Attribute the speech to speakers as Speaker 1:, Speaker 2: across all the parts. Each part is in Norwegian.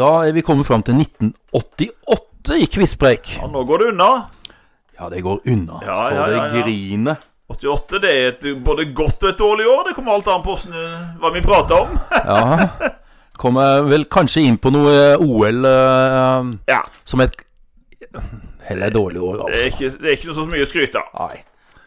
Speaker 1: Da er vi kommet fram til 1988 i quizpreik.
Speaker 2: Ja, nå går det unna.
Speaker 1: Ja, det går unna.
Speaker 2: Ja,
Speaker 1: så
Speaker 2: ja, ja,
Speaker 1: det
Speaker 2: ja.
Speaker 1: griner.
Speaker 2: 88 det er et både godt og et dårlig år. Det kommer alt an på hvordan- hva vi prater om.
Speaker 1: Ja. Kommer vel kanskje inn på noe OL eh,
Speaker 2: Ja,
Speaker 1: som et Heller dårlig år,
Speaker 2: Det er
Speaker 1: altså.
Speaker 2: ikke, det er ikke noe så mye å skryte av.
Speaker 1: Nei.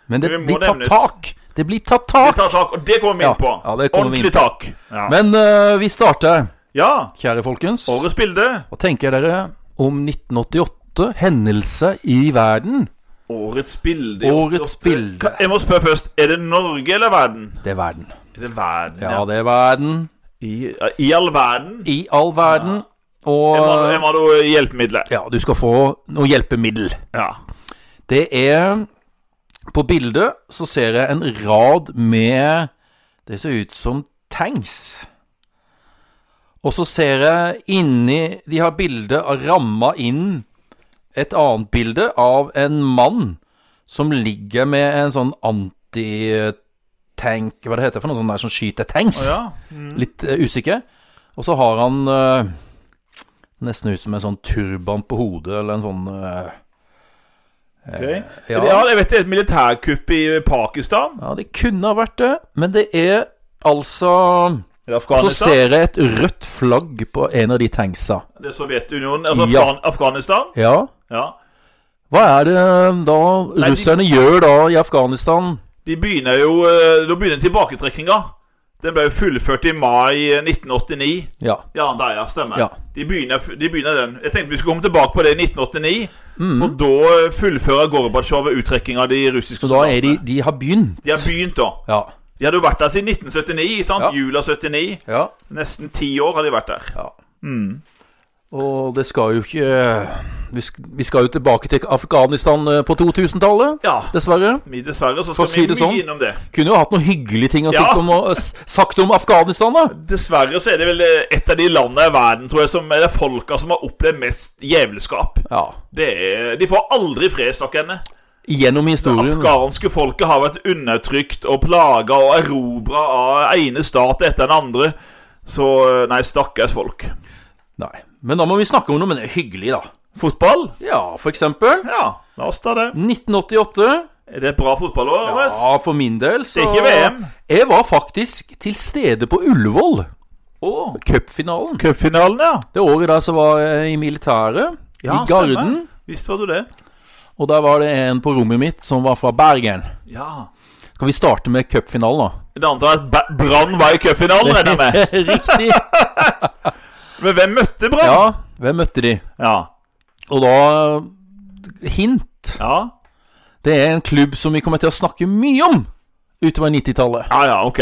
Speaker 1: Men det
Speaker 2: Eh. Vi må
Speaker 1: blir tatt
Speaker 2: nevnes.
Speaker 1: tak. Det blir tatt
Speaker 2: Vi
Speaker 1: tak.
Speaker 2: tar tak, og det kommer vi
Speaker 1: Ja,
Speaker 2: inn på.
Speaker 1: ja, det kommer vi inn
Speaker 2: Ordentlig tak. Ja.
Speaker 1: Men eh, vi starter,
Speaker 2: ja,
Speaker 1: kjære folkens.
Speaker 2: årets bilde.
Speaker 1: Hva tenker dere om 1988? Hendelse i verden?
Speaker 2: Årets bilde. i
Speaker 1: Årets
Speaker 2: 88.
Speaker 1: bilde.
Speaker 2: Ka- Jeg må spørre først. Er det Norge eller verden?
Speaker 1: Det er verden.
Speaker 2: Er det verden,
Speaker 1: Ja, det er verden.
Speaker 2: I, I all verden.
Speaker 1: I all verden.
Speaker 2: Jeg må, jeg
Speaker 1: Og
Speaker 2: må ha noe hjelpemiddel.
Speaker 1: ja, du skal få noe hjelpemiddel.
Speaker 2: Ja.
Speaker 1: Det er På bildet så ser jeg en rad med Det ser ut som tanks. Og så ser jeg inni De har bilde av ramma inn et annet bilde av en mann som ligger med en sånn antitank Hva det heter for noe sånt der som skyter tanks?
Speaker 2: ja.
Speaker 1: Litt eh, usikker. Og så har han eh, nesten ut som en sånn turban på hodet, eller en sånn eh,
Speaker 2: Okay.
Speaker 1: ja.
Speaker 2: ja, jeg vet det er et militærkupp i Pakistan.
Speaker 1: Ja, det kunne ha vært det, men det er altså
Speaker 2: Eller
Speaker 1: Så
Speaker 2: Afghanistan.
Speaker 1: ser jeg et rødt flagg på en av de tanksa.
Speaker 2: Det er Sovjetunionen. Altså
Speaker 1: Ja.
Speaker 2: Afghan Afghanistan.
Speaker 1: Ja.
Speaker 2: Ja.
Speaker 1: Hva er det eh, da
Speaker 2: de-
Speaker 1: russerne gjør da i Afghanistan?
Speaker 2: De begynner jo eh, Da begynner tilbaketrekninga. Den ble jo fullført i mai eh, 1989.
Speaker 1: Ja.
Speaker 2: Ja, der, ja, stemmer.
Speaker 1: Ja.
Speaker 2: De, begynner, de begynner den. Jeg tenkte vi skulle komme tilbake på det i 1989.
Speaker 1: Mhm.
Speaker 2: For da eh, fullfører Gorbatsjov uttrekkinga av de russiske
Speaker 1: Så da er de
Speaker 2: soldatene.
Speaker 1: De har begynt.
Speaker 2: De har begynt, da.
Speaker 1: Ja.
Speaker 2: De hadde jo vært der siden 1979. sant?
Speaker 1: Ja.
Speaker 2: Jula 79.
Speaker 1: ja.
Speaker 2: Nesten ti år har de vært der.
Speaker 1: Ja. Og det skal jo ikke eh, Vi sk- vi skal jo tilbake til Afghanistan eh, på 2000-tallet,
Speaker 2: Ja.
Speaker 1: dessverre.
Speaker 2: Vi dessverre så
Speaker 1: For
Speaker 2: skal
Speaker 1: å si
Speaker 2: vi
Speaker 1: det
Speaker 2: mye
Speaker 1: sånn.
Speaker 2: innom det.
Speaker 1: Kunne jo hatt noen hyggelige ting å
Speaker 2: Ja.
Speaker 1: sitte om, og, eh, s- sagt om Afghanistan, da.
Speaker 2: Dessverre så er det vel eh, et av de landene i verden tror jeg, som er det folka som har opplevd mest djevelskap.
Speaker 1: Ja.
Speaker 2: Det er, de får aldri fred, stakkene.
Speaker 1: Gjennom historien.
Speaker 2: Afghanske folket har vært undertrykt og plaga og erobra av ene stat etter den andre. Så eh, nei, stakkars folk.
Speaker 1: Nei. Men da må vi snakke om noe men det er hyggelig, da.
Speaker 2: Fotball?
Speaker 1: Ja, for eksempel.
Speaker 2: Ja, la oss ta det.
Speaker 1: 1988.
Speaker 2: Er det et bra fotballår? Andres?
Speaker 1: Ja, for min del så
Speaker 2: Det er ikke VM.
Speaker 1: Jeg var faktisk til stede på Ullevål.
Speaker 2: Å,
Speaker 1: Cupfinalen.
Speaker 2: Cupfinalen, ja.
Speaker 1: Det året der så var jeg i militæret.
Speaker 2: ja.
Speaker 1: I Garden.
Speaker 2: stemmer. Visst var du det.
Speaker 1: Og der var det en på rommet mitt som var fra Bergen.
Speaker 2: Ja.
Speaker 1: Skal vi starte med cupfinalen, da?
Speaker 2: Det antar jeg at Ba- Brann var i cupfinalen, regner jeg med.
Speaker 1: Riktig.
Speaker 2: Men hvem møtte Brann?
Speaker 1: Ja, hvem møtte de?
Speaker 2: ja.
Speaker 1: Og da Hint.
Speaker 2: Ja,
Speaker 1: Det er en klubb som vi kommer til å snakke mye om utover 90-tallet.
Speaker 2: ja, ja ok.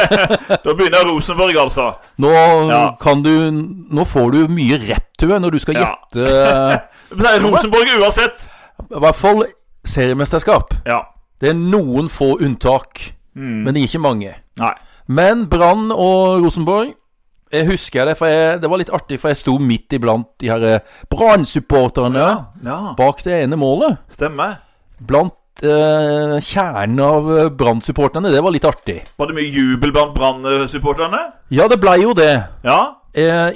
Speaker 2: da begynner Rosenborg, altså.
Speaker 1: Nå
Speaker 2: Ja.
Speaker 1: kan du Nå får du mye rett, tror jeg, når du skal
Speaker 2: Ja.
Speaker 1: gjette eh,
Speaker 2: Men det er Rosenborg uansett.
Speaker 1: I hvert fall seriemesterskap.
Speaker 2: Ja.
Speaker 1: Det er noen få unntak,
Speaker 2: Mm.
Speaker 1: men det er ikke mange.
Speaker 2: Nei.
Speaker 1: Men Brann og Rosenborg Jeg husker det, for jeg, det var litt artig, for jeg sto midt iblant de her eh, Brann-supporterne
Speaker 2: Ja,
Speaker 1: bak det ene målet.
Speaker 2: stemmer.
Speaker 1: Blant eh, kjernen av eh, Brann-supporterne. Det var litt artig.
Speaker 2: Var det mye jubel blant Brann-supporterne?
Speaker 1: Ja, det blei jo det.
Speaker 2: Ja,
Speaker 1: Eh,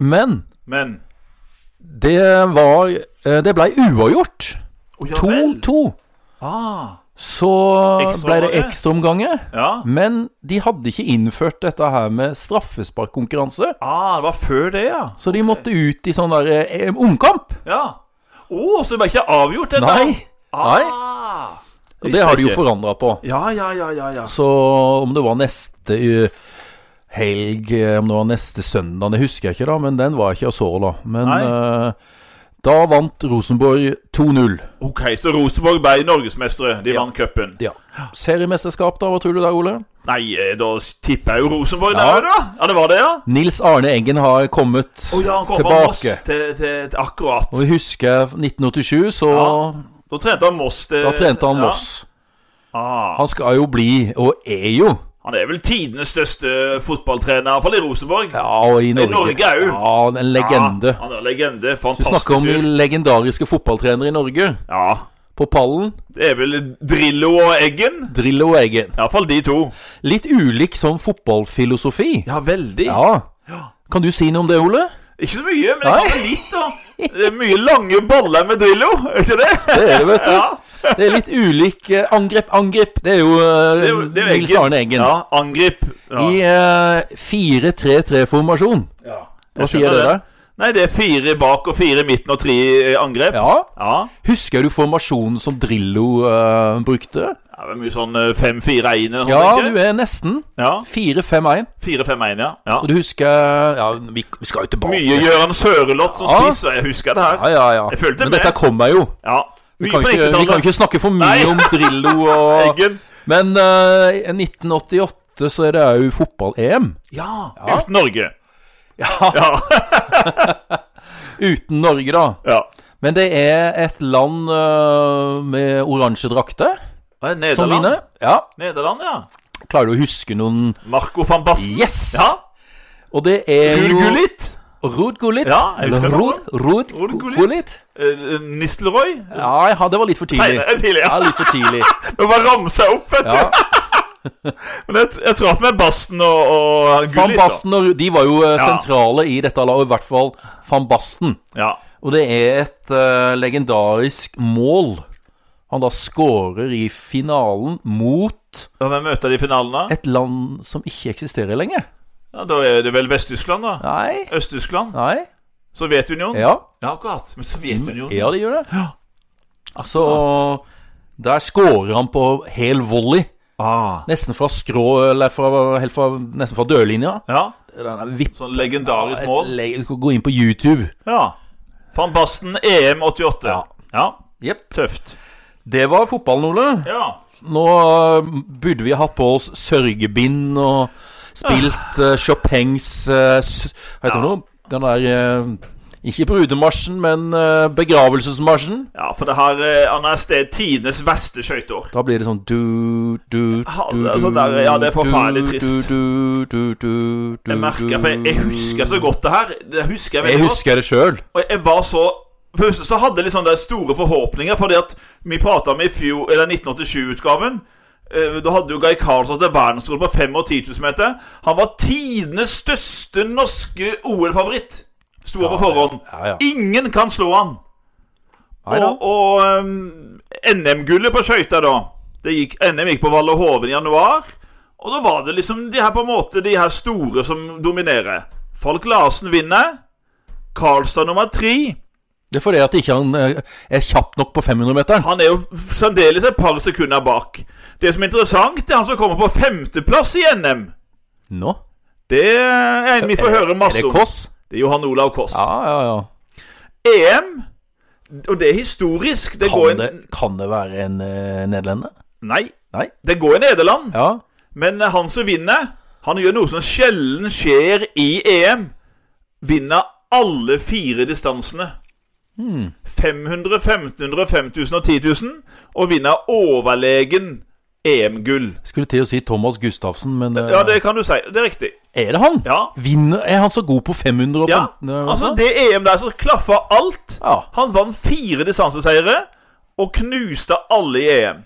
Speaker 1: men
Speaker 2: men
Speaker 1: det var eh, Det blei uavgjort.
Speaker 2: Å, ja vel.
Speaker 1: 2-2.
Speaker 2: Ah,
Speaker 1: Så blei det
Speaker 2: Ekstraomganger?
Speaker 1: ekstraomganger.
Speaker 2: ja.
Speaker 1: Men de hadde ikke innført dette her med straffesparkkonkurranse.
Speaker 2: Ah, det var før det, ja.
Speaker 1: Så de måtte ut i sånn der eh, omkamp.
Speaker 2: Ja. Å, så det ble ikke avgjort, det
Speaker 1: Nei.
Speaker 2: Ah,
Speaker 1: Og det har de jo
Speaker 2: ikke.
Speaker 1: forandra på.
Speaker 2: Ja, ja, ja, ja, ja.
Speaker 1: Så om det var neste eh, helg, eh, om det var neste søndag, det husker jeg ikke, da. Men den var jeg ikke og så, da. Men eh, da vant Rosenborg 2-0.
Speaker 2: Ok, så Rosenborg ble norgesmestere. De vant cupen.
Speaker 1: Ja. Seriemesterskap, da? Hva tror du der, Ole?
Speaker 2: Nei, eh, da tipper jeg jo Rosenborg
Speaker 1: Ja.
Speaker 2: der, da. Ja, det var det, ja.
Speaker 1: Nils Arne Eggen har kommet
Speaker 2: Å ja, han kom fra Moss
Speaker 1: tilbake.
Speaker 2: til, til, til akkurat.
Speaker 1: Og vi husker 1987, så
Speaker 2: Ja. Da trente han Moss. Det,
Speaker 1: da trente han
Speaker 2: ja.
Speaker 1: Moss.
Speaker 2: Ah,
Speaker 1: Han skal jo bli, og er jo,
Speaker 2: han er vel tidenes største fotballtrener, i hvert fall i Rosenborg.
Speaker 1: ja, og i Norge.
Speaker 2: Norge er jo.
Speaker 1: Ja, en legende.
Speaker 2: Ja, han er legende.
Speaker 1: Du
Speaker 2: Fantastisk.
Speaker 1: snakker om
Speaker 2: fyr.
Speaker 1: legendariske fotballtrenere i Norge.
Speaker 2: Ja.
Speaker 1: På pallen,
Speaker 2: Det er vel Drillo og Eggen.
Speaker 1: Drillo og Eggen.
Speaker 2: Iallfall de to.
Speaker 1: Litt ulik sånn fotballfilosofi.
Speaker 2: Ja, veldig.
Speaker 1: Ja. Kan du si noe om det, Ole?
Speaker 2: Ikke så mye, men jeg
Speaker 1: Nei.
Speaker 2: kan det litt, da. Det er mye lange baller med Drillo, er ikke det?
Speaker 1: Det er det, vet du.
Speaker 2: Ja.
Speaker 1: Det er litt ulik eh, angrep, angrep. Det er jo, eh,
Speaker 2: Det er jo- det er jo
Speaker 1: Nils Arne Eggen.
Speaker 2: Ja, angrip. Ja.
Speaker 1: I eh, 4-3-3-formasjon.
Speaker 2: Ja.
Speaker 1: Hva
Speaker 2: Jeg
Speaker 1: sier
Speaker 2: skjønner
Speaker 1: dere?
Speaker 2: Nei, det er fire bak og fire i midten og tre i angrep.
Speaker 1: Ja.
Speaker 2: ja.
Speaker 1: Husker du formasjonen som Drillo eh, brukte?
Speaker 2: Ja, Det er mye sånn eh, 5-4-1 eller noe
Speaker 1: Ja,
Speaker 2: sånt.
Speaker 1: du er nesten.
Speaker 2: ikke? Ja,
Speaker 1: 4-5-1.
Speaker 2: 4-5-1, ja. ja.
Speaker 1: Og du husker Ja, vi, vi skal jo tilbake.
Speaker 2: Mye Gøran Sørloth som
Speaker 1: Ja.
Speaker 2: spiss, og jeg husker det her.
Speaker 1: Ja, ja, ja.
Speaker 2: Jeg følte
Speaker 1: Men
Speaker 2: med.
Speaker 1: dette kommer jo.
Speaker 2: Ja.
Speaker 1: Vi
Speaker 2: Mye
Speaker 1: kan,
Speaker 2: på
Speaker 1: ikke, vi kan
Speaker 2: 90-tallet.
Speaker 1: ikke snakke for mye
Speaker 2: Nei.
Speaker 1: om Drillo og
Speaker 2: Eggen.
Speaker 1: Men eh, i 1988 så er det òg fotball-EM.
Speaker 2: Ja. Uten Norge.
Speaker 1: Ja.
Speaker 2: Ja.
Speaker 1: Uten Norge, da.
Speaker 2: ja.
Speaker 1: Men det er et land eh, med oransje drakter
Speaker 2: Det er
Speaker 1: som
Speaker 2: Nederland.
Speaker 1: vinner. Ja.
Speaker 2: Nederland, ja.
Speaker 1: Klarer du å huske noen
Speaker 2: Marco van Basten.
Speaker 1: Yes!
Speaker 2: Ja.
Speaker 1: Og det
Speaker 2: Eh,
Speaker 1: er jo
Speaker 2: Gulgulit.
Speaker 1: Rud Gullit.
Speaker 2: Ja, jeg husker det.
Speaker 1: Rud, Rud
Speaker 2: Rud Gullit.
Speaker 1: Gullit.
Speaker 2: Eh, Nistelrooy.
Speaker 1: Ja, ja, det var litt for tidlig.
Speaker 2: Senere, tidlig,
Speaker 1: Ja,
Speaker 2: ja.
Speaker 1: litt for tidlig.
Speaker 2: Det var ramsa opp, vet du.
Speaker 1: Ja.
Speaker 2: Men jeg, jeg traff med Basten og, og
Speaker 1: Van
Speaker 2: Gullit. da.
Speaker 1: Basten og Rud De var jo eh,
Speaker 2: Ja.
Speaker 1: sentrale i dette laget, og i hvert fall van Basten.
Speaker 2: Ja.
Speaker 1: Og det er et eh, legendarisk mål han da skårer i finalen mot
Speaker 2: Og Hvem møter de i finalen, da?
Speaker 1: et land som ikke eksisterer lenger.
Speaker 2: Ja, da er det vel Vest-Tyskland, da.
Speaker 1: Nei
Speaker 2: Øst-Tyskland.
Speaker 1: Nei
Speaker 2: Sovjetunionen.
Speaker 1: Ja,
Speaker 2: Ja, akkurat. Men Sovjetunionen
Speaker 1: ja de gjør det. Altså Der skårer han på hel volley.
Speaker 2: Ah.
Speaker 1: Nesten fra skrå Eller fra, helt fra, nesten fra dørlinja.
Speaker 2: Ja.
Speaker 1: Den er vipp-
Speaker 2: Sånn legendarisk
Speaker 1: et
Speaker 2: mål.
Speaker 1: le- Du skal gå inn på YouTube.
Speaker 2: Ja. Van Basten, EM 88.
Speaker 1: Ja.
Speaker 2: Ja.
Speaker 1: Jepp.
Speaker 2: Tøft.
Speaker 1: Det var fotballen, Ole.
Speaker 2: Ja.
Speaker 1: Nå øh, burde vi ha hatt på oss sørgebind og spilt øh, Chopins øh, s- Hva heter det for noe? Den der øh, Ikke brudemarsjen, men øh, begravelsesmarsjen.
Speaker 2: ja, for det her eh, Han er sted tidenes verste skøyteår.
Speaker 1: Da blir det sånn du, du,
Speaker 2: Ja,
Speaker 1: du,
Speaker 2: det er sånn der- ja, det er forferdelig trist.
Speaker 1: Du, du, du, du, du,
Speaker 2: Jeg merker, for jeg, jeg husker så godt det her. Det husker jeg
Speaker 1: Jeg
Speaker 2: veldig godt.
Speaker 1: husker det sjøl.
Speaker 2: Og jeg var så For det første så hadde jeg liksom de store forhåpninger, fordi at vi prata om i fjor, eller 1987-utgaven eh, Da hadde jo Guy Carlsen til verdensrekord på 5 og 10 000 meter. Han var tidenes største norske OL-favoritt. Sto han på forhånd.
Speaker 1: Ja, ja.
Speaker 2: Ingen kan slå han.
Speaker 1: Nei da.
Speaker 2: Og, og ehm, NM-gullet på skøyter, da det gikk, NM gikk på Valle Hoven i januar. Og da var det liksom de her på en måte De her store som dominerer. Falk Larsen vinner. Karlstad nummer tre.
Speaker 1: Det er fordi at ikke han øh, er kjapp nok på 500-meteren.
Speaker 2: Han er jo fremdeles et par sekunder bak. Det som er interessant, det er han som kommer på femteplass i NM.
Speaker 1: Nå?
Speaker 2: Det er en vi får høre masse
Speaker 1: Er det
Speaker 2: om.
Speaker 1: Kåss?
Speaker 2: Det er Johan Olav Koss.
Speaker 1: Ja, ja, ja.
Speaker 2: EM, og det er historisk Det går
Speaker 1: Kan
Speaker 2: en
Speaker 1: det, kan det være en øh, nederlender?
Speaker 2: Nei.
Speaker 1: Nei.
Speaker 2: Det går i Nederland.
Speaker 1: Ja.
Speaker 2: Men han som vinner, han gjør noe som sjelden skjer i EM. Vinner alle fire distansene. Hmm. 500, 1500, 5000 og 10 000. Og vinner overlegen EM-gull.
Speaker 1: Skulle til å si Thomas Gustavsen, men eh,
Speaker 2: Ja, det kan du si. Det er riktig.
Speaker 1: er det han?
Speaker 2: Ja.
Speaker 1: Vinner, er han så god på 500 og eh,
Speaker 2: ja.
Speaker 1: 15?
Speaker 2: Altså, det EM der som klaffa alt.
Speaker 1: Ja.
Speaker 2: Han vant fire distanseseiere og knuste alle i EM.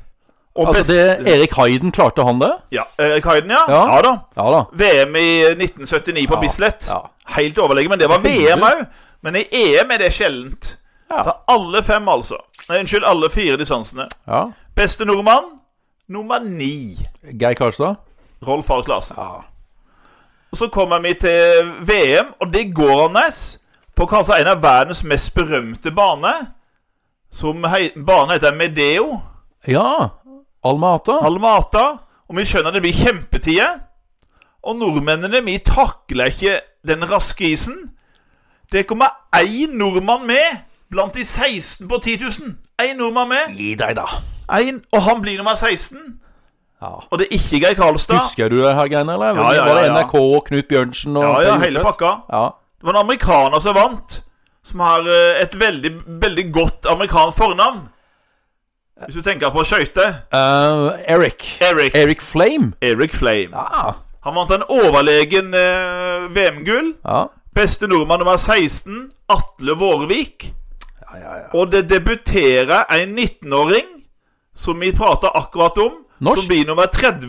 Speaker 2: Og
Speaker 1: altså
Speaker 2: best-
Speaker 1: det, Erik Hayden, klarte han det?
Speaker 2: Ja, Erik Hayden, ja.
Speaker 1: Ja.
Speaker 2: ja. da.
Speaker 1: Ja da.
Speaker 2: VM i 1979 på
Speaker 1: Ja,
Speaker 2: Bislett.
Speaker 1: ja.
Speaker 2: Helt overlegen, men det var
Speaker 1: Hundre.
Speaker 2: VM òg. Men i EM er det sjeldent.
Speaker 1: Ja.
Speaker 2: Det er alle fem, altså. Nei, unnskyld, alle fire distansene.
Speaker 1: ja.
Speaker 2: Beste nordmann, nummer ni.
Speaker 1: Geir Karstad?
Speaker 2: Rolf Falk Larsen.
Speaker 1: Ja.
Speaker 2: Og Så kommer vi til VM, og det går han nes på kanskje en av verdens mest berømte baner. Som hei, banen heter Medeo,
Speaker 1: ja. Alma-Ata?
Speaker 2: Almata. Og vi skjønner det blir kjempetider. Og nordmennene, vi takler ikke den raske isen. Det kommer én nordmann med blant de 16 på 10 000. Én nordmann med,
Speaker 1: Gi deg, da.
Speaker 2: en, og han blir nummer 16.
Speaker 1: Ja.
Speaker 2: Og det er ikke Geir Karlstad.
Speaker 1: Husker du det her greiene, eller?
Speaker 2: Ja, ja,
Speaker 1: Var det
Speaker 2: ja, ja.
Speaker 1: NRK og Knut Bjørnsen og
Speaker 2: Ja, ja,
Speaker 1: Per
Speaker 2: hele
Speaker 1: Hjortvedt?
Speaker 2: pakka.
Speaker 1: Ja.
Speaker 2: Det var en amerikaner som vant, som har eh, et veldig, veldig godt amerikansk fornavn. Hvis du tenker på skøyter.
Speaker 1: Eh, Eric.
Speaker 2: Eric.
Speaker 1: Eric Flame?
Speaker 2: Eric Flame.
Speaker 1: Ja.
Speaker 2: Han vant en overlegen eh, VM-gull.
Speaker 1: Ja.
Speaker 2: Beste nordmann nummer 16, Atle Vårvik.
Speaker 1: Ja, ja, ja.
Speaker 2: Og det debuterer en 19-åring, som vi prata akkurat om,
Speaker 1: Norsk?
Speaker 2: som blir nummer 30.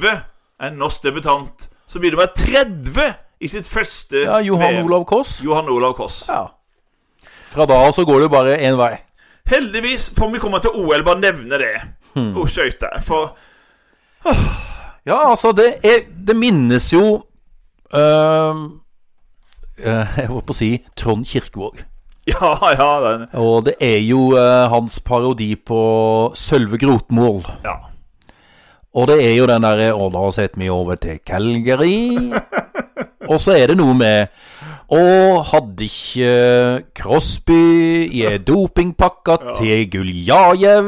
Speaker 2: En norsk debutant. Som blir nummer 30 i sitt første
Speaker 1: Ja, Johan
Speaker 2: VM.
Speaker 1: Olav Koss.
Speaker 2: Johan Olav Koss.
Speaker 1: Ja. Fra da av så går det jo bare én vei.
Speaker 2: Heldigvis får vi komme til OL, bare nevne det.
Speaker 1: Hmm.
Speaker 2: Og skøyter. For
Speaker 1: Ja, altså, det, er, det minnes jo øhm, eh, Jeg holdt på å si Trond Kirkevåg.
Speaker 2: Ja, ja, den,
Speaker 1: Og det er jo eh, hans parodi på Sølve Grotmål.
Speaker 2: ja.
Speaker 1: Og det er jo den derre Og da setter vi over til Calgary. Og så er det noe med Og hadde ikke Crosby i en dopingpakke til Guljajev,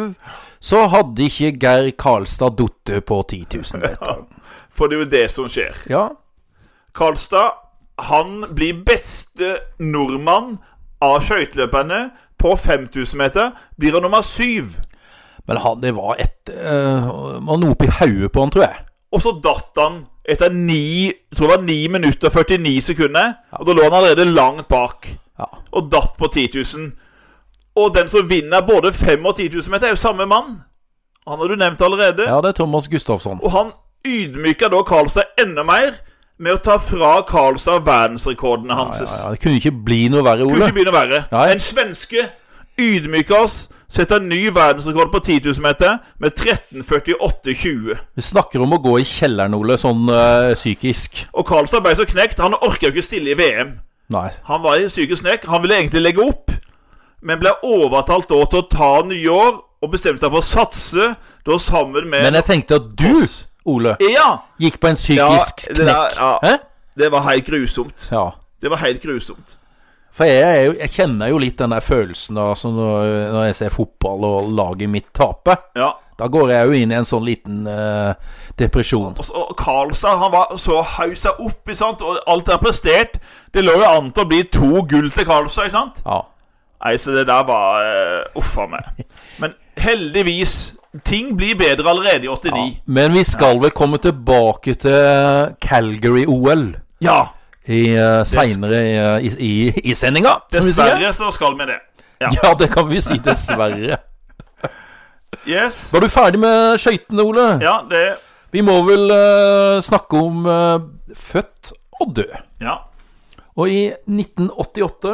Speaker 1: så hadde ikke Geir Karlstad datt på 10 000 meter.
Speaker 2: For det er jo det som skjer.
Speaker 1: Ja.
Speaker 2: Karlstad han blir beste nordmann av skøyteløperne på 5000 meter. Blir han nummer syv.
Speaker 1: Men han, det var et øh, Man opp i hodet på han, tror jeg.
Speaker 2: Og så datt han etter ni, jeg tror det var 9 minutter og 49 sekunder. Og da lå han allerede langt bak.
Speaker 1: Ja.
Speaker 2: Og datt på 10 000. Og den som vinner både 5 og 10 000 meter, er jo samme mann. Han har du nevnt allerede.
Speaker 1: ja, det er Thomas Gustafsson.
Speaker 2: Og han ydmyka da Karlstad enda mer med å ta fra Karlstad verdensrekordene
Speaker 1: Ja,
Speaker 2: hans.
Speaker 1: ja, det kunne ikke bli noe verre,
Speaker 2: Det kunne
Speaker 1: Ole.
Speaker 2: ikke begynne verre.
Speaker 1: Nei.
Speaker 2: En svenske ydmyka oss, setter ny verdensrekord på 10 000 meter med 13.48,20.
Speaker 1: Vi snakker om å gå i kjelleren, Ole, sånn øh, psykisk.
Speaker 2: Og Karlstad ble så knekt. Han orka jo ikke stille i VM.
Speaker 1: Nei.
Speaker 2: Han var i psykisk knekk. Han ville egentlig legge opp, men ble overtalt da til å ta nye år, og bestemte seg for å satse da sammen med
Speaker 1: Men jeg tenkte at du,
Speaker 2: Oss.
Speaker 1: Ole,
Speaker 2: Ja!
Speaker 1: gikk på en
Speaker 2: Ja,
Speaker 1: psykisk
Speaker 2: det der-
Speaker 1: knekk.
Speaker 2: ja.
Speaker 1: Hæ?
Speaker 2: Det var helt grusomt.
Speaker 1: Ja.
Speaker 2: Det var helt grusomt.
Speaker 1: For jeg, er jo, jeg kjenner jo litt den der følelsen da, som når, når jeg ser fotball og laget mitt tape.
Speaker 2: Ja.
Speaker 1: Da går jeg jo inn i en sånn liten øh, depresjon.
Speaker 2: Og så- og Karlstad han var så hausa opp, ikke sant? og alt det er prestert. Det lå jo an til å bli to gull til Karlstad, ikke sant?
Speaker 1: Ja.
Speaker 2: Nei, så det der var eh, Uff a meg. Men heldigvis Ting blir bedre allerede i 89.
Speaker 1: Men vi skal vel komme tilbake til Calgary-OL.
Speaker 2: Ja.
Speaker 1: i, eh, senere eh, i, i, i sendinga. som vi sier.
Speaker 2: Dessverre så skal vi det. Ja.
Speaker 1: Ja, det kan vi si. Dessverre.
Speaker 2: Yes.
Speaker 1: Var du ferdig med skøytene, Ole?
Speaker 2: Ja, det
Speaker 1: Vi må vel eh, snakke om eh, født og død.
Speaker 2: Ja.
Speaker 1: Og i 1988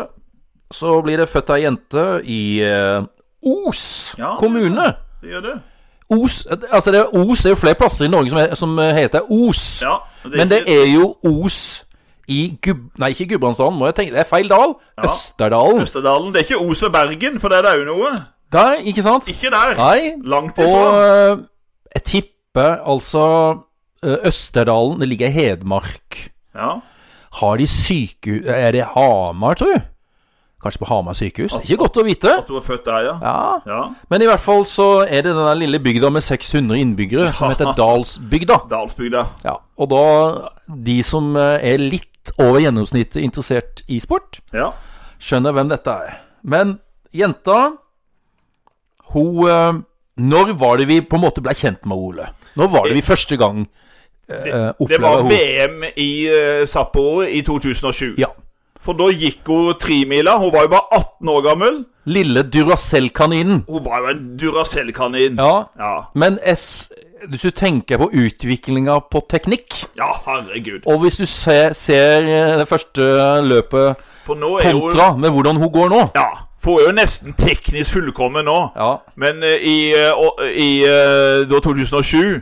Speaker 1: så blir det født ei jente i eh, Os
Speaker 2: Ja.
Speaker 1: kommune.
Speaker 2: Det gjør det.
Speaker 1: Os, altså det, er- Os er jo flere plasser i Norge som, er, som heter Os.
Speaker 2: Ja.
Speaker 1: Men det
Speaker 2: ikke-
Speaker 1: er jo Os i Gub... Nei, ikke Gudbrandsdalen, må jeg tenke. Det er feil dal. Østerdalen.
Speaker 2: Østerdalen. Det er ikke Os ved Bergen, for der er det jo noe.
Speaker 1: Der, ikke sant?
Speaker 2: Ikke der.
Speaker 1: Nei,
Speaker 2: Langt
Speaker 1: og
Speaker 2: ifra.
Speaker 1: eh, jeg tipper altså eh, Østerdalen, det ligger i Hedmark.
Speaker 2: Ja.
Speaker 1: Har de sykehus Er det Hamar, tror du? Kanskje på Hamar sykehus? Det er ikke godt å vite.
Speaker 2: At du var født der, ja.
Speaker 1: Ja,
Speaker 2: ja.
Speaker 1: Men i hvert fall så er det den der lille bygda med 600 innbyggere som heter Dalsbygda.
Speaker 2: Dalsbygda.
Speaker 1: Ja, og da De som eh, er litt over gjennomsnittet interessert i sport,
Speaker 2: Ja.
Speaker 1: skjønner hvem dette er. Men jenta Hun eh, Når var det vi på en måte ble kjent med Ole? Når var det vi første gang eh,
Speaker 2: Det var
Speaker 1: opplevde henne?
Speaker 2: VM i eh, Sapporo i 2007.
Speaker 1: Ja.
Speaker 2: For da gikk hun tremila. Hun var jo bare 18 år gammel.
Speaker 1: Lille Duracell-kaninen.
Speaker 2: Hun var jo en Duracell-kanin.
Speaker 1: Ja.
Speaker 2: Ja.
Speaker 1: Men S, hvis du tenker på utviklinga på teknikk,
Speaker 2: Ja, herregud.
Speaker 1: og hvis du ser, ser eh, det første løpet
Speaker 2: For nå er hun
Speaker 1: kontra med hvordan hun går nå
Speaker 2: Ja. For hun er jo nesten teknisk fullkommen nå.
Speaker 1: Ja.
Speaker 2: Men eh, i, eh, å- i eh, da 2007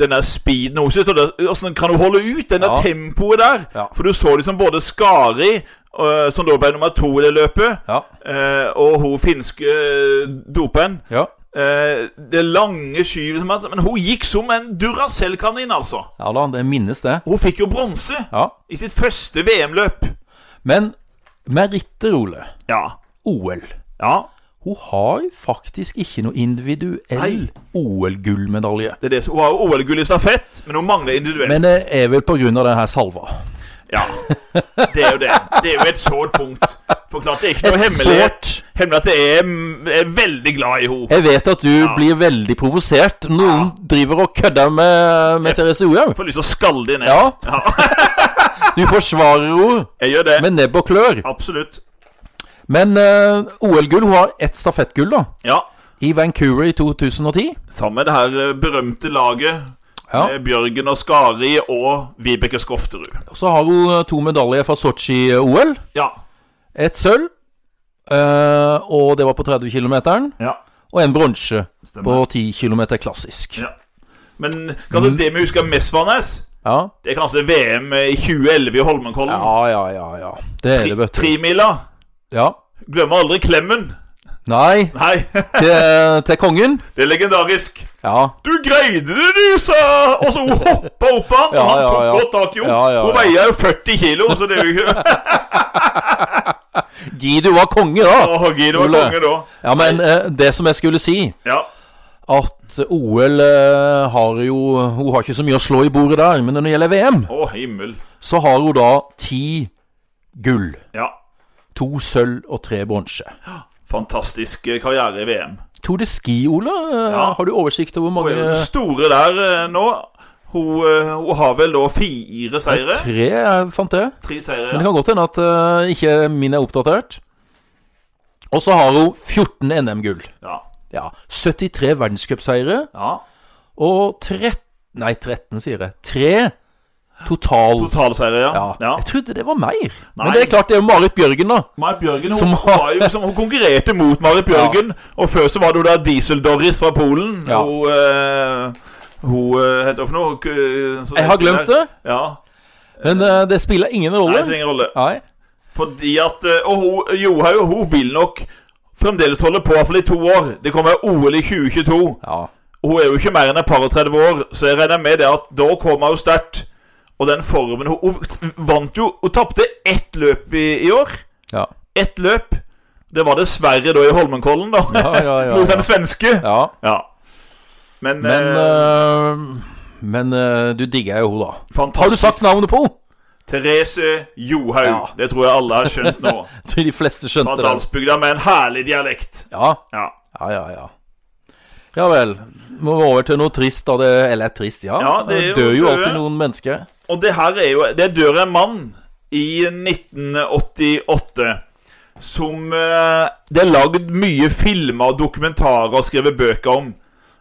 Speaker 2: den der speeden hennes vet du, det- Hvordan kan hun holde ut? Den der
Speaker 1: Ja.
Speaker 2: tempoet der.
Speaker 1: Ja.
Speaker 2: For du så liksom både Skari, eh, som da ble nummer to i det løpet,
Speaker 1: Ja.
Speaker 2: eh, og hun finske eh, doperen.
Speaker 1: Ja.
Speaker 2: Eh, det lange skyvet som at- Men hun gikk som en Duracell-kanin, altså.
Speaker 1: ja da, det minnes det.
Speaker 2: Hun fikk jo bronse
Speaker 1: Ja.
Speaker 2: i sitt første VM-løp.
Speaker 1: Men meritter, Ole.
Speaker 2: Ja.
Speaker 1: OL.
Speaker 2: ja.
Speaker 1: Hun har faktisk ikke noe individuell
Speaker 2: Nei.
Speaker 1: OL-gullmedalje.
Speaker 2: Det er det. som- Hun har jo OL-gull i stafett, men hun mangler individuelt.
Speaker 1: Men det er vel på grunn av den her salva.
Speaker 2: Ja. Det er jo det. Det er jo et sårt punkt. For klart, det er ikke noe hemmelighet.
Speaker 1: sårt.
Speaker 2: Hemmelig at jeg er, mm, er veldig glad i henne.
Speaker 1: Jeg vet at du blir veldig provosert. Noen driver og kødder med, med Therese Johaug.
Speaker 2: Får lyst til å skalle det ned.
Speaker 1: Ja. Du forsvarer henne
Speaker 2: Jeg gjør det.
Speaker 1: med nebb og klør.
Speaker 2: Absolutt.
Speaker 1: Men eh, OL-gull Hun har ett stafettgull, da.
Speaker 2: Ja.
Speaker 1: I Vancouver i 2010.
Speaker 2: Sammen med det her eh, berømte laget
Speaker 1: Ja.
Speaker 2: med Bjørgen og Skari og Vibeke Skofterud.
Speaker 1: Så har hun eh, to medaljer fra Sotsji-OL.
Speaker 2: Ja.
Speaker 1: Et sølv, eh, og det var på 30 km.
Speaker 2: ja.
Speaker 1: Og en bronse på
Speaker 2: Stemmer.
Speaker 1: 10 km klassisk.
Speaker 2: Ja. Men kanskje
Speaker 1: Mm.
Speaker 2: det vi husker mest fra Nes,
Speaker 1: Ja.
Speaker 2: det er kanskje VM i 2011 i Holmenkollen.
Speaker 1: ja, ja, ja. ja. Det er det, vet du.
Speaker 2: Trimila.
Speaker 1: Ja.
Speaker 2: Glemmer aldri Klemmen.
Speaker 1: Nei,
Speaker 2: Nei,
Speaker 1: til, eh, til kongen.
Speaker 2: det er legendarisk.
Speaker 1: Ja.
Speaker 2: Du greide det, du, sa Og så hun hoppa opp han,
Speaker 1: Ja,
Speaker 2: og han
Speaker 1: ja,
Speaker 2: tok
Speaker 1: ja.
Speaker 2: godt tak i henne.
Speaker 1: Ja, ja,
Speaker 2: Hun
Speaker 1: ja.
Speaker 2: veier jo 40 kilo, så det er jo ikke
Speaker 1: Gi du var konge, da!
Speaker 2: Åh, Gide var
Speaker 1: Ole.
Speaker 2: konge da.
Speaker 1: Ja, men eh, det som jeg skulle si,
Speaker 2: Ja.
Speaker 1: at OL eh, har jo Hun har ikke så mye å slå i bordet der, men når det gjelder VM,
Speaker 2: Å, himmel.
Speaker 1: så har hun da ti gull.
Speaker 2: Ja.
Speaker 1: To sølv og tre bronse.
Speaker 2: Fantastisk eh, karriere i VM.
Speaker 1: Tour de ski, Ola? eh,
Speaker 2: Ja.
Speaker 1: Har du oversikt over hvor
Speaker 2: Hun
Speaker 1: mange
Speaker 2: er jo den store der eh, nå. Hun, eh, hun har vel da fire seire?
Speaker 1: Tre, jeg fant det.
Speaker 2: Tre seire.
Speaker 1: Men det
Speaker 2: ja.
Speaker 1: kan godt hende at eh, ikke min er oppdatert. Og så har hun 14 NM-gull.
Speaker 2: Ja.
Speaker 1: Ja. 73 verdenscupseiere.
Speaker 2: ja.
Speaker 1: Og 13 Nei, 13 sier jeg. 3 total.
Speaker 2: Totalseire, ja.
Speaker 1: Ja.
Speaker 2: ja.
Speaker 1: Jeg trodde det var mer.
Speaker 2: Nei.
Speaker 1: Men det er klart det er jo Marit Bjørgen, da.
Speaker 2: Marit Bjørgen hun,
Speaker 1: Som har-
Speaker 2: var jo, som, hun konkurrerte mot Marit Bjørgen. Og før så var det jo da Diesel-Doris fra Polen.
Speaker 1: Ja.
Speaker 2: Hun, eh, hun eh, heter hun eh, for noe K- så-
Speaker 1: Jeg har glemt det,
Speaker 2: Ja.
Speaker 1: men eh, det spiller ingen
Speaker 2: Nei, det spiller
Speaker 1: rolle.
Speaker 2: ingen rolle.
Speaker 1: Nei.
Speaker 2: Fordi at eh, Og hun, Johaug hun vil nok fremdeles holde på, iallfall i to år. Det kommer OL i 2022.
Speaker 1: Ja.
Speaker 2: Hun er jo ikke mer enn et par og 30 år, så jeg regner med det at da kommer hun sterkt. Og den formen Hun, hun vant jo Hun tapte ett løp i, i år.
Speaker 1: Ja.
Speaker 2: Ett løp. Det var dessverre da i Holmenkollen, da.
Speaker 1: Ja, ja, ja,
Speaker 2: Mot den
Speaker 1: ja.
Speaker 2: svenske. Ja.
Speaker 1: ja.
Speaker 2: Men,
Speaker 1: Men
Speaker 2: eh,
Speaker 1: eh, Men eh, du digger jo hun, da.
Speaker 2: fantastisk.
Speaker 1: Har du sagt navnet på henne?
Speaker 2: Therese Johaug.
Speaker 1: Ja.
Speaker 2: Det tror jeg alle har skjønt nå.
Speaker 1: Jeg tror de fleste
Speaker 2: Fra
Speaker 1: skjønte det.
Speaker 2: Dalsbygda med en herlig dialekt.
Speaker 1: Ja.
Speaker 2: Ja.
Speaker 1: Ja, ja, ja. Ja vel. Må vi over til noe trist, da. Det, eller trist, ja.
Speaker 2: Ja, det er jo
Speaker 1: dør jo
Speaker 2: døde.
Speaker 1: alltid noen mennesker.
Speaker 2: Og det her er jo Det dør en mann i 1988 som eh, det er lagd mye filmer og dokumentarer og skrevet bøker om.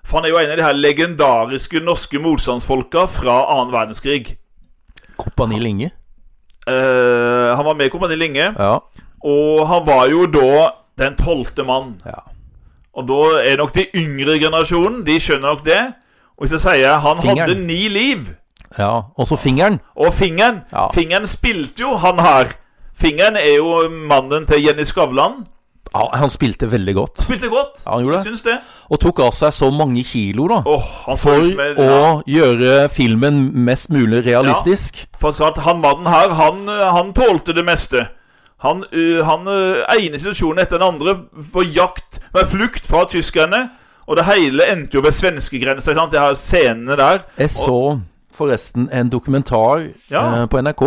Speaker 2: For han er jo en av de her legendariske norske motstandsfolka fra annen verdenskrig.
Speaker 1: Kompani Linge.
Speaker 2: Eh, han var med i Kompani Linge,
Speaker 1: Ja.
Speaker 2: og han var jo da den tolvte mann.
Speaker 1: ja.
Speaker 2: Og da er nok de yngre generasjonen De skjønner nok det. Og hvis jeg sier han
Speaker 1: Fingeren.
Speaker 2: hadde ni liv
Speaker 1: ja. Og så fingeren.
Speaker 2: Og fingeren
Speaker 1: Ja.
Speaker 2: Fingeren spilte jo han her. Fingeren er jo mannen til Jenny Skavlan.
Speaker 1: Ja, han spilte veldig godt.
Speaker 2: Spilte godt.
Speaker 1: Ja, han gjorde det.
Speaker 2: Syns det.
Speaker 1: Og tok av seg så mange kilo, da.
Speaker 2: Åh, han så
Speaker 1: For
Speaker 2: ut som en-
Speaker 1: å
Speaker 2: ja,
Speaker 1: gjøre filmen mest mulig realistisk.
Speaker 2: for så at han mannen her, han, øh, han tålte det meste. Han, øh, han øh, ene situasjonen etter den andre på jakt Med flukt fra tyskerne. Og det hele endte jo ved svenskegrensa. ikke sant? De her scenene der.
Speaker 1: Jeg så forresten en dokumentar
Speaker 2: Ja.
Speaker 1: eh, på NRK.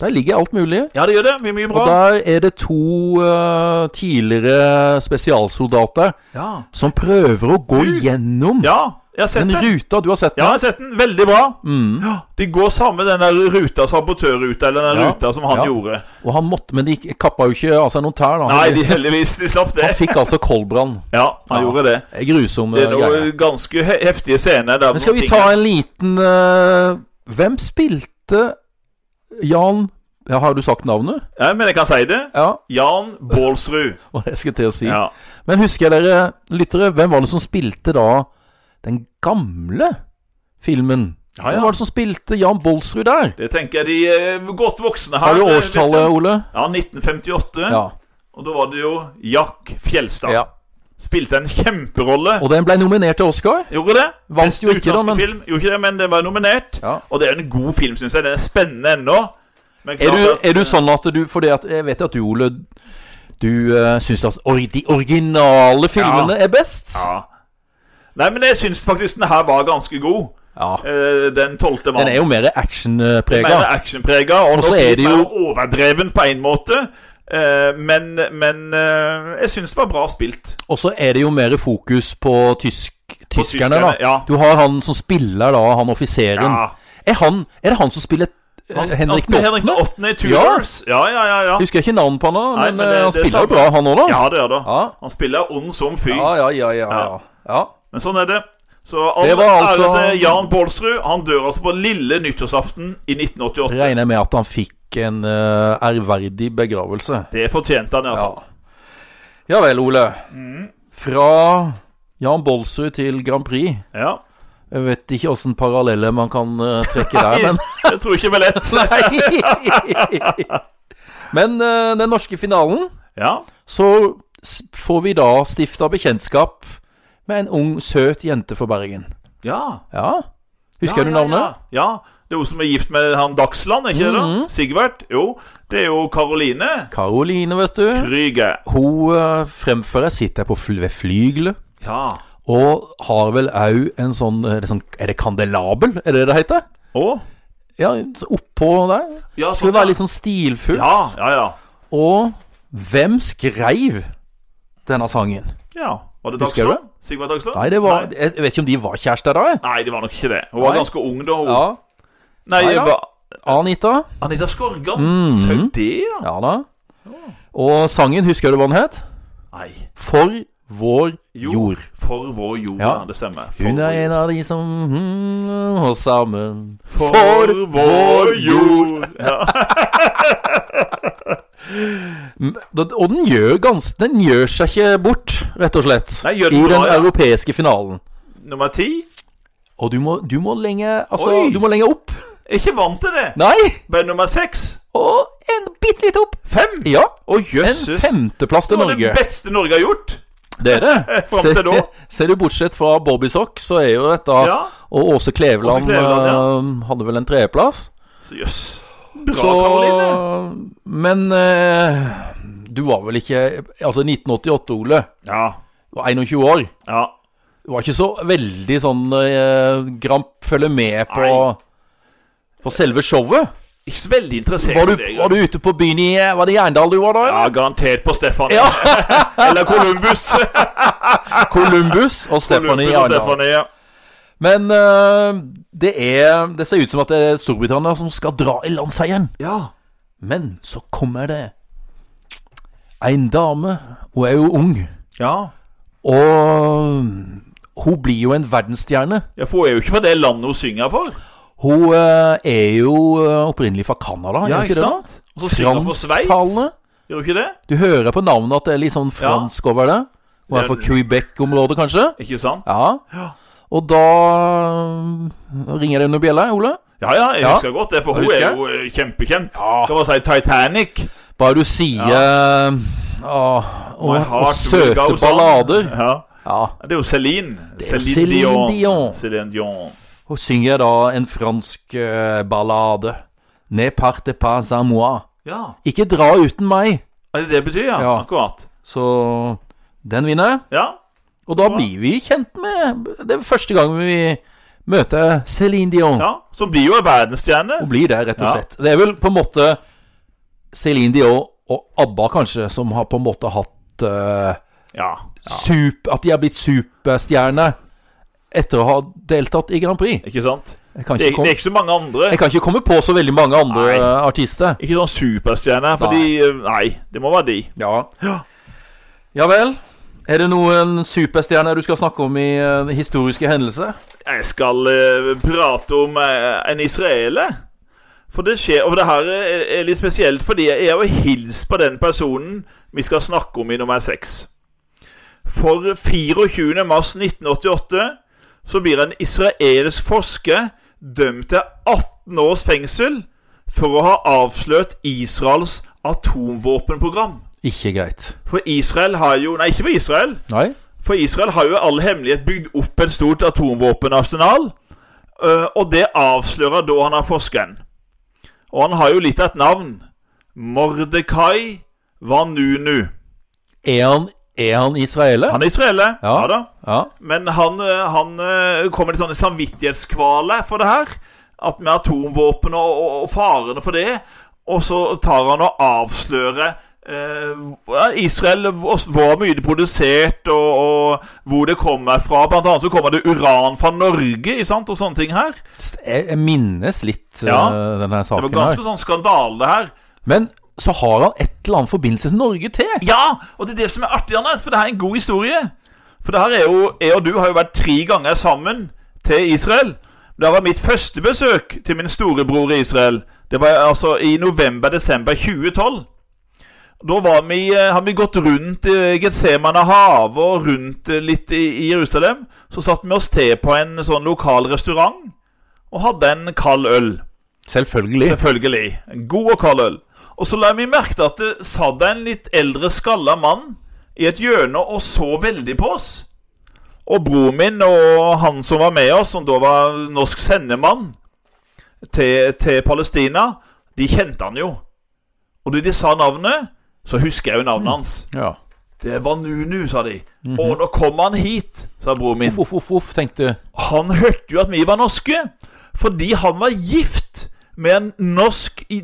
Speaker 1: Der ligger alt mulig.
Speaker 2: Ja, det gjør det. Mye, mye
Speaker 1: Og
Speaker 2: bra.
Speaker 1: der er det to eh, tidligere spesialsoldater
Speaker 2: Ja.
Speaker 1: som prøver å gå gjennom
Speaker 2: Ja, jeg har sett
Speaker 1: den
Speaker 2: den.
Speaker 1: ruta. Du har sett
Speaker 2: Ja,
Speaker 1: den?
Speaker 2: jeg har sett den. Veldig bra.
Speaker 1: Mm.
Speaker 2: Ja, de går sammen den der ruta, sabotørruta, eller den
Speaker 1: Ja.
Speaker 2: ruta som han
Speaker 1: Ja.
Speaker 2: gjorde.
Speaker 1: Og han måtte, men de kappa jo ikke av seg noen tær, da.
Speaker 2: Nei, de heldigvis, de slapp det.
Speaker 1: Han fikk altså koldbrann.
Speaker 2: Ja,
Speaker 1: Ja.
Speaker 2: han gjorde det.
Speaker 1: Det er Grusomme
Speaker 2: Det er
Speaker 1: greier.
Speaker 2: noen ganske he heftige scener der.
Speaker 1: Men skal vi ta en liten eh, Hvem spilte Jan ja, Har du sagt navnet?
Speaker 2: Ja, men jeg kan si det.
Speaker 1: Ja,
Speaker 2: Jan Baalsrud.
Speaker 1: var det jeg skulle til å si.
Speaker 2: Ja.
Speaker 1: Men husker dere, lyttere, hvem var det som spilte da den gamle filmen?
Speaker 2: Ja, ja.
Speaker 1: Hvem var det som spilte Jan Bolsrud der?
Speaker 2: Det tenker jeg de eh, godt voksne her
Speaker 1: Har du
Speaker 2: eh,
Speaker 1: årstallet,
Speaker 2: vet
Speaker 1: Ole?
Speaker 2: du. Ja, 1958.
Speaker 1: Ja.
Speaker 2: Og da var det jo Jack Fjelstad.
Speaker 1: ja.
Speaker 2: Spilte en kjemperolle.
Speaker 1: Og den ble nominert til Oscar.
Speaker 2: Gjorde det.
Speaker 1: Vant
Speaker 2: Beste
Speaker 1: jo ikke, da,
Speaker 2: utenlandske
Speaker 1: men-
Speaker 2: film. Gjorde ikke det, men den var nominert.
Speaker 1: Ja.
Speaker 2: Og det er en god film, syns jeg. Den er spennende ennå. Men
Speaker 1: Er
Speaker 2: klart
Speaker 1: du,
Speaker 2: at-
Speaker 1: er du sånn at du For at jeg vet at du, Ole, du uh, syns at or de originale filmene er best.
Speaker 2: Ja. Nei, men jeg syns faktisk den her var ganske god.
Speaker 1: Ja.
Speaker 2: Eh, den tolvte
Speaker 1: Den
Speaker 2: mannen.
Speaker 1: er jo mer actionprega.
Speaker 2: Mer actionprega, og
Speaker 1: Og så
Speaker 2: nok
Speaker 1: er
Speaker 2: litt
Speaker 1: det jo-
Speaker 2: mer overdreven på én måte. Eh, men men eh, jeg syns det var bra spilt.
Speaker 1: Og så er det jo mer fokus på tysk, tyskerne,
Speaker 2: tyskerne,
Speaker 1: da.
Speaker 2: ja.
Speaker 1: Du har han som spiller da, han offiseren.
Speaker 2: Ja.
Speaker 1: Er, han, er det han som spiller eh,
Speaker 2: Han,
Speaker 1: Henrik
Speaker 2: han spiller Henrik
Speaker 1: Notten?
Speaker 2: Notten i Tudors. Ja, ja, ja. ja.
Speaker 1: Jeg husker ikke navnet på han, da,
Speaker 2: Nei,
Speaker 1: men,
Speaker 2: men
Speaker 1: eh,
Speaker 2: det-
Speaker 1: han
Speaker 2: det er
Speaker 1: spiller jo
Speaker 2: samme.
Speaker 1: bra, han òg, da.
Speaker 2: ja, det er det.
Speaker 1: Ja.
Speaker 2: Han spiller ond som fy.
Speaker 1: Ja, ja, ja, ja, ja. ja.
Speaker 2: Men sånn er det. Så all
Speaker 1: Det var altså-
Speaker 2: ære til Jan Baalsrud. Han dør altså på lille nyttårsaften i 1988.
Speaker 1: Regner med at han fikk en eh, ærverdig begravelse.
Speaker 2: Det fortjente han i hvert
Speaker 1: Ja.
Speaker 2: fall.
Speaker 1: ja vel, Ole.
Speaker 2: Mm.
Speaker 1: Fra Jan Bolsrud til Grand Prix.
Speaker 2: Ja.
Speaker 1: Jeg vet ikke åssen paralleller man kan eh, trekke der, men
Speaker 2: Jeg tror ikke det var lett.
Speaker 1: Nei! Men eh, den norske finalen,
Speaker 2: Ja.
Speaker 1: så s- får vi da stifta bekjentskap med en ung, søt jente fra Bergen.
Speaker 2: ja.
Speaker 1: Ja. Husker
Speaker 2: ja,
Speaker 1: du
Speaker 2: ja,
Speaker 1: navnet? Mhm.
Speaker 2: Ja. ja. Det er hun som er gift med han Dagsland, er ikke det? da? Sigvart? Jo. Det er jo Karoline
Speaker 1: Karoline, vet du.
Speaker 2: Ryge.
Speaker 1: Hun eh, fremfører sitt der på fl ved flygelet.
Speaker 2: Ja.
Speaker 1: Og har vel òg en sånn eh, det er sånn- Er det kandelabel, er det det heter?
Speaker 2: Og?
Speaker 1: Ja, oppå der.
Speaker 2: Ja,
Speaker 1: Skal
Speaker 2: sånn,
Speaker 1: være
Speaker 2: ja.
Speaker 1: litt sånn stilfull.
Speaker 2: ja, ja, ja.
Speaker 1: Og hvem skreiv denne sangen?
Speaker 2: Ja. Var det
Speaker 1: Husker du
Speaker 2: Dagsland? Sigvart Dagsland?
Speaker 1: Nei, det var
Speaker 2: Nei.
Speaker 1: Jeg vet ikke om de var kjærester da, jeg.
Speaker 2: Nei, det var nok ikke det. Hun var
Speaker 1: Nei.
Speaker 2: ganske ung da. Hun.
Speaker 1: Ja.
Speaker 2: Nei,
Speaker 1: Nei, ja.
Speaker 2: hva-
Speaker 1: Anita.
Speaker 2: Anita Skorgan?
Speaker 1: Mm.
Speaker 2: Sa hun det, ja?
Speaker 1: Ja da. Og sangen, husker du hva den het?
Speaker 2: Nei.
Speaker 1: For vår jord.
Speaker 2: For vår jord, ja.
Speaker 1: Ja.
Speaker 2: Det stemmer. For
Speaker 1: Hun
Speaker 2: vår
Speaker 1: er
Speaker 2: jord.
Speaker 1: en av de som mm, og sammen
Speaker 2: For, vår jord. Ja.
Speaker 1: Da- Og den gjør, gans, den gjør seg ikke bort, rett og slett,
Speaker 2: Nei, gjør den
Speaker 1: i
Speaker 2: bra,
Speaker 1: den
Speaker 2: ja.
Speaker 1: europeiske finalen.
Speaker 2: Nummer ti.
Speaker 1: Og du må, du må lenge Altså,
Speaker 2: Oi.
Speaker 1: du må lenge opp.
Speaker 2: Er ikke vant til det.
Speaker 1: Nei!
Speaker 2: Men nummer seks.
Speaker 1: Og en bitte litt opp.
Speaker 2: Fem.
Speaker 1: Ja.
Speaker 2: Å,
Speaker 1: En
Speaker 2: jøsses.
Speaker 1: femteplass
Speaker 2: Det
Speaker 1: til
Speaker 2: var det
Speaker 1: Norge.
Speaker 2: beste Norge har gjort.
Speaker 1: Dere,
Speaker 2: Fram til
Speaker 1: ser-
Speaker 2: nå.
Speaker 1: ser du bortsett fra Bobbysock, så er jo dette
Speaker 2: Ja.
Speaker 1: Og Åse Kleveland,
Speaker 2: Åse Kleveland, ja.
Speaker 1: eh, hadde vel en tredjeplass.
Speaker 2: Så jøss. Bra,
Speaker 1: Så
Speaker 2: Karoline.
Speaker 1: Men eh, du var vel ikke Altså, 1988, Ole,
Speaker 2: Ja.
Speaker 1: du var 21 år.
Speaker 2: ja.
Speaker 1: Du var ikke så veldig sånn eh, Gramp følger med på
Speaker 2: Nei.
Speaker 1: På selve showet.
Speaker 2: Ikke så veldig interessert
Speaker 1: Var du,
Speaker 2: i det.
Speaker 1: var du ute på byen i Var det Jerndal du var da?
Speaker 2: Ja,
Speaker 1: eller?
Speaker 2: garantert på Stefan.
Speaker 1: Ja.
Speaker 2: Eller Columbus.
Speaker 1: Columbus og Stephanie
Speaker 2: Columbus og
Speaker 1: Jerndal.
Speaker 2: Stefanie. ja.
Speaker 1: Men eh, det er Det ser ut som at det er Storbritannia som skal dra i land seieren.
Speaker 2: Ja.
Speaker 1: Men så kommer det en dame. Hun er jo ung.
Speaker 2: ja.
Speaker 1: Og hun blir jo en verdensstjerne.
Speaker 2: Ja, for hun er jo ikke fra det landet hun synger for.
Speaker 1: Hun eh, er jo eh, opprinnelig fra Canada,
Speaker 2: Ja,
Speaker 1: er hun
Speaker 2: ikke
Speaker 1: ikke det?
Speaker 2: sant? Og så synger hun for Sveits.
Speaker 1: Fransktalende.
Speaker 2: Gjør hun ikke det?
Speaker 1: Du hører på navnet at det er litt sånn fransk over det. Hun er fra Quebec-området, kanskje?
Speaker 2: Ikke sant?
Speaker 1: Ja.
Speaker 2: Ja.
Speaker 1: Og da eh, ringer det under bjella, Ole.
Speaker 2: Ja, ja, jeg
Speaker 1: Ja.
Speaker 2: husker godt det, for hun
Speaker 1: Husker
Speaker 2: er
Speaker 1: jeg.
Speaker 2: jo eh, kjempekjent. Skal bare si Titanic.
Speaker 1: Bare du sier ah, og,
Speaker 2: My
Speaker 1: og
Speaker 2: heart will
Speaker 1: søte
Speaker 2: go on.
Speaker 1: ballader.
Speaker 2: Ja.
Speaker 1: Ja.
Speaker 2: Det er jo Céline.
Speaker 1: er jo Céline Dion.
Speaker 2: Céline Dion.
Speaker 1: Hun synger da en fransk eh, ballade. Ne parte pas à moi.
Speaker 2: Ja.
Speaker 1: Ikke dra uten meg.
Speaker 2: Er det det betyr, ja?
Speaker 1: Ja.
Speaker 2: Akkurat.
Speaker 1: Så den vinner.
Speaker 2: Ja.
Speaker 1: Og da blir vi kjent med Det er første gang vi møter Céline Dion.
Speaker 2: ja. Som blir jo en verdensstjerne.
Speaker 1: Hun blir det, rett og
Speaker 2: Ja.
Speaker 1: slett. Det er vel på en måte Céline Dion og ABBA, kanskje, som har på en måte hatt eh,
Speaker 2: Ja.
Speaker 1: sup, At de har blitt superstjerner etter å ha deltatt i Grand Prix.
Speaker 2: Ikke sant?
Speaker 1: Jeg kan
Speaker 2: Det
Speaker 1: ikke,
Speaker 2: er, det er
Speaker 1: komme,
Speaker 2: ikke så mange andre.
Speaker 1: jeg kan ikke komme på så veldig mange andre
Speaker 2: Nei.
Speaker 1: eh, artister.
Speaker 2: Ikke sånn superstjerne, fordi eh, Nei, det må være de.
Speaker 1: Ja.
Speaker 2: Ja.
Speaker 1: ja vel. Er det noen superstjerner du skal snakke om i eh, historiske hendelser?
Speaker 2: Jeg skal eh, prate om eh, en israeler. For det skjer Og det her er, er litt spesielt, fordi jeg har jo hilst på den personen vi skal snakke om i nummer seks. For 24. mars 1988 så blir en israelsk forsker dømt til 18 års fengsel for å ha avslørt Israels atomvåpenprogram.
Speaker 1: Ikke greit.
Speaker 2: For Israel har jo Nei, ikke for Israel.
Speaker 1: Nei?
Speaker 2: For Israel har jo i all hemmelighet bygd opp et stort atomvåpenarsenal. eh, Og det avslører da han er forskeren. Og han har jo litt av et navn. Mordekai Vanunu.
Speaker 1: Er han, er han israeler?
Speaker 2: Han er israeler, ja,
Speaker 1: Ja.
Speaker 2: da.
Speaker 1: Ja.
Speaker 2: Men han, eh, han eh, kommer litt sånn i samvittighetskvale for det her. At med atomvåpen og, og, og farene for det. Og så tar han og avslører eh, hva- Israel, hvor hvor mye det er produsert, og, og hvor det kommer fra. Blant annet så kommer det uran fra Norge ikke sant, og sånne ting her.
Speaker 1: St- Jeg jeg minnes litt eh,
Speaker 2: Ja.
Speaker 1: denne
Speaker 2: Det var
Speaker 1: saken her.
Speaker 2: ganske sånn skandale, det her.
Speaker 1: Men så har han et eller annet forbindelse til Norge til.
Speaker 2: Ja! Og det er det som er artig, Anders, for det her er en god historie. For det her er jo Jeg og du har jo vært tre ganger sammen til Israel. Det var mitt første besøk til min storebror i Israel. Det var altså i november-desember 2012. Da var vi, eh, har vi gått rundt eh, Getsemane havet og rundt eh, litt i i Jerusalem. Så satt vi oss til på en sånn lokal restaurant og hadde en kald øl.
Speaker 1: Selvfølgelig.
Speaker 2: Selvfølgelig. En God og kald øl. Og så la vi merke til at det satt en litt eldre, skalla mann i et hjørne og så veldig på oss. Og broren min og han som var med oss, som da var norsk sendemann til, til Palestina, de kjente han jo. Og da de sa navnet, så husker jeg jo navnet hans.
Speaker 1: Ja.
Speaker 2: Det var Nunu, sa de. Og nå kom han hit, sa broren min.
Speaker 1: Uff, uff, uff, uff, tenkte
Speaker 2: Han hørte jo at vi var norske, fordi han var gift med en norsk i-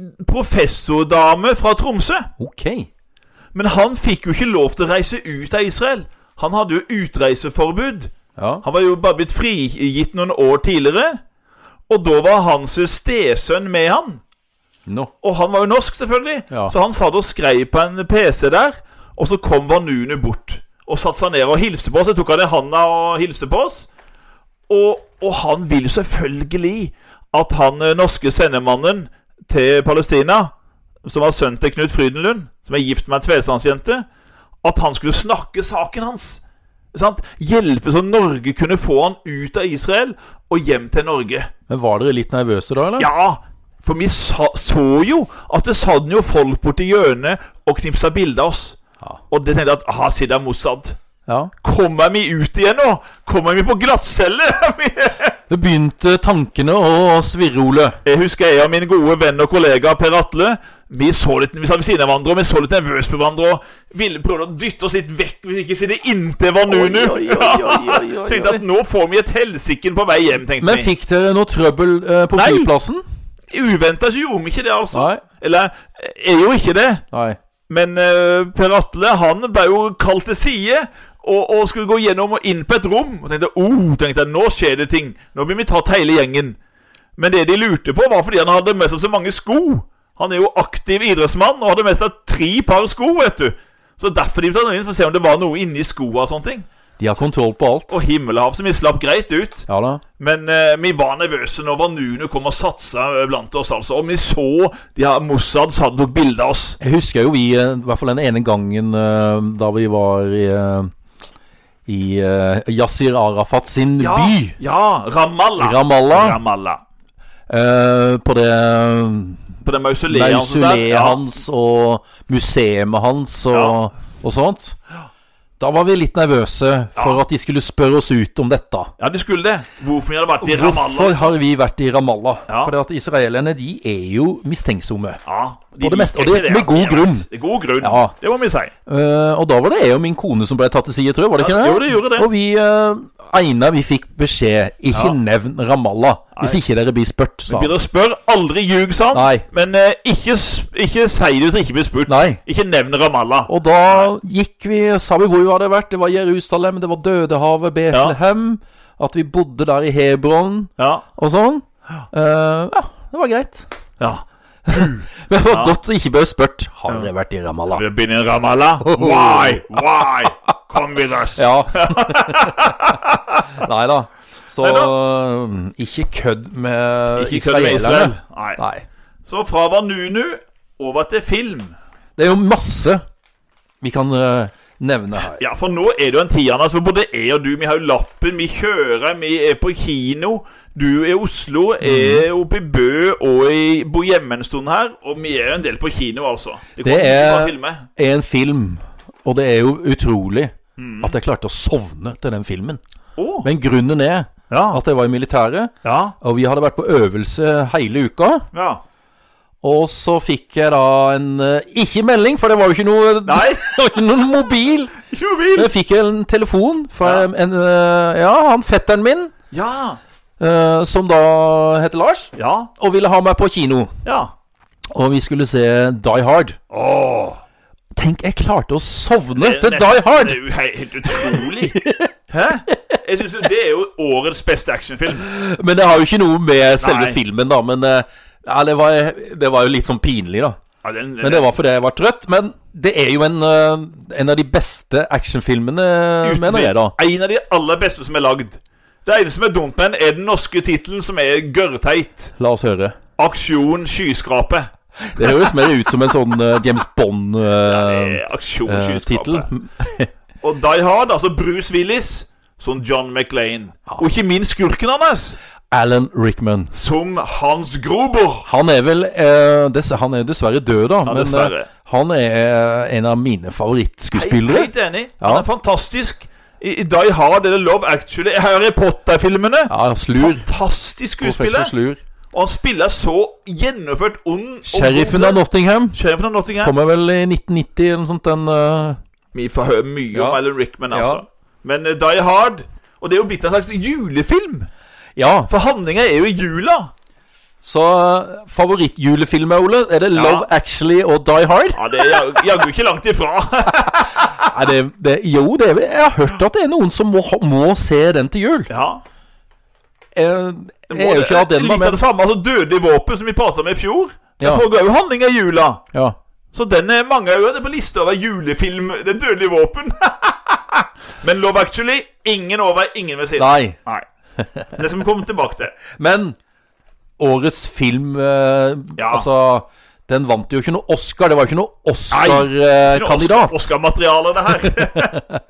Speaker 2: professordame fra Tromsø.
Speaker 1: Ok.
Speaker 2: Men han fikk jo ikke lov til å reise ut av Israel. Han hadde jo utreiseforbud.
Speaker 1: Ja.
Speaker 2: Han var jo bare blitt frigitt noen år tidligere. Og da var hans stesønn med han.
Speaker 1: Nå.
Speaker 2: Og han var jo norsk, selvfølgelig.
Speaker 1: Ja.
Speaker 2: Så han satt og skrev på en PC der. Og så kom Vanunu bort og satte seg ned og hilste på oss. Jeg tok han i handa og hilste på oss. Og, og han vil selvfølgelig at han eh, norske sendemannen til Palestina, som var sønn til Knut Frydenlund, som er gift med en tvedesandsjente, at han skulle snakke saken hans. Sant? Hjelpe så Norge kunne få han ut av Israel og hjem til Norge.
Speaker 1: Men var dere litt nervøse da, eller?
Speaker 2: Ja, for vi sa, så jo at det satt jo folk borti hjørnet og knipsa bilder av oss.
Speaker 1: Ja.
Speaker 2: Og det tenkte jeg at aha, siden det er Mossad.
Speaker 1: Ja.
Speaker 2: Kommer vi ut igjen nå? Kommer vi på glattcelle?
Speaker 1: Det begynte tankene å svirre, Ole.
Speaker 2: jeg husker jeg og min gode venn og kollega Per Atle. Vi, så litt, vi satt ved siden av hverandre og vi så litt nervøse på hverandre og ville prøve å dytte oss litt vekk hvis ikke sitte inntil Vanunu.
Speaker 1: Oi, oi, oi, oi, oi, oi.
Speaker 2: tenkte at nå får vi et helsiken på vei hjem, tenkte
Speaker 1: Men
Speaker 2: vi.
Speaker 1: fikk dere noe trøbbel eh, på
Speaker 2: Nei.
Speaker 1: flyplassen?
Speaker 2: Uventa så gjorde vi ikke det, altså.
Speaker 1: Nei.
Speaker 2: Eller er jo ikke det.
Speaker 1: Nei.
Speaker 2: Men eh, Per Atle han ble jo kalt til side og, og skulle gå gjennom og inn på et rom. Og tenkte oh, tenkte jeg, nå skjer det ting. Nå blir vi tatt hele gjengen. Men det de lurte på, var fordi han hadde med seg så mange sko. Han er jo aktiv idrettsmann og hadde med seg tre par sko, vet du. Så derfor de ble tatt inn, for å se om det var noe inni skoa og sånne ting.
Speaker 1: De har kontroll på alt.
Speaker 2: Og himmelhav, som vi slapp greit ut.
Speaker 1: Ja da.
Speaker 2: Men eh, vi var nervøse når Vanunu kom og satsa eh, blant oss, altså. Og vi så de her Mossad satt og tok bilde av oss.
Speaker 1: Jeg husker jo vi, eh, i hvert fall den ene gangen eh, da vi var i, eh, i eh, Yasir Arafat sin
Speaker 2: Ja,
Speaker 1: by,
Speaker 2: ja Ramallah.
Speaker 1: Ramallah,
Speaker 2: Ramallah.
Speaker 1: eh, på det
Speaker 2: På det mausoleet hans der.
Speaker 1: mausoleet
Speaker 2: Ja.
Speaker 1: hans og museet hans og,
Speaker 2: Ja.
Speaker 1: og sånt. Da var vi litt nervøse for at de skulle spørre oss ut om dette.
Speaker 2: ja, de skulle det. Hvorfor vi hadde vært i
Speaker 1: Hvorfor
Speaker 2: Ramallah?
Speaker 1: har vi vært i Ramallah?
Speaker 2: Ja.
Speaker 1: Fordi at israelerne de er jo mistenksomme.
Speaker 2: Ja,
Speaker 1: På det meste, og
Speaker 2: liker
Speaker 1: det-
Speaker 2: ikke
Speaker 1: med god
Speaker 2: jeg vet.
Speaker 1: grunn.
Speaker 2: Det er god grunn,
Speaker 1: Ja.
Speaker 2: det må vi si.
Speaker 1: Eh, og da var det jeg og min kone som ble tatt til side, tror jeg. Var det ikke
Speaker 2: Ja,
Speaker 1: det?
Speaker 2: jo, det gjorde det.
Speaker 1: Og vi eh, Einar, vi fikk beskjed ikke
Speaker 2: Ja.
Speaker 1: nevn Ramallah hvis
Speaker 2: Nei.
Speaker 1: ikke dere blir spurt, sa han.
Speaker 2: Begynner å spørre, aldri ljug, sa han.
Speaker 1: Nei.
Speaker 2: Men eh, ikke, s- ikke si det hvis dere ikke blir spurt.
Speaker 1: Nei.
Speaker 2: Ikke nevn Ramallah.
Speaker 1: Og da gikk vi Sa vi hvor vi hadde vært. Det var Jerusalem, det var Dødehavet, Betlehem. At vi bodde der i Hebron
Speaker 2: Ja.
Speaker 1: og sånn. Eh, ja, det var greit.
Speaker 2: ja.
Speaker 1: Men det var godt å ikke bli spurt. Har dere vært i Ramallah?
Speaker 2: Vi begynner i Ramallah. Why? Why? Come with us.
Speaker 1: Oh. Ja. Nei da. Så
Speaker 2: Neida.
Speaker 1: um, ikke kødd med
Speaker 2: Ikke kødd
Speaker 1: israelerne.
Speaker 2: med Israel. Nei.
Speaker 1: Nei.
Speaker 2: Så fra Vanunu over til film.
Speaker 1: Det er jo masse vi kan uh, nevne her.
Speaker 2: Ja, for nå er det jo en tiende, altså både jeg og du, vi har jo lappen, vi kjører, vi er på kino. Du er i Oslo, jeg
Speaker 1: Mhm.
Speaker 2: er oppe i Bø og jeg bor hjemme en stund her. Og vi er jo en del på kino, altså.
Speaker 1: Det
Speaker 2: kommer
Speaker 1: er-
Speaker 2: ikke fra filmer.
Speaker 1: En film, og det er jo utrolig at jeg klarte å sovne til den filmen.
Speaker 2: Å,
Speaker 1: Men grunnen er
Speaker 2: ja.
Speaker 1: at jeg var i militæret,
Speaker 2: ja.
Speaker 1: og vi hadde vært på øvelse hele uka.
Speaker 2: Ja.
Speaker 1: Og så fikk jeg da en uh, Ikke melding, for det var jo ikke noe
Speaker 2: Nei,
Speaker 1: Det var ikke noen mobil.
Speaker 2: ikke mobil!
Speaker 1: Men jeg fikk en telefon fra
Speaker 2: Ja.
Speaker 1: en, en uh, Ja, han fetteren min.
Speaker 2: Ja.
Speaker 1: Eh, som da heter Lars,
Speaker 2: Ja.
Speaker 1: og ville ha meg på kino.
Speaker 2: Ja.
Speaker 1: Og vi skulle se Die Hard.
Speaker 2: Å.
Speaker 1: Tenk, jeg klarte å sovne
Speaker 2: det er
Speaker 1: til
Speaker 2: nesten-
Speaker 1: Die Hard!
Speaker 2: Det er jo he- helt utrolig. Hæ? Jeg synes jo Det er jo årets beste actionfilm.
Speaker 1: Men det har jo ikke noe med selve
Speaker 2: Nei.
Speaker 1: filmen, da. Men eh, ja, det, var, det var jo litt sånn pinlig, da.
Speaker 2: Ja, den,
Speaker 1: Men det var fordi jeg var trøtt. Men det er jo en, eh, en av de beste actionfilmene,
Speaker 2: Uten
Speaker 1: mener jeg, da.
Speaker 2: tvil. En av de aller beste som er lagd. Det ene som er dumt med den, er den norske tittelen, som er gørrteit.
Speaker 1: La oss høre.
Speaker 2: Aksjon skyskrape.
Speaker 1: Det høres mer ut som en sånn eh, James Bond-tittel.
Speaker 2: Eh, Aksjon skyskrape. Og Die Hard, altså Bruce Willis som John McLean. Og ikke minst skurken hans,
Speaker 1: Alan Rickman.
Speaker 2: som Hans Grober.
Speaker 1: Han er vel eh, dess Han er dessverre død, da. men eh,
Speaker 2: dessverre.
Speaker 1: han er eh, en av mine favorittskuespillere.
Speaker 2: Helt enig.
Speaker 1: Ja.
Speaker 2: Han er fantastisk. I, I Die Hard eller Love Actually, Harry Potter-filmene.
Speaker 1: Ja, Slur.
Speaker 2: Fantastisk
Speaker 1: Professor
Speaker 2: skuespiller.
Speaker 1: Slur.
Speaker 2: Og han spiller så gjennomført ond. og
Speaker 1: Sheriffen
Speaker 2: god.
Speaker 1: av Nottingham
Speaker 2: Sheriffen av Nottingham.
Speaker 1: kommer vel i 1990 eller noe sånt. Den eh,
Speaker 2: Vi får høre mye om
Speaker 1: Ja.
Speaker 2: Alan Rickman,
Speaker 1: Ja.
Speaker 2: altså. Men eh, Die Hard Og det er jo blitt en slags julefilm!
Speaker 1: Ja.
Speaker 2: For handlinga er jo i jula!
Speaker 1: Så eh, favorittjulefilmer, Ole? Er det 'Love Actually' og 'Die Hard'?
Speaker 2: Ja, Det er jag- jaggu ikke langt ifra.
Speaker 1: Nei, det, det, jo, det er, jeg har hørt at det er noen som må, ha- må se den til jul.
Speaker 2: Ja.
Speaker 1: Jeg,
Speaker 2: det
Speaker 1: jeg er jo ikke av den, da,
Speaker 2: Litt av
Speaker 1: men
Speaker 2: det samme. altså Dødelige våpen, som vi prata om i fjor. Det
Speaker 1: Ja.
Speaker 2: foregår jo handling i jula.
Speaker 1: ja.
Speaker 2: Så den er mange av på lista over julefilm Det dødelige våpen. Men Love Actually ingen over, ingen ved siden.
Speaker 1: Nei.
Speaker 2: Nei. Det skal vi komme tilbake til.
Speaker 1: Men årets film eh,
Speaker 2: Ja.
Speaker 1: Altså, den vant jo ikke noe Oscar. Det var jo ikke noe
Speaker 2: Nå,
Speaker 1: Oscar-kandidat.
Speaker 2: Oscar- Oscar-materiale, det her.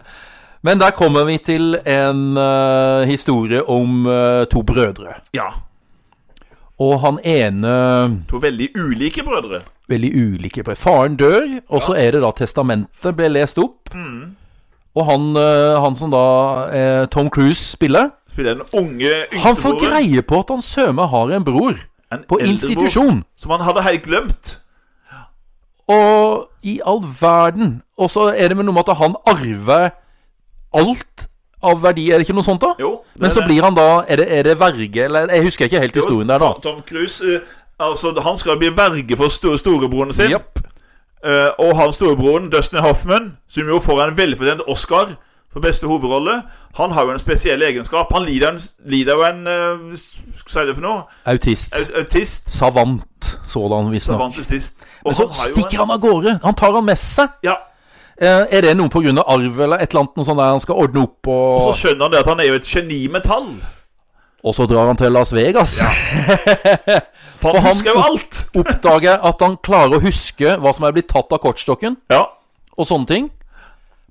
Speaker 1: Men der kommer vi til en eh, historie om eh, to brødre.
Speaker 2: Ja.
Speaker 1: Og han ene
Speaker 2: To veldig ulike brødre.
Speaker 1: Veldig ulike brødre. Faren dør, og så er det da testamentet blir lest opp.
Speaker 2: Mm.
Speaker 1: Og han, eh, han som da eh, Tom Cruise spiller
Speaker 2: Spiller den unge
Speaker 1: Han får
Speaker 2: yngstebroren.
Speaker 1: greie på at han søme har en bror
Speaker 2: En
Speaker 1: på
Speaker 2: eldre
Speaker 1: institusjon.
Speaker 2: bror Som han hadde helt glemt.
Speaker 1: Og i all verden Og så er det med noe med at han arver alt av verdi. Er det ikke noe sånt, da?
Speaker 2: Jo, det
Speaker 1: Men
Speaker 2: er
Speaker 1: så
Speaker 2: det.
Speaker 1: blir han da Er det, er det verge, eller Jeg husker ikke helt historien der, da.
Speaker 2: Tom Cruise eh, Altså, han skal bli verge for store, storebroren sin.
Speaker 1: Japp.
Speaker 2: Eh, og han storebroren, Dustin Hoffman, som jo får en velfortjent Oscar for beste hovedrolle, han har jo en spesiell egenskap. Han lider, en, lider jo en eh, Skal jeg si det for noe?
Speaker 1: Autist.
Speaker 2: Au- Autist.
Speaker 1: Savant, sådan visstnok.
Speaker 2: Savant autist.
Speaker 1: Men så stikker han av gårde. Han tar han med seg.
Speaker 2: Ja,
Speaker 1: Eh, er det noe pga. arv eller et eller annet noe sånt der han skal ordne opp, og,
Speaker 2: Så skjønner han det at han er jo et geni med tall.
Speaker 1: og så drar han til Las Vegas? For
Speaker 2: For han
Speaker 1: han-
Speaker 2: husker jo alt!
Speaker 1: Oppdager at han klarer å huske hva som er blitt tatt av kortstokken,
Speaker 2: Ja.
Speaker 1: og sånne ting.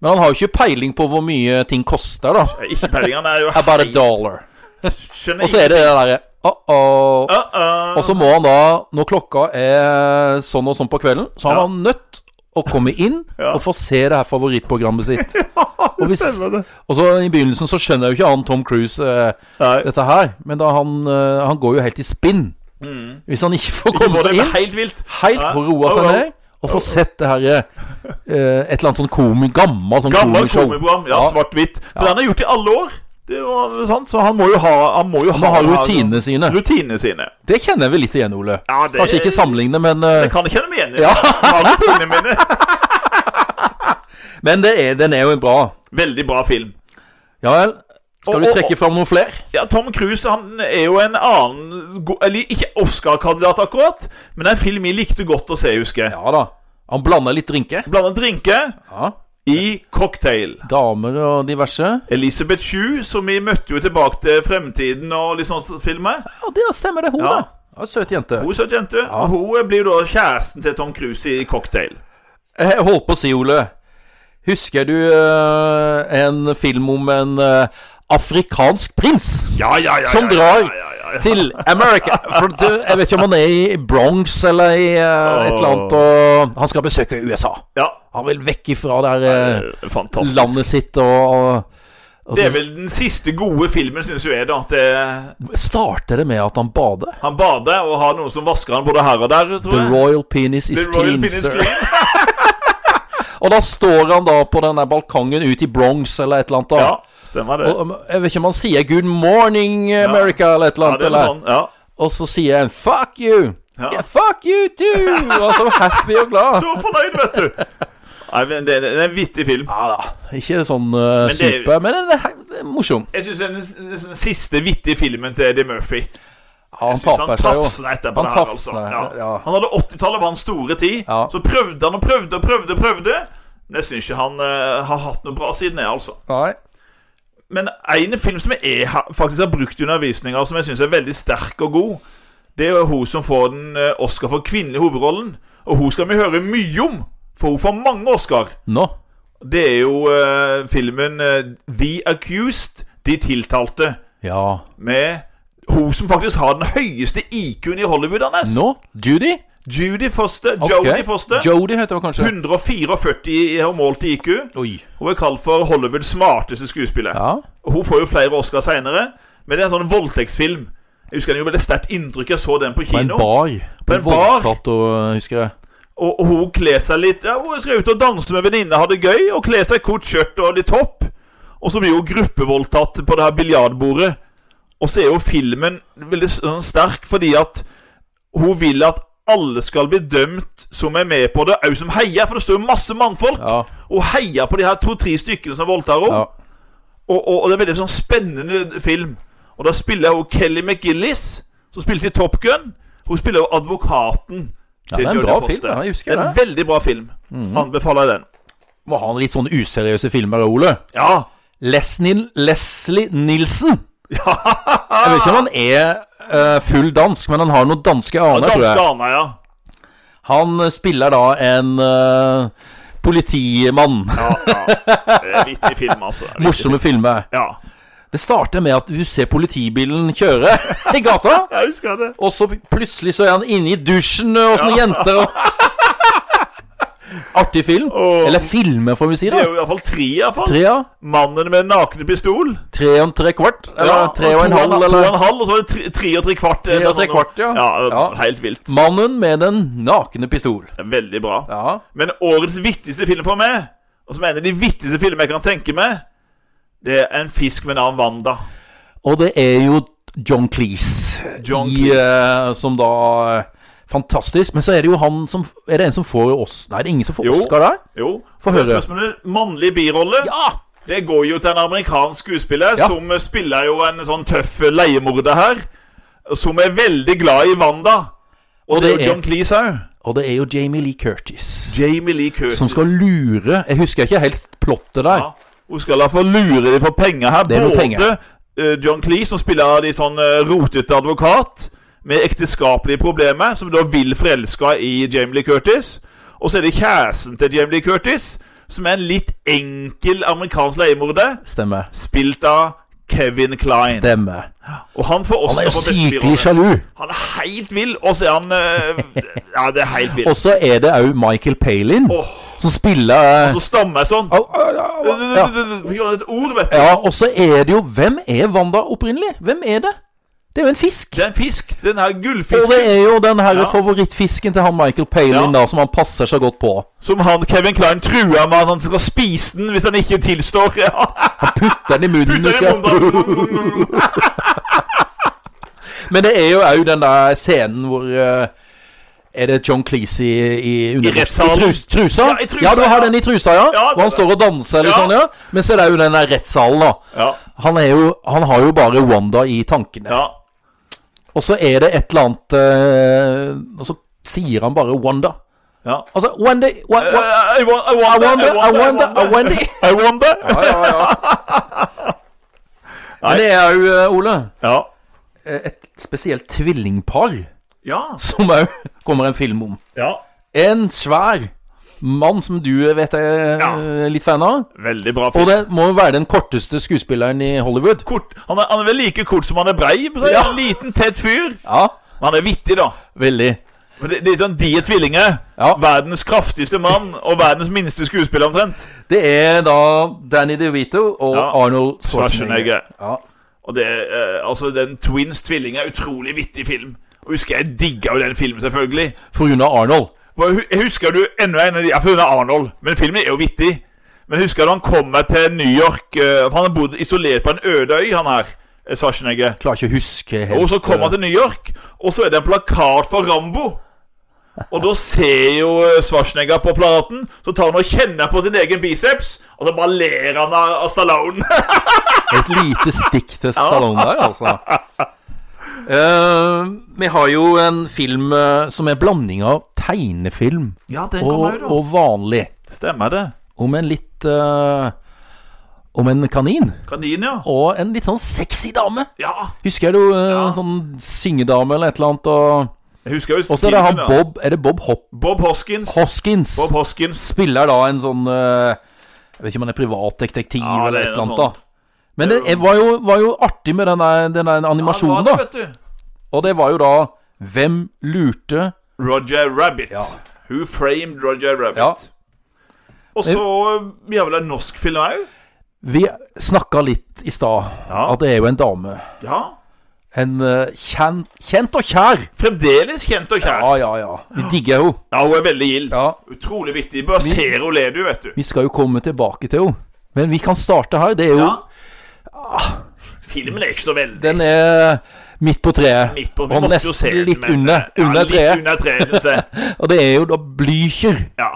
Speaker 1: Men han har jo ikke peiling på hvor mye ting koster, da.
Speaker 2: Ikke peiling, han er jo
Speaker 1: About a dollar.
Speaker 2: Skjønner
Speaker 1: Og så er det det derre uh-oh.
Speaker 2: Uh-uh.
Speaker 1: Og så må han da, når klokka er sånn og sånn på kvelden, så han
Speaker 2: Ja.
Speaker 1: var nødt å komme inn og få se det her favorittprogrammet sitt. og, hvis,
Speaker 2: stemmer det.
Speaker 1: og så i begynnelsen så skjønner jo ikke han Tom Cruise eh,
Speaker 2: Nei.
Speaker 1: dette her, men da han, eh, han går jo helt i spinn. Hvis han ikke får komme
Speaker 2: Var Mm. det
Speaker 1: seg inn,
Speaker 2: helt vilt?
Speaker 1: helt
Speaker 2: Ja.
Speaker 1: på roa
Speaker 2: Oh,
Speaker 1: seg
Speaker 2: oh.
Speaker 1: ned, og få sett det her eh, eh, et eller annet sånn komi, gammel sånn
Speaker 2: Gammel
Speaker 1: komishow.
Speaker 2: komiprogram. Ja, svart-hvitt. For han har gjort det i alle år. Det er jo eh, sant, Så han må jo ha Han må jo
Speaker 1: Han har rutinene sine.
Speaker 2: Rutinene sine.
Speaker 1: Det kjenner vi litt igjen, Ole.
Speaker 2: Ja, det-
Speaker 1: Kanskje ikke sammenligne, men eh,
Speaker 2: Jeg kan ikke kjenne meg igjen i det. Jeg har rutinene mine.
Speaker 1: Men det er, den er jo bra.
Speaker 2: Veldig bra film.
Speaker 1: Ja vel. Skal
Speaker 2: Og-
Speaker 1: du
Speaker 2: og-
Speaker 1: trekke fram noen flere?
Speaker 2: Ja, Tom Cruise han er jo en annen go- Eller ikke Oscar-kandidat, akkurat, men det er en film jeg likte godt å se, husker jeg.
Speaker 1: Ja da. Han blander litt drinker.
Speaker 2: Blandet drinker
Speaker 1: Ja.
Speaker 2: i cocktail.
Speaker 1: Damer og diverse.
Speaker 2: Elisabeth Shue, som vi møtte jo tilbake til Fremtiden og litt sånne filmer.
Speaker 1: Ja, det stemmer det. Hun,
Speaker 2: Ja.
Speaker 1: da. Ja, søt jente.
Speaker 2: Hun er søt jente. og Hun blir jo da kjæresten til Tom Cruise i cocktail.
Speaker 1: Eh, Jeg holdt på å si, Ole Husker du eh, en film om en eh, afrikansk prins
Speaker 2: Ja, ja, ja.
Speaker 1: som
Speaker 2: ja,
Speaker 1: drar
Speaker 2: ja, ja, ja, ja.
Speaker 1: til America? For du, jeg vet ikke om han er i Bronx eller i eh, et eller annet, og han skal besøke USA.
Speaker 2: Ja.
Speaker 1: Han vil vekk ifra der eh,
Speaker 2: Eh, Fantastisk.
Speaker 1: landet sitt og, og
Speaker 2: Det er vel den siste gode filmen, syns jeg, da. At det,
Speaker 1: Starter det med at han bader?
Speaker 2: han bader og har noen som vasker han både her og der, tror
Speaker 1: The
Speaker 2: jeg.
Speaker 1: Royal Penis is
Speaker 2: The Royal
Speaker 1: clean,
Speaker 2: Penis
Speaker 1: sir.
Speaker 2: Clean.
Speaker 1: Og da står han da på den der balkongen ut i Bronx eller et eller annet. da
Speaker 2: Ja, stemmer det.
Speaker 1: Og, um, Jeg vet ikke om han sier 'Good morning America' eller et eller
Speaker 2: Ja,
Speaker 1: annet.
Speaker 2: det er
Speaker 1: eller.
Speaker 2: sånn, ja.
Speaker 1: Og så sier han 'fuck you'.
Speaker 2: Ja.
Speaker 1: Yeah, fuck you too! Og så happy og glad.
Speaker 2: Så fornøyd, vet du. Nei, men det, det er en vittig film.
Speaker 1: Ja da. Ikke sånn uh,
Speaker 2: Men det er-
Speaker 1: super, men den er, den er morsom.
Speaker 2: Jeg syns det er den s- den siste vittige filmen til Eddie Murphy.
Speaker 1: Ja, han
Speaker 2: Jeg synes han
Speaker 1: taper seg jo.
Speaker 2: tafsna etterpå
Speaker 1: Han
Speaker 2: det her, altså.
Speaker 1: tafsna,
Speaker 2: Ja.
Speaker 1: ja.
Speaker 2: Han hadde 80-tallet var hans store tid.
Speaker 1: Ja.
Speaker 2: Så prøvde han og prøvde og prøvde og prøvde. Men jeg syns ikke han eh, har hatt noe bra siden det, altså.
Speaker 1: Nei.
Speaker 2: Men en film som jeg har- faktisk har brukt i undervisninga, og som jeg syns er veldig sterk og god, det er jo hun som får den eh, Oscar for kvinnelig hovedrollen. Og hun skal vi høre mye om, for hun får mange Oscar.
Speaker 1: Nå.
Speaker 2: Det er jo eh, filmen eh, The Accused, De tiltalte,
Speaker 1: Ja.
Speaker 2: med hun som faktisk har den høyeste IQ-en i Hollywood. Anders.
Speaker 1: Nå? Judy?
Speaker 2: Judy Foster.
Speaker 1: Ok.
Speaker 2: Jodie Foster.
Speaker 1: Jodie heter hun kanskje.
Speaker 2: 144 i har målt i IQ.
Speaker 1: Oi.
Speaker 2: Hun er kalt for Hollywoods smarteste skuespiller.
Speaker 1: Ja.
Speaker 2: Og Hun får jo flere Oscar seinere, men det er en sånn voldtektsfilm. Jeg husker den gjorde veldig sterkt inntrykk. Jeg så den på
Speaker 1: På en
Speaker 2: kino.
Speaker 1: bar.
Speaker 2: På en bar.
Speaker 1: Voldtatt og eh, husker jeg.
Speaker 2: Og, og hun kler seg litt ja, Hun skal ut og danse med venninne, ha det gøy, og kler seg i kort skjørt og litt topp. Og så blir hun gruppevoldtatt på det her biljardbordet. Og så er jo filmen veldig sånn sterk fordi at hun vil at alle skal bli dømt som er med på det, òg som heier. For det står jo masse mannfolk
Speaker 1: Ja.
Speaker 2: og heier på de her to-tre stykkene som voldtar henne.
Speaker 1: ja.
Speaker 2: Og, og, og det er veldig sånn spennende film. Og da spiller hun Kelly McGillis, som spilte i Top Gun. Hun spiller jo advokaten
Speaker 1: Ja, det er en
Speaker 2: Jodie
Speaker 1: bra
Speaker 2: Foster.
Speaker 1: film, ja, jeg husker Mhm.
Speaker 2: det. er En veldig bra film. Anbefaler jeg den.
Speaker 1: Må ha en litt sånn useriøse filmer, Ole.
Speaker 2: Ja.
Speaker 1: Leslie, Leslie Nilsen. Jeg vet ikke om han er eh, full dansk, men han har noen danske aner, tror
Speaker 2: Danske
Speaker 1: jeg.
Speaker 2: Ana, ja.
Speaker 1: Han eh, spiller da en eh, politimann.
Speaker 2: ja, ja. Det er Vittig film, altså. Det er vittig.
Speaker 1: Morsomme filmer.
Speaker 2: Ja.
Speaker 1: Det starter med at du ser politibilen kjøre i gata.
Speaker 2: Jeg husker det.
Speaker 1: Og så plutselig så er han inne i dusjen og sånne jenter og Artig film.
Speaker 2: Åh.
Speaker 1: Eller filmer, får vi si.
Speaker 2: Det er
Speaker 1: da
Speaker 2: jo iallfall tre, iallfall.
Speaker 1: Tre, ja.
Speaker 2: Mannen med den nakne pistol.
Speaker 1: Tre og tre kvart? Eller
Speaker 2: Ja,
Speaker 1: tre og en
Speaker 2: to
Speaker 1: halv,
Speaker 2: To og
Speaker 1: eller?
Speaker 2: en halv, og så var det tre, tre og tre kvart.
Speaker 1: Tre og tre kvart, ja.
Speaker 2: ja.
Speaker 1: Ja.
Speaker 2: Helt vilt.
Speaker 1: Mannen med den nakne pistol.
Speaker 2: Det er Veldig bra.
Speaker 1: Ja.
Speaker 2: Men årets vittigste film for meg, og som er en av de vittigste filmene jeg kan tenke meg, det er En fisk ved navn Wanda.
Speaker 1: Og det er jo John Cleese,
Speaker 2: John
Speaker 1: i, eh, som da eh, Fantastisk. Men så er det jo han som Er det en som får oss Nei, det er ingen som får
Speaker 2: Jo.
Speaker 1: Oscar der?
Speaker 2: Jo.
Speaker 1: Få høre.
Speaker 2: Spørsmålet, Mannlig birolle.
Speaker 1: Ja!
Speaker 2: Det går jo til en amerikansk skuespiller
Speaker 1: Ja.
Speaker 2: som eh, spiller jo en sånn tøff leiemorder her. Som er veldig glad i Wanda. Og, det, er jo John Cleese òg.
Speaker 1: Og det er jo Jamie Lee Curtis.
Speaker 2: Jamie Lee Curtis.
Speaker 1: Som skal lure Jeg husker ikke helt plottet der.
Speaker 2: ja. Hun skal da få lure dem for penger her.
Speaker 1: Det er noe
Speaker 2: Både
Speaker 1: penger.
Speaker 2: eh, John Cleese, som spiller litt sånn eh, rotete advokat med ekteskapelige problemer, som da vil forelska i Jamie Lee Curtis. Og så er det kjæresten til Jamie Lee Curtis, som er en litt enkel amerikansk leiemorder,
Speaker 1: Stemmer.
Speaker 2: spilt av Kevin Klein.
Speaker 1: Stemmer.
Speaker 2: Og han får
Speaker 1: Han
Speaker 2: Oscar
Speaker 1: er jo
Speaker 2: for beste
Speaker 1: sykelig
Speaker 2: birolle.
Speaker 1: sjalu.
Speaker 2: Han er helt vill, og så er han eh, Ja, det er helt vill.
Speaker 1: Og så er det òg Michael Palin,
Speaker 2: Åh,
Speaker 1: som spiller eh,
Speaker 2: så stammer jeg sånn.
Speaker 1: au, au, au, au, ja.
Speaker 2: Vi gjør et ord, vet du.
Speaker 1: Ja, og så er det jo Hvem er Wanda opprinnelig? Hvem er det? Det er jo en fisk.
Speaker 2: Det er en fisk. Den her
Speaker 1: Og det
Speaker 2: gullfisken
Speaker 1: er jo den her
Speaker 2: Ja.
Speaker 1: favorittfisken til han Michael Palin,
Speaker 2: Ja.
Speaker 1: da, som han passer seg godt på.
Speaker 2: som han Kevin Klein truer med at han skal spise den hvis han ikke tilstår. Ja.
Speaker 1: Putter den i munnen.
Speaker 2: Putter den i
Speaker 1: ikke?
Speaker 2: munnen.
Speaker 1: Men det er jo òg den der scenen hvor eh, er det John Cleese i, i, under-
Speaker 2: rettssalen.
Speaker 1: I trus, trusa?
Speaker 2: Ja, i trusa,
Speaker 1: du har
Speaker 2: ja.
Speaker 1: den i trusa, ja.
Speaker 2: Ja,
Speaker 1: og han
Speaker 2: det-
Speaker 1: står og danser eller
Speaker 2: Ja.
Speaker 1: sånn, ja. Men så er det jo den der rettssalen, da.
Speaker 2: Ja.
Speaker 1: Han, er jo, han har jo bare Wanda i tankene.
Speaker 2: ja.
Speaker 1: Og så er det et eller annet eh, Og så sier han bare Wanda.
Speaker 2: ja.
Speaker 1: Altså Wanda wa,
Speaker 2: Eh,
Speaker 1: wa,
Speaker 2: I wa- I
Speaker 1: I
Speaker 2: wonder,
Speaker 1: wonder,
Speaker 2: I Eh, wonder, I
Speaker 1: I
Speaker 2: wonder.
Speaker 1: wonder.
Speaker 2: I wonder.
Speaker 1: Ja, ja, ja. Men det er jo, eh, Ole,
Speaker 2: Ja.
Speaker 1: eh, et spesielt tvillingpar
Speaker 2: Ja.
Speaker 1: som òg kommer en film om.
Speaker 2: ja.
Speaker 1: En svær mann som du vet er
Speaker 2: Ja.
Speaker 1: eh, litt fan av.
Speaker 2: Veldig bra
Speaker 1: Og
Speaker 2: film.
Speaker 1: det må jo være den korteste skuespilleren i Hollywood.
Speaker 2: Kort. Han, er, han er vel like kort som han er brei. så er
Speaker 1: Ja.
Speaker 2: han En liten, tett fyr.
Speaker 1: Ja,
Speaker 2: Men han er vittig, da.
Speaker 1: veldig.
Speaker 2: Men Det, det er sånn, De er tvillinger.
Speaker 1: Ja.
Speaker 2: Verdens kraftigste mann og verdens minste skuespiller, omtrent.
Speaker 1: Det er da Danny DeVito og
Speaker 2: Ja.
Speaker 1: Arnold Schwarzenegger.
Speaker 2: Schwarzenegger.
Speaker 1: Ja.
Speaker 2: Og det, eh, altså, Den Twins tvillinger er utrolig vittig film. Og husker Jeg digga jo den filmen, selvfølgelig.
Speaker 1: For grunn av Arnold.
Speaker 2: For jeg hu- jeg husker du enda en av de Jeg føler Arnold, men filmen er jo vittig. Men husker du han kommer til New York eh, For Han har bodd isolert på en øde øy, han her. eh, Schwarzenegger.
Speaker 1: Klarer ikke å huske helt
Speaker 2: Og så kommer han til New York, og så er det en plakat for Rambo. Og da ser jo eh, Schwarzenegger på platen, så tar han og kjenner på sin egen biceps, og så bare ler han av av Stallone.
Speaker 1: Et lite stikk til Stallone der, altså. Eh, vi har jo en film eh, som er blanding av tegnefilm
Speaker 2: Ja, den kommer
Speaker 1: og,
Speaker 2: jo,
Speaker 1: og vanlig.
Speaker 2: da. Stemmer det.
Speaker 1: Om en litt eh, Om en kanin.
Speaker 2: Kanin, ja.
Speaker 1: Og en litt sånn sexy dame.
Speaker 2: Ja.
Speaker 1: Husker jeg du eh,
Speaker 2: Ja.
Speaker 1: sånn syngedame eller et eller annet? Og
Speaker 2: Jeg husker jo
Speaker 1: så er det han
Speaker 2: filmen, da.
Speaker 1: Bob Er det Bob Hop
Speaker 2: Bob Hoskins.
Speaker 1: Hoskins?
Speaker 2: Bob Hoskins.
Speaker 1: Spiller da en sånn eh, Jeg vet ikke om han er privatdetektiv
Speaker 2: Ja, det
Speaker 1: eller
Speaker 2: er
Speaker 1: et eller
Speaker 2: noe
Speaker 1: annet. da men det
Speaker 2: Det er jo-
Speaker 1: var jo, var jo artig med den der- den der
Speaker 2: Han
Speaker 1: animasjonen,
Speaker 2: var
Speaker 1: da.
Speaker 2: det, vet du.
Speaker 1: Og det var jo da Hvem lurte
Speaker 2: Roger Rabbit.
Speaker 1: Ja.
Speaker 2: Who framed Roger Rabbit?
Speaker 1: Ja.
Speaker 2: Og så eh, Vi har vel en norsk film òg?
Speaker 1: Vi snakka litt i stad
Speaker 2: Ja.
Speaker 1: at det er jo en dame.
Speaker 2: Ja.
Speaker 1: En eh, kjen, kjent og kjær.
Speaker 2: Fremdeles kjent og kjær.
Speaker 1: Ja, ja, ja. Vi digger henne.
Speaker 2: Ja, hun er veldig gild.
Speaker 1: Ja.
Speaker 2: Utrolig vittig. Bare
Speaker 1: Vi-
Speaker 2: ser hun ler, du, vet du.
Speaker 1: Vi skal jo komme tilbake til henne. Men vi kan starte her. Det er jo
Speaker 2: Ja. Ah, Filmen er ikke så veldig
Speaker 1: Den er midt på treet.
Speaker 2: midt på. Vi
Speaker 1: og
Speaker 2: måtte jo se
Speaker 1: nesten
Speaker 2: den,
Speaker 1: litt
Speaker 2: men- eh,
Speaker 1: under,
Speaker 2: ja,
Speaker 1: under
Speaker 2: litt
Speaker 1: treet.
Speaker 2: Under treet, synes jeg.
Speaker 1: Og det er jo da Blücher.
Speaker 2: Ja.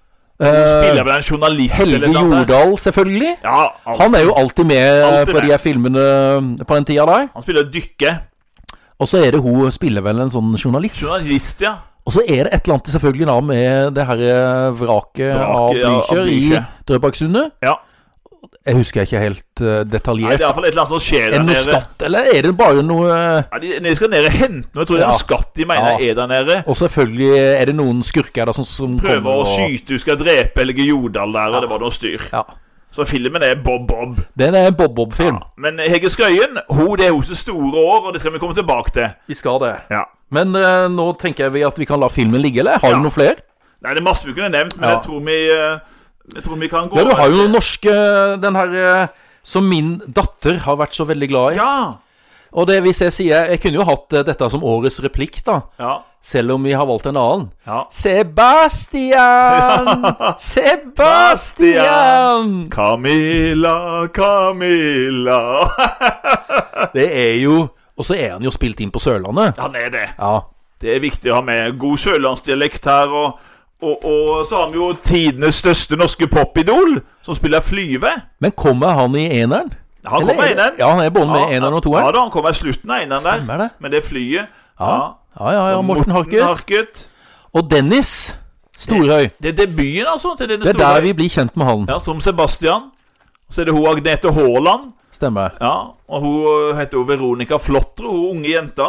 Speaker 1: Eh,
Speaker 2: Spiller vel en journalist
Speaker 1: Helge
Speaker 2: eller noe. sånt.
Speaker 1: Jordal, selvfølgelig.
Speaker 2: Ja, han,
Speaker 1: Han er jo alltid med
Speaker 2: Alltid
Speaker 1: på
Speaker 2: med.
Speaker 1: de her filmene eh, på den tida der.
Speaker 2: han spiller dykke.
Speaker 1: Og så er det hun spiller vel en sånn journalist.
Speaker 2: Journalist, ja.
Speaker 1: Og så er det et eller annet selvfølgelig da med det her eh, vraket av
Speaker 2: ja, av
Speaker 1: Blücher i
Speaker 2: Blücher.
Speaker 1: Drøbaksundet.
Speaker 2: ja.
Speaker 1: Jeg husker ikke helt eh,
Speaker 2: Nei, det
Speaker 1: detaljert.
Speaker 2: er iallfall et eller annet som skjer
Speaker 1: er
Speaker 2: der
Speaker 1: det noe
Speaker 2: nede.
Speaker 1: skatt, eller er det bare noe eh,
Speaker 2: Ja, de, de skal ned og hente noe. Jeg tror det er
Speaker 1: Ja.
Speaker 2: en skatt de mener
Speaker 1: Ja.
Speaker 2: er der nede.
Speaker 1: Og selvfølgelig er det noen skurker der som, som
Speaker 2: Prøver
Speaker 1: kommer
Speaker 2: å skyte, du skal drepe Helge Jordal der, og det var noe styr.
Speaker 1: Ja.
Speaker 2: Så filmen er Bob-Bob.
Speaker 1: Den er en Bob-Bob-film.
Speaker 2: Men eh, Hege Skøyen, hun, det er hennes store år, og det skal vi komme tilbake til.
Speaker 1: Vi skal det.
Speaker 2: Ja.
Speaker 1: Men eh, nå tenker vi at vi kan la filmen ligge, eller? Har
Speaker 2: Ja.
Speaker 1: du noen flere?
Speaker 2: Nei, det er masse vi kunne nevnt, men
Speaker 1: Ja.
Speaker 2: jeg, tror vi, eh, jeg tror vi kan gå
Speaker 1: Ja, du har jo
Speaker 2: over
Speaker 1: noen norske Den her eh, som min datter har vært så veldig glad i.
Speaker 2: Ja.
Speaker 1: Og det hvis jeg sier Jeg kunne jo hatt eh, dette som årets replikk, da.
Speaker 2: ja.
Speaker 1: Selv om vi har valgt en annen.
Speaker 2: ja.
Speaker 1: Sebastian! Sebastian!
Speaker 2: Camilla, Camilla
Speaker 1: Det er jo Og så er han jo spilt inn på Sørlandet.
Speaker 2: Han er det.
Speaker 1: Ja.
Speaker 2: Det er viktig å ha med god sørlandsdialekt her. Og, og, og så har vi jo tidenes største norske popidol, som spiller Flyve.
Speaker 1: Men kommer han i eneren?
Speaker 2: Han
Speaker 1: Eller
Speaker 2: kommer
Speaker 1: er
Speaker 2: i
Speaker 1: det-
Speaker 2: eneren.
Speaker 1: Ja, han er både med i eneren og
Speaker 2: Ja
Speaker 1: toeren.
Speaker 2: da, han kommer i slutten av eneren der.
Speaker 1: Stemmer det.
Speaker 2: Men det er flyet.
Speaker 1: Ja. Ja, ja, ja, Morten Harket.
Speaker 2: Harket.
Speaker 1: Og Dennis Storøy.
Speaker 2: Det er debuten, altså. til denne
Speaker 1: Det er
Speaker 2: store-
Speaker 1: der vi blir kjent med han.
Speaker 2: Ja, Som Sebastian. Så er det hun Agnete Haaland.
Speaker 1: Stemmer.
Speaker 2: Ja, og hun eh, heter jo Veronica Flåttre, hun unge jenta.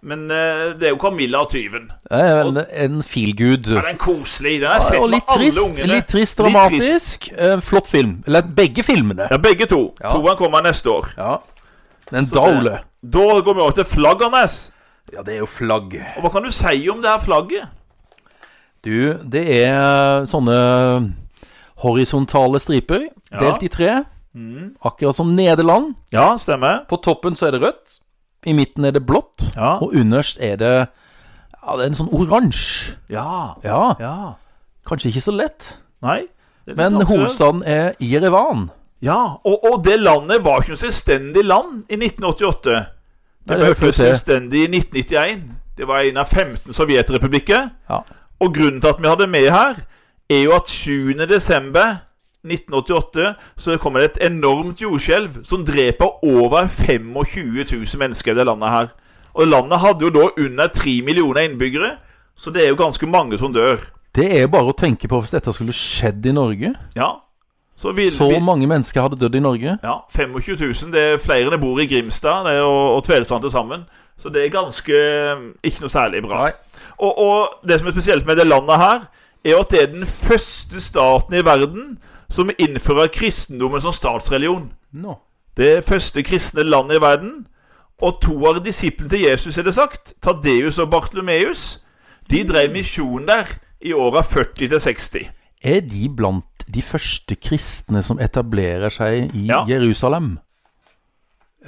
Speaker 2: Men eh, det er jo Camilla og tyven.
Speaker 1: Det er en, en feelgood.
Speaker 2: Ja, den er koselig. Den har jeg sett
Speaker 1: Og
Speaker 2: med
Speaker 1: litt
Speaker 2: alle
Speaker 1: trist,
Speaker 2: ungene.
Speaker 1: litt trist
Speaker 2: Litt trist.
Speaker 1: dramatisk. Eh, Flott film. Eller begge filmene.
Speaker 2: Ja, begge to.
Speaker 1: Ja.
Speaker 2: Toeren kommer neste år. Eh,
Speaker 1: Ja. Men da, Ole
Speaker 2: Da går vi over til Flaggernes.
Speaker 1: Ja, det er jo flagg.
Speaker 2: Og hva kan du si om det her flagget?
Speaker 1: Du, det er eh, sånne horisontale striper delt i tre. Akkurat som Nederland.
Speaker 2: Ja, stemmer.
Speaker 1: På toppen så er det rødt. I midten er det blått.
Speaker 2: Ja.
Speaker 1: Og underst er det Ja, det er en sånn oransje.
Speaker 2: Ja.
Speaker 1: Ja,
Speaker 2: ja.
Speaker 1: kanskje ikke så lett.
Speaker 2: Nei. det er litt
Speaker 1: Men
Speaker 2: vanskelig.
Speaker 1: hovedstaden er Jerevan.
Speaker 2: Ja, og, og det landet var ikke noe selvstendig land i 1988.
Speaker 1: Nei,
Speaker 2: Det
Speaker 1: det
Speaker 2: ble
Speaker 1: hørte vi
Speaker 2: først
Speaker 1: til.
Speaker 2: selvstendig i 1991. Det var en av 15 sovjetrepublikker.
Speaker 1: Ja.
Speaker 2: Og grunnen til at vi hadde med her, er jo at 7. desember 1988 så kommer det et enormt jordskjelv som dreper over 25 000 mennesker i det landet her. Og landet hadde jo da under 3 millioner innbyggere, så det er jo ganske mange som dør.
Speaker 1: Det er bare å tenke på hvis dette skulle skjedd i Norge.
Speaker 2: Ja. Så, vil,
Speaker 1: Så
Speaker 2: vi-
Speaker 1: mange mennesker hadde dødd i Norge.
Speaker 2: Ja, 25 000. Det er flere enn det bor i Grimstad det er, og, og Tvedestrand til sammen. Så det er ganske mm, ikke noe særlig bra.
Speaker 1: Nei.
Speaker 2: Og, og det som er spesielt med det landet her, er jo at det er den første staten i verden som innfører kristendommen som statsreligion.
Speaker 1: Nå.
Speaker 2: Det første kristne landet i verden. Og to av disiplene til Jesus, er det sagt, Tadeus og Bartlomeus, de drev misjon der i åra 40 til 60.
Speaker 1: Er de blant de første kristne som etablerer seg i
Speaker 2: Ja.
Speaker 1: Jerusalem?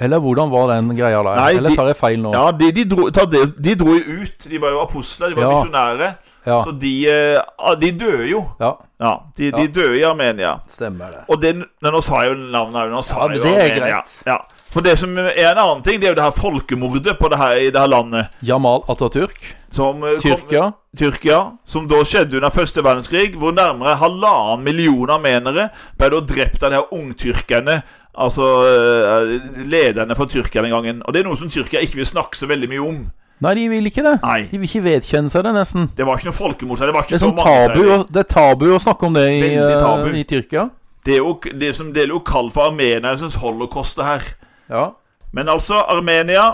Speaker 1: Eller hvordan var den greia der?
Speaker 2: Nei,
Speaker 1: Eller
Speaker 2: de-
Speaker 1: tar jeg feil nå?
Speaker 2: Ja, de, de, dro, Tadde- de dro jo ut. De var jo apostler, de var
Speaker 1: Ja.
Speaker 2: misjonære.
Speaker 1: Ja.
Speaker 2: Så de, eh, ah, de døde jo.
Speaker 1: Ja,
Speaker 2: Ja, de, de
Speaker 1: Ja.
Speaker 2: døde i Armenia.
Speaker 1: stemmer det.
Speaker 2: Og det, nei, nå sa jeg jo navnet òg. Nå sa
Speaker 1: Ja,
Speaker 2: jeg jo
Speaker 1: det er
Speaker 2: Armenia.
Speaker 1: greit.
Speaker 2: Ja. For det som er en annen ting, det er jo det her folkemordet på det her, i det her landet.
Speaker 1: Jamal Atatürk,
Speaker 2: Som, eh, kom-
Speaker 1: Tyrkia.
Speaker 2: Tyrkia. Som da skjedde under første verdenskrig, hvor nærmere halvannen million armenere ble da drept av de her ungtyrkerne Altså eh, lederne for Tyrkia den gangen. Og det er noe som Tyrkia ikke vil snakke så veldig mye om.
Speaker 1: Nei, de vil ikke det.
Speaker 2: Nei.
Speaker 1: De vil ikke vedkjenne seg det, nesten.
Speaker 2: Det var ikke noe folkemord her. Det var ikke
Speaker 1: Det er,
Speaker 2: så
Speaker 1: sånn
Speaker 2: mange
Speaker 1: tabu,
Speaker 2: særlig.
Speaker 1: å- det er tabu å snakke om det i,
Speaker 2: Veldig tabu.
Speaker 1: eh, i Tyrkia.
Speaker 2: Det er jo det som det er jo kalt for armenernes holocaust, det her.
Speaker 1: Ja.
Speaker 2: Men altså, Armenia,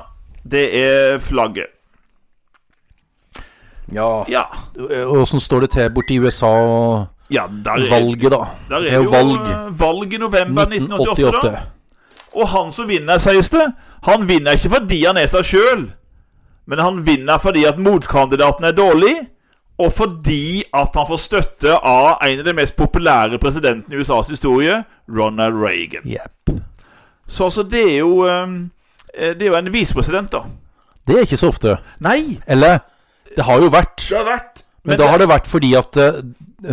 Speaker 2: det er flagget.
Speaker 1: ja.
Speaker 2: Ja.
Speaker 1: Åssen står det til borti USA og
Speaker 2: ja der er,
Speaker 1: valget, da?
Speaker 2: der er
Speaker 1: det er jo valg.
Speaker 2: eh, valg i november 1988. da.
Speaker 1: 1988.
Speaker 2: Og han som vinner, sies det, han vinner ikke fordi han er seg sjøl, men han vinner fordi at motkandidaten er dårlig, og fordi at han får støtte av en av de mest populære presidentene i USAs historie, Ronald Reagan.
Speaker 1: Jepp.
Speaker 2: Så altså, det er jo ehm, eh, Det er jo en visepresident, da.
Speaker 1: Det er ikke så ofte.
Speaker 2: Nei!
Speaker 1: Eller Det har jo vært.
Speaker 2: Det har vært
Speaker 1: Men da har det vært fordi at eh,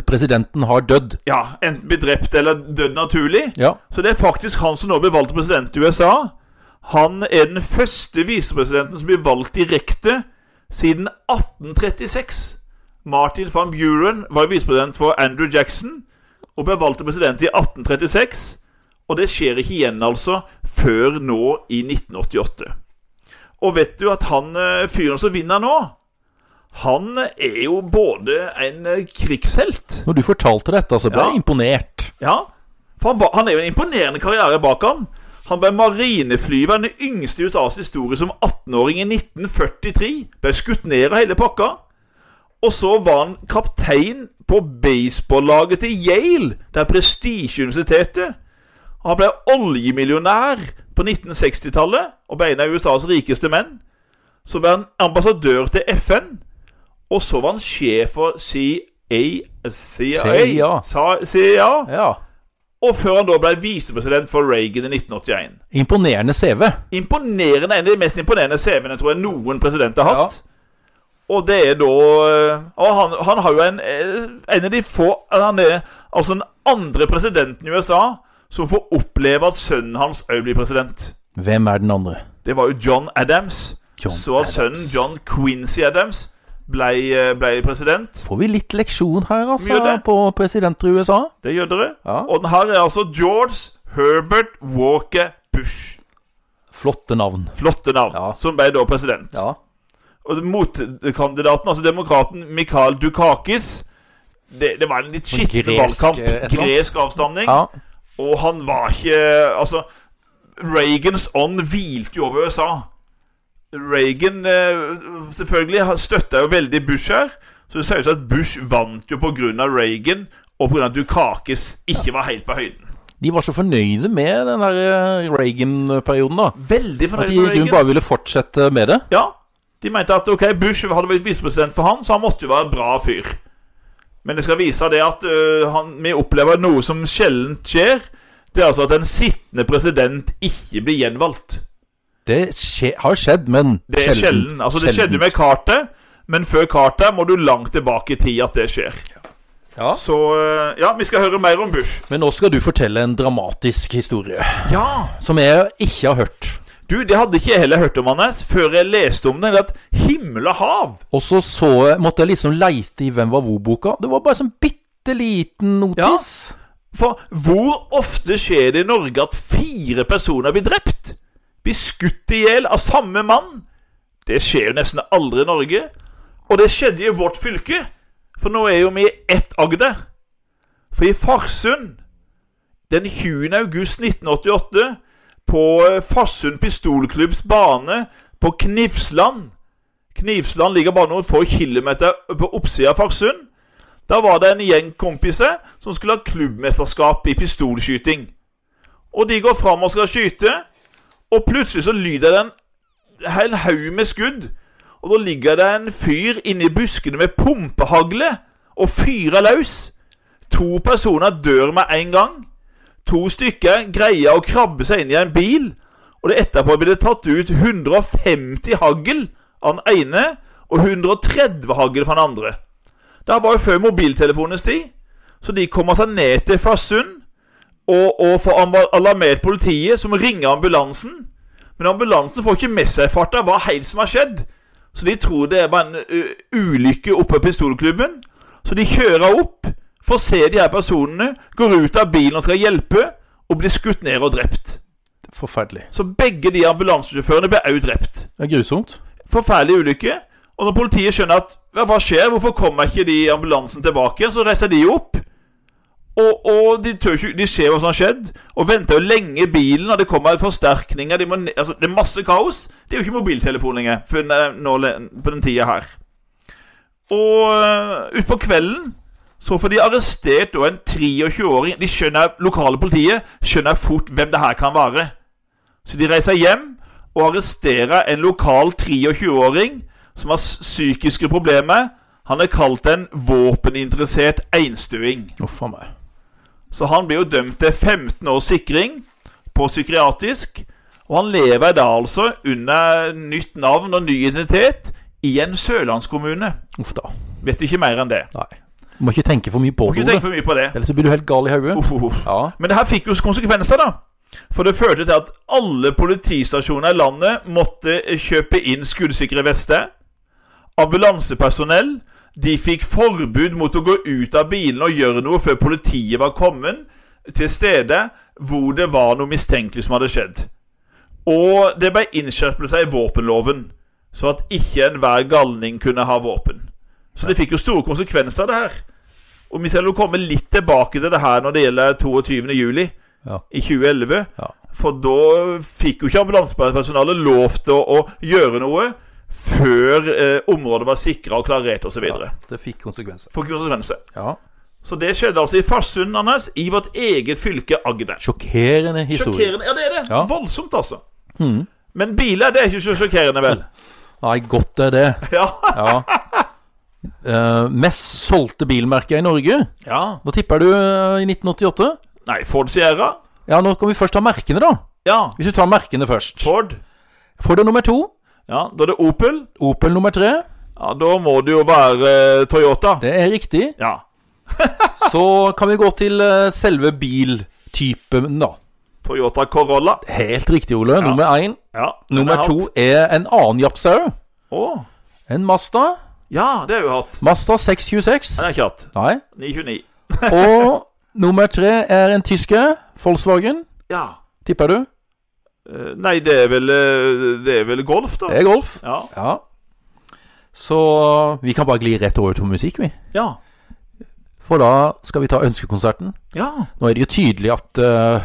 Speaker 1: presidenten har dødd.
Speaker 2: Ja, enten blitt drept eller dødd naturlig.
Speaker 1: Ja.
Speaker 2: Så det er faktisk han som nå blir valgt til president i USA. Han er den første visepresidenten som blir valgt direkte siden 1836. Martin van Buren var visepresident for Andrew Jackson og ble valgt til president i 1836. Og det skjer ikke igjen, altså, før nå i 1988. Og vet du at han eh, fyren som vinner nå, han er jo både en eh, krigshelt
Speaker 1: Når du fortalte dette, så ble
Speaker 2: Ja.
Speaker 1: jeg imponert.
Speaker 2: ja, for han, var, han er jo en imponerende karriere bak ham. Han ble marineflyver, den yngste i USAs historie, som 18-åring i 1943. Ble skutt ned av hele pakka. Og så var han kaptein på baseballaget til Yale, det er prestisjeuniversitetet. Og Han ble oljemillionær på 1960-tallet og ble en av USAs rikeste menn. Så ble han ambassadør til FN, og så var han sjef for CIA, CIA,
Speaker 1: CIA.
Speaker 2: sa- CIA
Speaker 1: Ja.
Speaker 2: og før han da ble visepresident for Reagan i 1981.
Speaker 1: Imponerende CV.
Speaker 2: Imponerende, En av de mest imponerende CV-ene tror jeg noen president har hatt. Og det er da eh, Og han, han har jo en, eh, en av de få Han er altså den andre presidenten i USA som får oppleve at sønnen hans òg blir president.
Speaker 1: Hvem er den andre?
Speaker 2: Det var jo John Adams.
Speaker 1: John
Speaker 2: så at sønnen
Speaker 1: Adams.
Speaker 2: John Quincy Adams ble, eh, ble president.
Speaker 1: Får vi litt leksjon her, altså,
Speaker 2: Mye det.
Speaker 1: på presidenter i USA?
Speaker 2: Det gjør dere.
Speaker 1: Ja.
Speaker 2: Og den her er altså George Herbert Walker Bush.
Speaker 1: Flotte navn.
Speaker 2: Flotte navn.
Speaker 1: Ja.
Speaker 2: Som ble da president.
Speaker 1: Ja.
Speaker 2: Og motkandidaten, altså demokraten Mikhail Dukakis det, det var en litt
Speaker 1: Sånn
Speaker 2: skitten
Speaker 1: gresk,
Speaker 2: valgkamp.
Speaker 1: eh, et eller annet.
Speaker 2: Gresk avstamning.
Speaker 1: ja.
Speaker 2: Og han var ikke Altså, Reagans ånd hvilte jo over USA. Reagan eh, selvfølgelig han støtta jo veldig Bush her. Så det ser ut som at Bush vant jo pga. Reagan, og pga. at Dukakis ikke var helt på høyden.
Speaker 1: De var så fornøyde med den der eh, Reagan-perioden, da.
Speaker 2: Veldig
Speaker 1: At
Speaker 2: fornøyd
Speaker 1: de i
Speaker 2: med
Speaker 1: grunnen
Speaker 2: Reagan.
Speaker 1: bare ville fortsette med det.
Speaker 2: Ja, de mente at ok, Bush hadde vært visepresident for han, så han måtte jo være en bra fyr. Men det skal vise det at øh, han, vi opplever noe som sjelden skjer. Det er altså at en sittende president ikke blir gjenvalgt.
Speaker 1: Det skje, har skjedd, men
Speaker 2: Det er sjelden. Altså, det skjedde med Carter, men før Carter må du langt tilbake i tid at det skjer.
Speaker 1: Ja.
Speaker 2: Så øh, ja, vi skal høre mer om Bush.
Speaker 1: Men nå skal du fortelle en dramatisk historie
Speaker 2: Ja,
Speaker 1: som jeg ikke har hørt.
Speaker 2: du, Det hadde ikke jeg heller hørt om hans før jeg leste om det. eller At himmel og hav
Speaker 1: Og så, så jeg, måtte jeg liksom leite i Hvem var hvor-boka. Det var bare sånn bitte liten notis.
Speaker 2: For hvor ofte skjer det i Norge at fire personer blir drept? Blir skutt i hjel av samme mann? Det skjer jo nesten aldri i Norge. Og det skjedde i vårt fylke. For nå er jo vi i ett Agder. For i Farsund den 20. august 1988, på eh, Farsund pistolklubbs bane på Knivsland Knivsland ligger bare noen få kilometer på oppsida av Farsund. Da var det en gjeng kompiser som skulle ha klubbmesterskap i pistolskyting. Og de går fram og skal skyte, og plutselig så lyder det en hel haug med skudd. Og da ligger det en fyr inni buskene med pumpehagle og fyrer løs. To personer dør med en gang. To stykker greier å krabbe seg inn i en bil, og det etterpå blir det tatt ut 150 hagl av den ene og 130 hagl fra den andre. Det var jo før mobiltelefonens tid, så de kommer seg ned til Farsund og, og får am- alarmert politiet, som ringer ambulansen. Men ambulansen får ikke med seg i farta hva helt som har skjedd. Så de tror det er bare en ø, ulykke oppe i pistolklubben. Så de kjører opp, får se de her personene, går ut av bilen og skal hjelpe, og blir skutt ned og drept.
Speaker 1: Forferdelig.
Speaker 2: Så begge de ambulansesjåførene ble også drept.
Speaker 1: Det er grusomt.
Speaker 2: Forferdelig ulykke. Og når politiet skjønner at hva hva skjer, hvorfor kommer ikke de i ambulansen tilbake, igjen, så reiser de opp. Og, og de, tør ikke, de ser hva som har skjedd, og venter jo lenge i bilen, og det kommer forsterkninger de må, ne- altså, Det er masse kaos. Det er jo ikke mobiltelefon lenger for n- nå, le- på den tida her. Og øh, utpå kvelden så får de arrestert da en 23-åring. De skjønner, Lokale politiet skjønner fort hvem det her kan være. Så de reiser hjem og arresterer en lokal 23-åring som har s- psykiske problemer. Han er kalt en våpeninteressert einstøing.
Speaker 1: Uff a meg.
Speaker 2: Så han blir jo dømt til 15 års sikring på psykiatrisk. Og han lever da altså under nytt navn og ny identitet i en sørlandskommune.
Speaker 1: Uff da.
Speaker 2: Vet ikke mer enn det.
Speaker 1: Nei. Må ikke tenke for mye på
Speaker 2: Må
Speaker 1: det,
Speaker 2: ikke
Speaker 1: Ole.
Speaker 2: tenke for mye på det.
Speaker 1: Ellers så blir du helt gal i hodet.
Speaker 2: Ohoho.
Speaker 1: Ja.
Speaker 2: Men det her fikk jo konsekvenser, da. For det førte til at alle politistasjoner i landet måtte eh, kjøpe inn skuddsikre vester. Ambulansepersonell de fikk forbud mot å gå ut av bilen og gjøre noe før politiet var kommet til stedet hvor det var noe mistenkelig som hadde skjedd. Og det ble innskjerpelser i våpenloven, så at ikke enhver galning kunne ha våpen. Så det fikk jo store konsekvenser, det her. Og vi skal jo komme litt tilbake til det her når det gjelder 22. juli
Speaker 1: Ja.
Speaker 2: i 2011.
Speaker 1: Ja.
Speaker 2: For da fikk jo ikke ambulansepersonalet lov til å, å gjøre noe før eh, området var sikra og klarert osv.
Speaker 1: ja.
Speaker 2: videre
Speaker 1: Det fikk konsekvenser.
Speaker 2: For konsekvenser.
Speaker 1: Ja.
Speaker 2: Så det skjedde altså i Farsund, Anders, i vårt eget fylke Agder.
Speaker 1: Sjokkerende historie.
Speaker 2: Sjokkerende. Ja, det er det.
Speaker 1: Ja. Mm.
Speaker 2: Voldsomt, altså. Men biler, det er ikke så sjokkerende, vel?
Speaker 1: Nei, godt er det.
Speaker 2: Ja.
Speaker 1: Ja. Eh, mest solgte bilmerke i Norge?
Speaker 2: ja.
Speaker 1: Hva tipper du eh, i 1988?
Speaker 2: Nei, Ford Sierra?
Speaker 1: Ja, nå kan vi først ta merkene, da.
Speaker 2: Ja.
Speaker 1: Hvis du tar merkene først.
Speaker 2: Ford?
Speaker 1: Ford er nummer to.
Speaker 2: Ja. Da er det Opel?
Speaker 1: Opel nummer tre.
Speaker 2: Ja, da må det jo være eh, Toyota.
Speaker 1: Det er riktig.
Speaker 2: Ja.
Speaker 1: Så kan vi gå til eh, selve biltypen, da.
Speaker 2: Toyota Corolla.
Speaker 1: Helt riktig, Ole. Nummer én.
Speaker 2: Ja, den har
Speaker 1: Nummer
Speaker 2: jeg
Speaker 1: to
Speaker 2: hatt.
Speaker 1: er en annen japsau.
Speaker 2: Å,
Speaker 1: En Mazda.
Speaker 2: ja, det har jeg jo hatt.
Speaker 1: Mazda 626.
Speaker 2: Den har jeg ikke hatt.
Speaker 1: Nei.
Speaker 2: 929.
Speaker 1: Og nummer tre er en tysker. Volkswagen.
Speaker 2: Ja.
Speaker 1: Tipper du?
Speaker 2: Eh, Nei, det er vel eh, Det er vel golf, da.
Speaker 1: Det er Golf.
Speaker 2: Ja.
Speaker 1: Ja. Så vi kan bare gli rett over til musikk, vi.
Speaker 2: Ja.
Speaker 1: For da skal vi ta ønskekonserten.
Speaker 2: Ja,
Speaker 1: Nå er det jo tydelig at eh,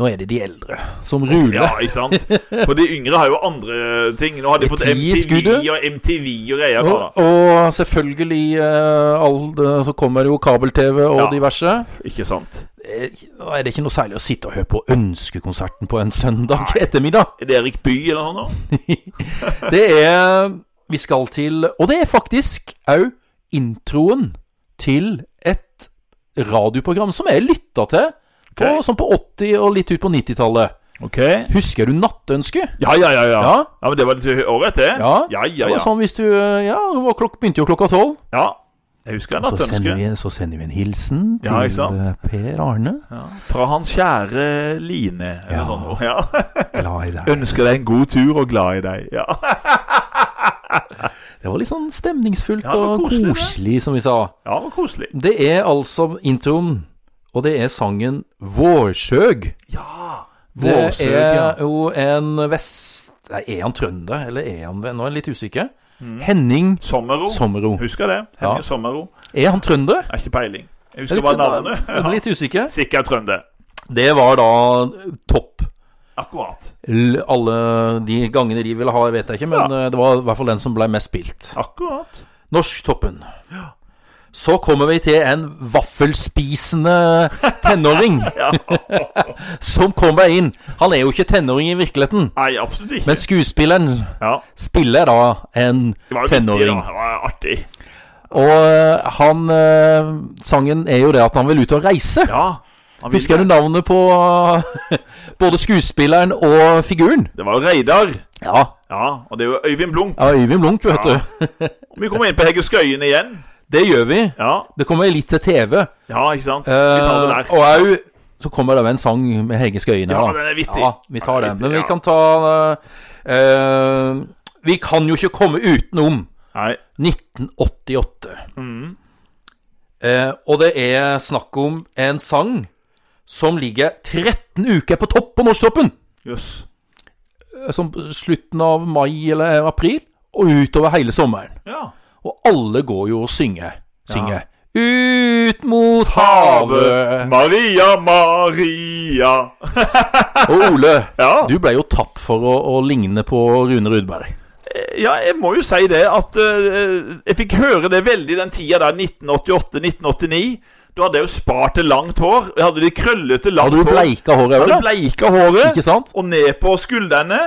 Speaker 1: Nå er det de eldre som
Speaker 2: ja
Speaker 1: ruler.
Speaker 2: ikke sant? For de yngre har jo andre ting. Nå har de fått
Speaker 1: Det er ti i
Speaker 2: MTV
Speaker 1: skuddet.
Speaker 2: og MTV og greier.
Speaker 1: og,
Speaker 2: nå,
Speaker 1: og selvfølgelig eh, all det, Så kommer det jo kabel-TV og
Speaker 2: Ja.
Speaker 1: diverse.
Speaker 2: da. Ikke sant?
Speaker 1: Eh, Da er det ikke noe særlig å sitte og høre på ønskekonserten på en søndag ettermiddag.
Speaker 2: Er det Erik Bye eller noe sånt? nå?
Speaker 1: Det er Vi skal til Og det er faktisk òg introen til et radioprogram som jeg lytta til på,
Speaker 2: Ok.
Speaker 1: sånn på 80- og litt ut på 90-tallet.
Speaker 2: Ok.
Speaker 1: Husker du Nattønsket?
Speaker 2: Ja, ja, ja. Ja,
Speaker 1: Ja.
Speaker 2: ja men det var litt året etter?
Speaker 1: Ja.
Speaker 2: ja, ja.
Speaker 1: Det
Speaker 2: ja.
Speaker 1: var sånn hvis du Ja, det var klok, begynte jo klokka tolv.
Speaker 2: ja. Jeg husker en
Speaker 1: Så sender,
Speaker 2: nattønske.
Speaker 1: vi, så sender vi en hilsen til
Speaker 2: Ja, ikke sant?
Speaker 1: eh, Per Arne.
Speaker 2: Ja. Fra hans kjære Line, eller
Speaker 1: Ja.
Speaker 2: sånn noe. Ja.
Speaker 1: Glad i deg.
Speaker 2: Ønsker deg en god tur og glad i deg. Ja.
Speaker 1: Det var litt sånn stemningsfullt
Speaker 2: Ja, det var
Speaker 1: og
Speaker 2: koselig, det.
Speaker 1: koselig, som vi sa.
Speaker 2: Ja, det var koselig.
Speaker 1: Det er altså introen, og det er sangen Vårsøg.
Speaker 2: Ja!
Speaker 1: Det
Speaker 2: Vårsøg, ja.
Speaker 1: er jo en vest... Nei, er han trønder, eller er han Nå er jeg litt usikker.
Speaker 2: Mm.
Speaker 1: Henning
Speaker 2: Sommero.
Speaker 1: Sommero.
Speaker 2: Husker det. Henning Sommero.
Speaker 1: Er han trønder?
Speaker 2: Er ikke peiling. Jeg
Speaker 1: Jeg
Speaker 2: husker bare navnet.
Speaker 1: er Litt usikker.
Speaker 2: Sikkert trønder.
Speaker 1: Det var da topp.
Speaker 2: Akkurat.
Speaker 1: L- Alle de gangene de ville ha, jeg vet jeg ikke, men eh, det var i hvert fall den som ble mest spilt.
Speaker 2: Akkurat.
Speaker 1: Norsktoppen. Så kommer vi til en vaffelspisende tenåring som kommer inn. Han er jo ikke tenåring i virkeligheten,
Speaker 2: Nei, absolutt ikke.
Speaker 1: men skuespilleren
Speaker 2: ja.
Speaker 1: spiller da en
Speaker 2: Det var jo
Speaker 1: tenåring.
Speaker 2: Viktig, da. det var artig.
Speaker 1: Og eh, han eh, Sangen er jo det at han vil ut og reise.
Speaker 2: Ja. Han
Speaker 1: Husker du navnet på eh, både skuespilleren og figuren?
Speaker 2: Det var jo Reidar.
Speaker 1: Ja,
Speaker 2: Ja, og det er jo Øyvind Blunk.
Speaker 1: ja Øyvind Blunk, vet
Speaker 2: Ja.
Speaker 1: du.
Speaker 2: Vi kommer inn på Hegge Skøyen igjen.
Speaker 1: Det gjør vi.
Speaker 2: Ja,
Speaker 1: Det kommer litt til TV.
Speaker 2: ja ikke sant? Vi tar
Speaker 1: Eh,
Speaker 2: det der.
Speaker 1: og au, så kommer det med en sang med Hege Skøyen.
Speaker 2: Ja,
Speaker 1: da.
Speaker 2: den er vittig.
Speaker 1: Ja, vi tar
Speaker 2: Den er
Speaker 1: den.
Speaker 2: vittig,
Speaker 1: Men vi
Speaker 2: ja.
Speaker 1: kan ta eh, eh, Vi kan jo ikke komme utenom
Speaker 2: Nei. Mm.
Speaker 1: 1988. Eh, og det er snakk om en sang som ligger 13 uker på topp på norsktoppen.
Speaker 2: Jøss.
Speaker 1: eh, Som slutten av mai eller april, og utover hele sommeren.
Speaker 2: Ja.
Speaker 1: Og alle går jo og synger. synger. Ut mot havet!
Speaker 2: Maria, Maria.
Speaker 1: Og Ole,
Speaker 2: Ja.
Speaker 1: du ble jo tatt for å, å ligne på Rune Rudberg.
Speaker 2: ja, jeg må jo si det at eh, Jeg fikk høre det veldig den tida der, 1988-1989. Da hadde jeg jo spart til langt hår. Jeg hadde de krøllete, langt
Speaker 1: Hadde du
Speaker 2: hår.
Speaker 1: bleika håret
Speaker 2: Hadde
Speaker 1: òg, da?
Speaker 2: bleika håret.
Speaker 1: Ikke sant?
Speaker 2: Og ned på skuldrene.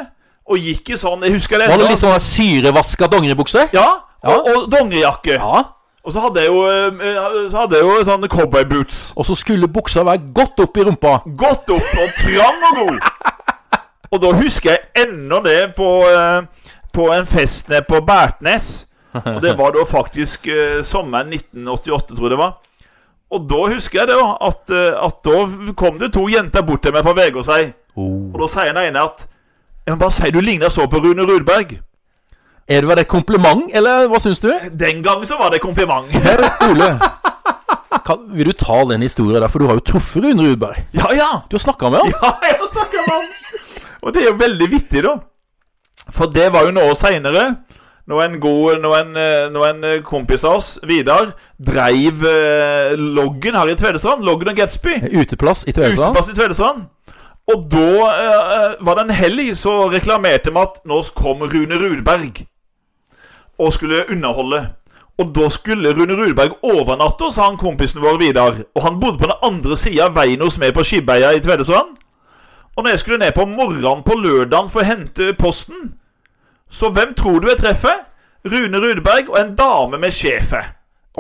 Speaker 2: Og gikk i sånn Jeg husker det
Speaker 1: Var det
Speaker 2: ennå.
Speaker 1: litt sånn syrevaska dongeribukse?
Speaker 2: Ja, og, og dongerijakke.
Speaker 1: Ja.
Speaker 2: Og så hadde jeg jo, eh, så hadde jeg jo sånne cowboyboots.
Speaker 1: Og så skulle buksa være godt opp i rumpa.
Speaker 2: Godt opp og trang og god. Og da husker jeg ennå det på, eh, på en fest nede på Bertnes. Og det var da faktisk eh, sommeren 1988, tror jeg det var. Og da husker jeg det jo, at, eh, at da kom det to jenter bort til meg fra VG og si Og da sier den ene at Jeg må bare si du ligner så på Rune Rudberg.
Speaker 1: Er det var det et kompliment, eller hva syns du?
Speaker 2: Den gangen så var det kompliment.
Speaker 1: Per Ole, kan, vil du ta den historien der, for du har jo truffet Rune Rudberg.
Speaker 2: Ja, ja.
Speaker 1: Du har snakka med ham.
Speaker 2: Ja, jeg snakker om Og det er jo veldig vittig, da. For det var jo noe seinere. Når en god når en, eh, når en eh, kompis av oss, Vidar, dreiv eh, loggen her i Tvedestrand. Loggen og Gatsby.
Speaker 1: Uteplass i Tvedestrand.
Speaker 2: Uteplass i Tvedestrand. Og da eh, eh, var det en helg så reklamerte de at nå kom Rune Rudberg og skulle underholde. Og da skulle Rune Rudberg overnatte hos han kompisen vår Vidar. Og han bodde på den andre sida av veien hos meg på Skibbeia i Tvedestrand. Og når jeg skulle ned på morgenen på lørdagen for å hente posten, så hvem tror du jeg treffer? Rune Rudberg og en dame med schæfer.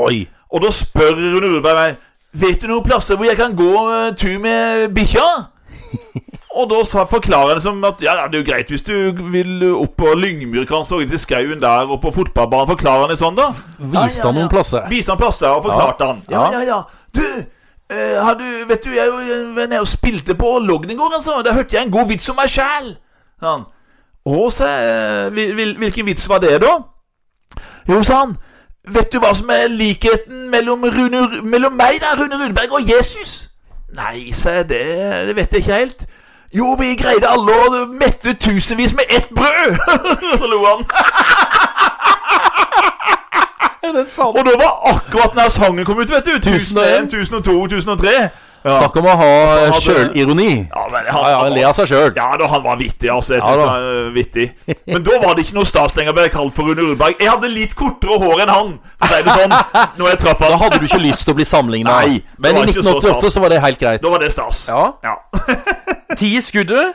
Speaker 1: Oi.
Speaker 2: Og da spør Rune Rudberg meg Vet du noen plasser hvor jeg kan gå eh, tur med bikkja? og da sa forklarer han det som at ja, ja, det er jo greit hvis du vil opp på Lyngmyr, kanskje, og til skauen der og på fotballbanen. Forklarer han det sånn, da?
Speaker 1: Viste
Speaker 2: Ja,
Speaker 1: han
Speaker 2: ja, ja.
Speaker 1: noen plasser?
Speaker 2: Viste han plasser og forklarte han. Ja,
Speaker 1: Ja.
Speaker 2: ja, ja. Du, eh, har du Vet du, jeg var jo nede og spilte på Logn i går, altså. Da hørte jeg en god vits om meg sjæl. sa han. Å, sa jeg. eh, «Hvil- hvil- Hvilken vits var det, da? Jo, sa han. Vet du hva som er likheten mellom, Rune, mellom meg, da, Rune Rudberg, og Jesus? Nei, sa jeg, det, det vet jeg ikke helt. Jo, vi greide alle å mette tusenvis med ett brød! Så lo han. Og da var akkurat den her sangen kom ut, vet du.
Speaker 1: 1001,
Speaker 2: 1001, 1002, 1003. Ja,
Speaker 1: Snakk om å ha eh,
Speaker 2: Hadde-
Speaker 1: sjølironi.
Speaker 2: ja men
Speaker 1: Ja, ja, han
Speaker 2: han,
Speaker 1: ler av seg sjøl.
Speaker 2: ja da, han var vittig, altså. Jeg
Speaker 1: Ja,
Speaker 2: synes
Speaker 1: da.
Speaker 2: han var vittig. Men da var det ikke noe stas lenger å bli kalt for Rune Rudberg. Jeg hadde litt kortere hår enn han, for å si det sånn, når jeg traff
Speaker 1: Da
Speaker 2: han.
Speaker 1: hadde du ikke lyst til å bli sammenligna.
Speaker 2: Nei, det
Speaker 1: Men i
Speaker 2: var ikke så
Speaker 1: 1988 så var det helt greit.
Speaker 2: Da var det stas.
Speaker 1: Ja.
Speaker 2: Ja.
Speaker 1: Ti i skuddet.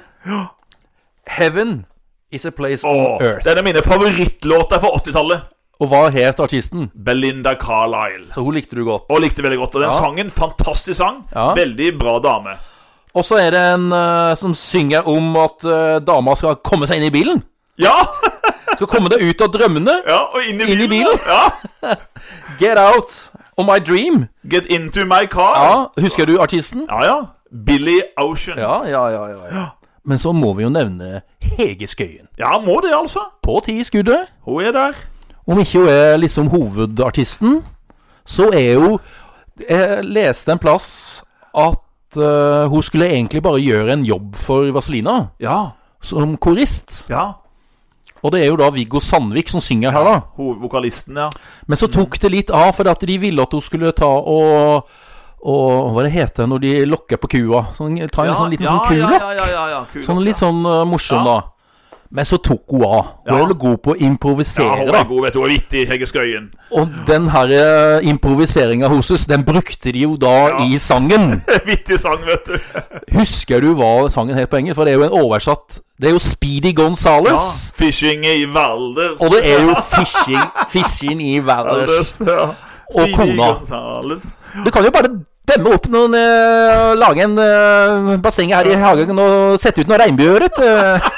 Speaker 1: Heaven is a place
Speaker 2: Åh,
Speaker 1: on earth.
Speaker 2: det er en av mine favorittlåter fra 80-tallet.
Speaker 1: Og hva het artisten?
Speaker 2: Belinda Carlisle.
Speaker 1: Så hun likte du godt.
Speaker 2: Og likte veldig godt. Og den
Speaker 1: Ja.
Speaker 2: sangen, fantastisk sang.
Speaker 1: Ja.
Speaker 2: Veldig bra dame.
Speaker 1: Og så er det en eh, som synger om at eh, dama skal komme seg inn i bilen.
Speaker 2: Ja!
Speaker 1: Skal komme deg ut av drømmene.
Speaker 2: ja og inn i
Speaker 1: Inn
Speaker 2: bilen.
Speaker 1: i bilen.
Speaker 2: Ja.
Speaker 1: Get out of my dream.
Speaker 2: Get into my car.
Speaker 1: Ja, Husker du artisten?
Speaker 2: Ja, ja. Billy Ocean. Ja,
Speaker 1: Ja, ja, ja. ja, ja. Men så må vi jo nevne Hege Skøyen.
Speaker 2: må det, altså.
Speaker 1: På ti i skuddet.
Speaker 2: Hun er der.
Speaker 1: Om ikke hun er liksom hovedartisten, så er hun Jeg leste en plass at eh, hun skulle egentlig bare gjøre en jobb for Vazelina,
Speaker 2: Ja.
Speaker 1: som korist.
Speaker 2: ja.
Speaker 1: Og det er jo da Viggo Sandvik som synger her, da.
Speaker 2: Hovedvokalisten, ja.
Speaker 1: Men så tok det litt av, for at de ville at hun skulle ta og og hva det heter når de lokker på kua? Sånn, ta en
Speaker 2: ja,
Speaker 1: sånn liten
Speaker 2: ja,
Speaker 1: sånn kulokk.
Speaker 2: Ja, ja, ja, ja, ja. kulokk,
Speaker 1: Sånn litt
Speaker 2: ja.
Speaker 1: sånn eh, morsom,
Speaker 2: Ja.
Speaker 1: da. Men så tok hun av. Hun
Speaker 2: Ja.
Speaker 1: er vel god på å
Speaker 2: ja,
Speaker 1: improvisere,
Speaker 2: hun
Speaker 1: da.
Speaker 2: er god, vet du. Hun er vittig, Hegge Skøyen.
Speaker 1: Og den her eh, improviseringa hennes, den brukte de jo da
Speaker 2: Ja.
Speaker 1: i sangen.
Speaker 2: vittig sang, vet du.
Speaker 1: Husker du hva sangen het på engelsk? For det er jo en oversatt Det er jo Speedy
Speaker 2: Ja.
Speaker 1: Gonzales.
Speaker 2: Fishing i Valdres.
Speaker 1: Og det er jo fishing, fishing i Valors.
Speaker 2: Valdres, ja.
Speaker 1: Og
Speaker 2: Speedy
Speaker 1: kona.
Speaker 2: Gonzales.
Speaker 1: Du kan jo bare demme opp noen eh, Lage en eh, basseng her i hagen og sette ut noe regnbueørret. eh.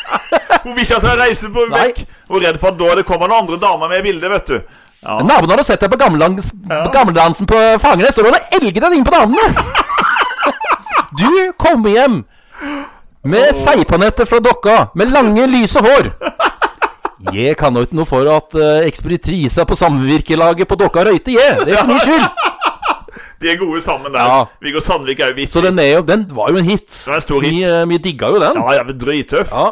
Speaker 2: Hun vil ikke ha seg reise på
Speaker 1: Nei.
Speaker 2: vekk. Hun er redd for at da det kommer noen andre damer med i bildet, vet du. Ja.
Speaker 1: Naboene hadde sett deg på gammeldans, gammeldansen på Fagernes. Står du og elger deg inn på damene? Du kommer hjem med seigpanetter fra dokka, med lange, lyse hår. Jeg kan jo ikke noe eh, for at uh, ekspeditrisa på samvirkelaget på Dokka røyte, jeg. Det er for min skyld.
Speaker 2: De er gode sammen der.
Speaker 1: Ja.
Speaker 2: Viggo Sandvik er jo vittig.
Speaker 1: Så den, er jo, den var jo en hit.
Speaker 2: var en stor hit.
Speaker 1: Vi, eh, vi digga jo den.
Speaker 2: Ja, jeg er drittøff.
Speaker 1: Ja.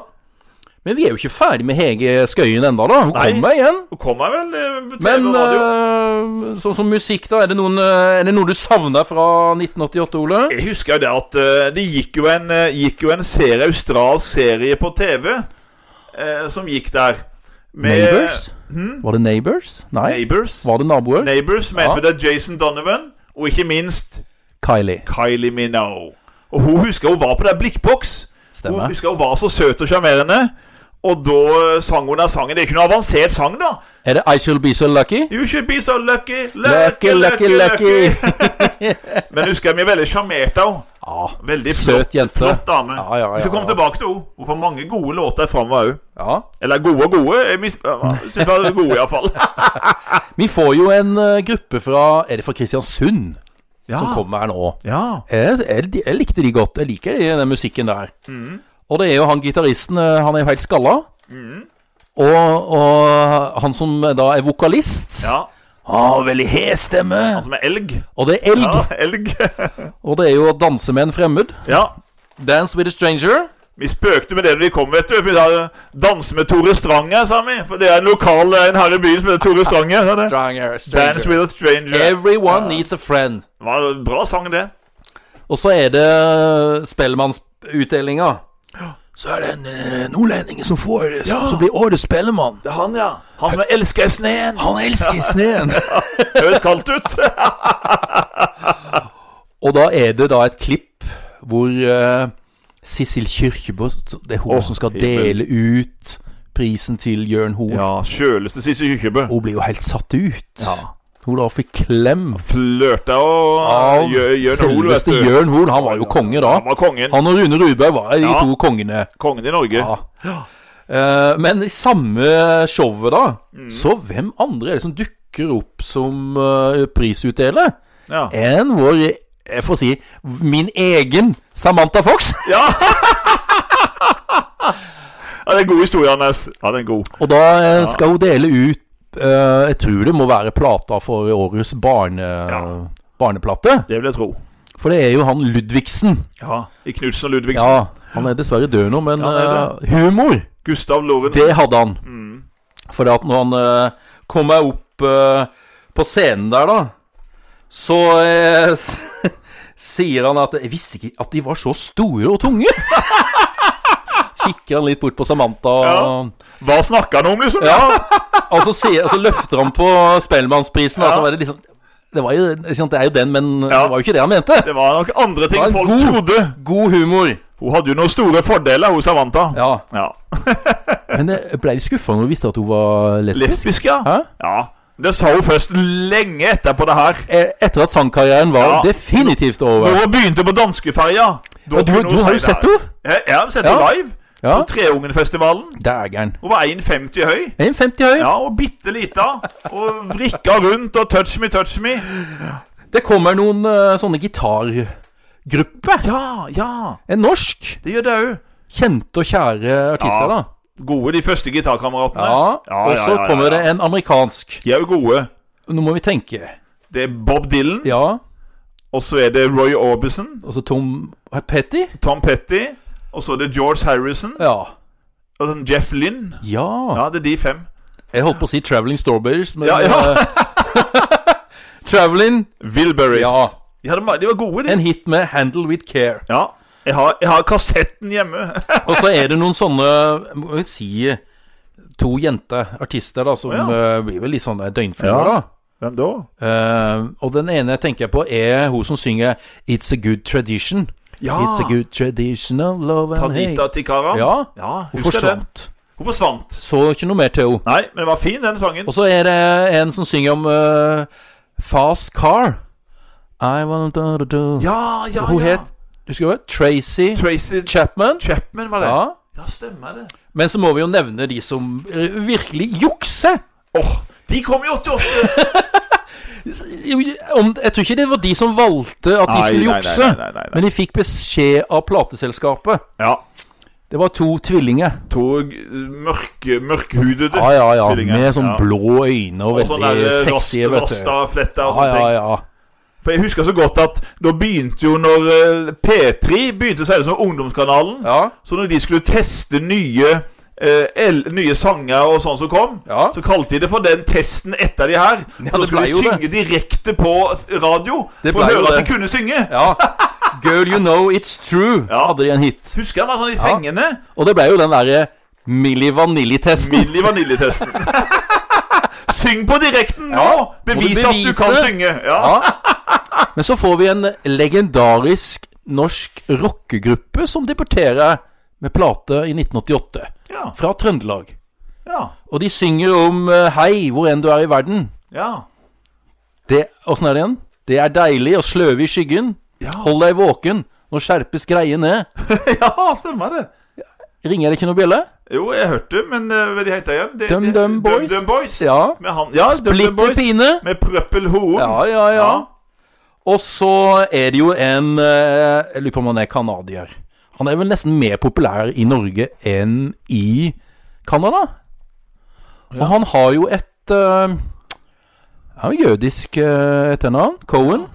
Speaker 1: Men vi er jo ikke ferdig med Hege Skøyen ennå, da. Hun
Speaker 2: Nei.
Speaker 1: kommer igjen.
Speaker 2: Hun kommer vel eh, på
Speaker 1: Men
Speaker 2: TV og radio.
Speaker 1: eh, sånn som musikk, da. Er det, noen, eh, er det noe du savner fra 1988, Ole?
Speaker 2: Jeg husker jo det at eh, det gikk jo en, eh, gikk jo en serie, australsk serie på TV eh, som gikk der.
Speaker 1: Neighbors? Var det Neighbors? Nei.
Speaker 2: Eh, hmm? Neighbors.
Speaker 1: Var det naboer?
Speaker 2: Neighbors med
Speaker 1: Ja.
Speaker 2: ja. Jason Donovan, og ikke minst
Speaker 1: Kylie.
Speaker 2: Kylie Minogue. Og hun husker hun var på der blikkboks.
Speaker 1: Stemmer.
Speaker 2: Hun husker hun var så søt og sjarmerende. Og da eh, sang hun den sangen. Det er ikke noe avansert sang, da.
Speaker 1: Er det I Shall Be So Lucky?
Speaker 2: You should be so lucky,
Speaker 1: Lucky,
Speaker 2: lucky, lucky, lucky. Men husker jeg vi er veldig sjarmert av henne.
Speaker 1: ja.
Speaker 2: Veldig
Speaker 1: Søt
Speaker 2: flott,
Speaker 1: jente.
Speaker 2: flott dame.
Speaker 1: Ja, ja, ja,
Speaker 2: Vi skal komme
Speaker 1: ja.
Speaker 2: tilbake til henne. Hun får mange gode låter framover òg.
Speaker 1: ja.
Speaker 2: Eller gode og gode. Jeg mis- jeg synes hun er gode, iallfall.
Speaker 1: Vi får jo en eh, gruppe fra Er det fra Kristiansund
Speaker 2: Ja.
Speaker 1: som kommer her nå?
Speaker 2: ja.
Speaker 1: Jeg, jeg, jeg likte de godt. Jeg liker de, den musikken der.
Speaker 2: Hmm.
Speaker 1: Og det er jo han gitaristen eh, Han er jo helt skalla.
Speaker 2: Hmm.
Speaker 1: Og, og han som da er vokalist
Speaker 2: ja.
Speaker 1: Har veldig hes stemme.
Speaker 2: Han som er elg.
Speaker 1: Og det er elg.
Speaker 2: Ja, elg.
Speaker 1: Og det er jo å danse med en fremmed.
Speaker 2: ja.
Speaker 1: Dance with a stranger.
Speaker 2: Vi spøkte med det da vi kom, vet du. For vi da danse med Tore Strange, sa vi. For det er en lokal eh, en her i byen som heter Tore Strange. sa det.
Speaker 1: Stranger,
Speaker 2: Dance with a stranger.
Speaker 1: Everyone needs a friend.
Speaker 2: Det var en bra sang, det.
Speaker 1: Og så er det eh, Spellemannsutdelinga. Så er det en eh, nordlending som får det, som, som blir årets spellemann.
Speaker 2: Det er han, ja. Han som elsker sneen.
Speaker 1: Han elsker sneen.
Speaker 2: Høres kaldt ut.
Speaker 1: Og da er det da et klipp hvor eh, Sissel Kyrkjebø Det er hun
Speaker 2: Åh,
Speaker 1: som skal
Speaker 2: himmel.
Speaker 1: dele ut prisen til Jørn Hoel.
Speaker 2: Ja, kjøleste Sissy Kyrkjebø.
Speaker 1: Hun blir jo helt satt ut. Hun da fikk klem
Speaker 2: Flørta og
Speaker 1: av
Speaker 2: gjør gjør noe, vet
Speaker 1: selveste
Speaker 2: du.
Speaker 1: Jørn Hoel. Han var jo konge da.
Speaker 2: Han var kongen.
Speaker 1: Han og Rune Rudberg var de
Speaker 2: Ja.
Speaker 1: to kongene.
Speaker 2: Kongen i Norge.
Speaker 1: Ja. Eh, men i samme showet, da,
Speaker 2: Mm.
Speaker 1: så hvem andre er det som dukker opp som eh, prisutdeler?
Speaker 2: Ja.
Speaker 1: Enn vår Jeg får si min egen Samantha Fox.
Speaker 2: Ja, det er en god historie, Anders. Ja, det er en god.
Speaker 1: Og da eh, skal hun dele ut eh, Jeg tror det må være plata for årets barne,
Speaker 2: Ja.
Speaker 1: barneplate.
Speaker 2: Det vil jeg tro.
Speaker 1: For det er jo han Ludvigsen.
Speaker 2: Ja. I Knutsen og Ludvigsen.
Speaker 1: Ja, han er dessverre død nå, men
Speaker 2: Ja, det er
Speaker 1: eh, humor,
Speaker 2: Gustav Lorentzen.
Speaker 1: det hadde han. For at når han uh, kom meg opp eh, på scenen der, da, så eh, s- sier han at Jeg visste ikke at de var så store og tunge. Kikker han litt bort på Samantha.
Speaker 2: Ja.
Speaker 1: og
Speaker 2: Hva snakker han om, liksom?
Speaker 1: Og så, sier, og så løfter han på Spellemannsprisen, og
Speaker 2: Ja.
Speaker 1: så var det liksom det, var jo, ikke sant, det er jo den, men
Speaker 2: Ja.
Speaker 1: det var jo ikke det han mente.
Speaker 2: Det var nok andre ting
Speaker 1: Det var en
Speaker 2: folk
Speaker 1: god-
Speaker 2: trodde.
Speaker 1: God humor.
Speaker 2: Hun hadde jo noen store fordeler, hun Savanta.
Speaker 1: Ja.
Speaker 2: Ja.
Speaker 1: Men jeg ble litt skuffa når du visste at hun var lesbisk.
Speaker 2: Lesbisk, ja.
Speaker 1: Hæ?
Speaker 2: ja. Det sa hun først lenge etterpå det her.
Speaker 1: Eh, Etter at sangkarrieren var
Speaker 2: Ja.
Speaker 1: definitivt
Speaker 2: Når
Speaker 1: over.
Speaker 2: hun begynte på danskeferja. da
Speaker 1: Og du,
Speaker 2: kunne hun
Speaker 1: du
Speaker 2: si
Speaker 1: har jo
Speaker 2: det her.
Speaker 1: sett henne.
Speaker 2: Jeg, jeg har sett
Speaker 1: Ja.
Speaker 2: henne live.
Speaker 1: Ja.
Speaker 2: På Treungenfestivalen.
Speaker 1: Dægeren.
Speaker 2: Hun var 1,50 høy.
Speaker 1: 1,50 høy.
Speaker 2: Ja, og bitte lita. Og vrikka rundt og touch me, touch me.
Speaker 1: Det kommer noen eh, sånne gitargrupper.
Speaker 2: Ja, ja.
Speaker 1: En norsk.
Speaker 2: Det gjør det òg.
Speaker 1: Kjente og kjære artister,
Speaker 2: Ja.
Speaker 1: da.
Speaker 2: Gode, de første gitarkameratene.
Speaker 1: Ja. Og så
Speaker 2: ja, ja,
Speaker 1: kommer
Speaker 2: ja.
Speaker 1: det en amerikansk.
Speaker 2: De er jo gode.
Speaker 1: Nå må vi tenke.
Speaker 2: Det er Bob Dylan,
Speaker 1: Ja.
Speaker 2: og så er det Roy Orbison,
Speaker 1: Og så Tom Petty.
Speaker 2: Tom Petty, og så er det George Harrison
Speaker 1: Ja.
Speaker 2: og den Jeff Lynn.
Speaker 1: Ja.
Speaker 2: Ja, det er de fem.
Speaker 1: Jeg holdt på å si Traveling Strawberries, men eh,
Speaker 2: Ja, ja.
Speaker 1: Traveling,
Speaker 2: Wilburys.
Speaker 1: Ja.
Speaker 2: Ja, de var- de var gode, de.
Speaker 1: en hit med Handle With Care.
Speaker 2: Ja. Jeg har, jeg har kassetten hjemme.
Speaker 1: Og så er det noen sånne, må jeg si, to jenter, artister, da, som
Speaker 2: Ja.
Speaker 1: eh, blir vel litt sånne døgnfluer,
Speaker 2: Ja.
Speaker 1: da.
Speaker 2: Hvem da?
Speaker 1: Eh, og den ene jeg tenker på, er hun som synger It's a good tradition.
Speaker 2: Ja.
Speaker 1: It's a good tradition of love and hate.
Speaker 2: Tadita Tikara.
Speaker 1: Ja,
Speaker 2: ja
Speaker 1: hun
Speaker 2: husker det.
Speaker 1: forsvant.
Speaker 2: Hun forsvant.
Speaker 1: Så ikke noe mer til henne.
Speaker 2: Nei, men den var fin, den sangen.
Speaker 1: Og så er det en som synger om eh, Fast Car. I want to do, do.
Speaker 2: Ja, ja,
Speaker 1: Hun
Speaker 2: ja.
Speaker 1: het Husker du hva? Tracy
Speaker 2: Tracy
Speaker 1: Chapman.
Speaker 2: Chapman, var det.
Speaker 1: Ja.
Speaker 2: ja stemmer det.
Speaker 1: Men så må vi jo nevne de som eh, virkelig jukser.
Speaker 2: Åh, de kom i 88!
Speaker 1: Om, jeg tror ikke det var de som valgte at de
Speaker 2: Nei,
Speaker 1: skulle
Speaker 2: nei, nei,
Speaker 1: jukse,
Speaker 2: nei, nei, nei.
Speaker 1: men de fikk beskjed av plateselskapet.
Speaker 2: ja.
Speaker 1: Det var to tvillinger.
Speaker 2: To g- mørke, mørkhudede.
Speaker 1: Ja, ja, ja.
Speaker 2: Tvillinger,
Speaker 1: Med sånn
Speaker 2: ja.
Speaker 1: blå øyne og
Speaker 2: Og sånn
Speaker 1: veldig
Speaker 2: der
Speaker 1: sexy, vet du.
Speaker 2: rastafletter og
Speaker 1: Ja,
Speaker 2: sånne
Speaker 1: ja,
Speaker 2: ting.
Speaker 1: ja.
Speaker 2: For jeg husker så godt at da begynte jo når eh, P3 begynte å seile som sånn Ungdomskanalen
Speaker 1: Ja,
Speaker 2: Så når de skulle teste nye, eh, el, nye sanger og sånn som kom
Speaker 1: ja.
Speaker 2: så kalte de det for den testen etter de her.
Speaker 1: Ja,
Speaker 2: For da
Speaker 1: det
Speaker 2: skulle
Speaker 1: ble
Speaker 2: de
Speaker 1: jo
Speaker 2: synge direkte på radio
Speaker 1: Det
Speaker 2: for å
Speaker 1: ble jo
Speaker 2: høre at
Speaker 1: det.
Speaker 2: de kunne synge.
Speaker 1: ja. Girl You Know It's True
Speaker 2: Ja.
Speaker 1: hadde de en hit.
Speaker 2: Husker jeg var sånn i
Speaker 1: Ja.
Speaker 2: fengene.
Speaker 1: Og det ble jo den derre Milli Vanilli-testen.
Speaker 2: Milli Vanilli-testen. Syng på direkten nå!
Speaker 1: Ja,
Speaker 2: Bevis
Speaker 1: må du
Speaker 2: at du
Speaker 1: bevise.
Speaker 2: kan synge. Ja.
Speaker 1: Ja. Men så får vi en legendarisk norsk rockegruppe som debuterer med plate i 1988,
Speaker 2: Ja.
Speaker 1: fra Trøndelag.
Speaker 2: ja.
Speaker 1: Og de synger om eh, 'Hei, hvor enn du er i verden'.
Speaker 2: ja.
Speaker 1: Det, Åssen er det igjen? Det er deilig å sløve i skyggen.
Speaker 2: Ja.
Speaker 1: Hold deg våken, nå skjerpes greie ned.
Speaker 2: ja, stemmer det.
Speaker 1: Ringer det ikke noe bjelle?
Speaker 2: Jo, jeg hørte det, men eh, hva de heter igjen? De,
Speaker 1: Dum
Speaker 2: de-
Speaker 1: Dum Boys.
Speaker 2: Dum Boys.
Speaker 1: Ja.
Speaker 2: Med han Ja, Dum Dum
Speaker 1: Splitter
Speaker 2: Boys.
Speaker 1: pine.
Speaker 2: Med Prøppel Hoen.
Speaker 1: Ja, ja, ja.
Speaker 2: Ja.
Speaker 1: Og så er det jo en eh, Jeg lurer på om han er canadier. Han er vel nesten mer populær i Norge enn i Canada. Og han har jo et eh, ja, jødisk eh, etternavn. Cohen.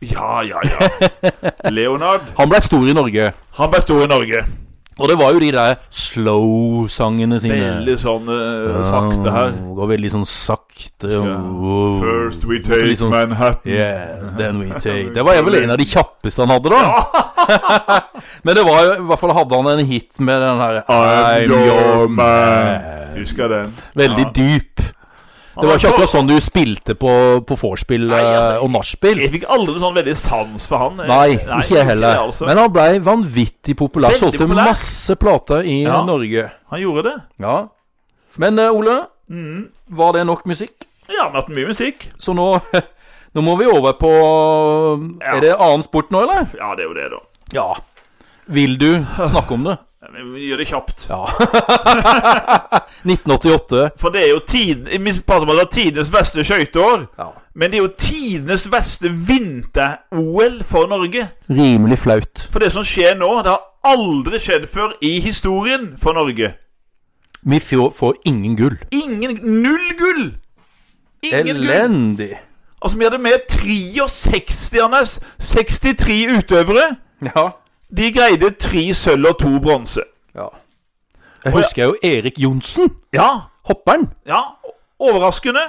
Speaker 2: ja, ja. ja. Leonard.
Speaker 1: Han ble stor i Norge.
Speaker 2: Han ble stor i Norge.
Speaker 1: Og det var jo de der slow-sangene sine.
Speaker 2: Veldig sånn eh, sakte her.
Speaker 1: Ja, Går veldig sånn sakte.
Speaker 2: Ja.
Speaker 1: Wow.
Speaker 2: First we take
Speaker 1: Litt sånn-
Speaker 2: Manhattan. Uh-huh.
Speaker 1: Yes, then we take Det var vel en av de kjappeste han hadde, da. Men det var jo, i hvert fall hadde han en hit med den her
Speaker 2: I'm your man. Husker den.
Speaker 1: Veldig dyp. Det var ikke akkurat sånn du spilte på, på vorspiel
Speaker 2: Nei, altså,
Speaker 1: eh, og nachspiel.
Speaker 2: Jeg fikk aldri sånn veldig sans for han.
Speaker 1: Nei, ikke jeg heller.
Speaker 2: altså.
Speaker 1: Men han blei vanvittig populær.
Speaker 2: Veldig
Speaker 1: Solgte
Speaker 2: populær.
Speaker 1: masse plater i
Speaker 2: Ja.
Speaker 1: Norge.
Speaker 2: Han gjorde det.
Speaker 1: Ja. Men eh, Ole,
Speaker 2: Mm.
Speaker 1: var det nok musikk?
Speaker 2: Ja, han har hatt mye musikk.
Speaker 1: Så nå Nå må vi over på
Speaker 2: Ja.
Speaker 1: Er det annen sport nå, eller?
Speaker 2: Ja, det er jo det, da.
Speaker 1: Ja. Vil du snakke om det?
Speaker 2: Men Vi gjør det kjapt.
Speaker 1: Ja. 1988.
Speaker 2: For det er jo tid, vi prater om at det er tidenes verste skøyteår.
Speaker 1: Ja.
Speaker 2: Men det er jo tidenes verste vinter-OL for Norge.
Speaker 1: Rimelig flaut.
Speaker 2: For det som skjer nå, det har aldri skjedd før i historien for Norge.
Speaker 1: Vi får, får ingen gull.
Speaker 2: Ingen Null gull! Ingen gull.
Speaker 1: Elendig.
Speaker 2: Altså, vi hadde med 63, Anders. 63 utøvere.
Speaker 1: Ja.
Speaker 2: De greide tre sølv og to bronse.
Speaker 1: Jeg husker jo Erik Johnsen.
Speaker 2: Ja,
Speaker 1: Hopperen.
Speaker 2: ja. Overraskende.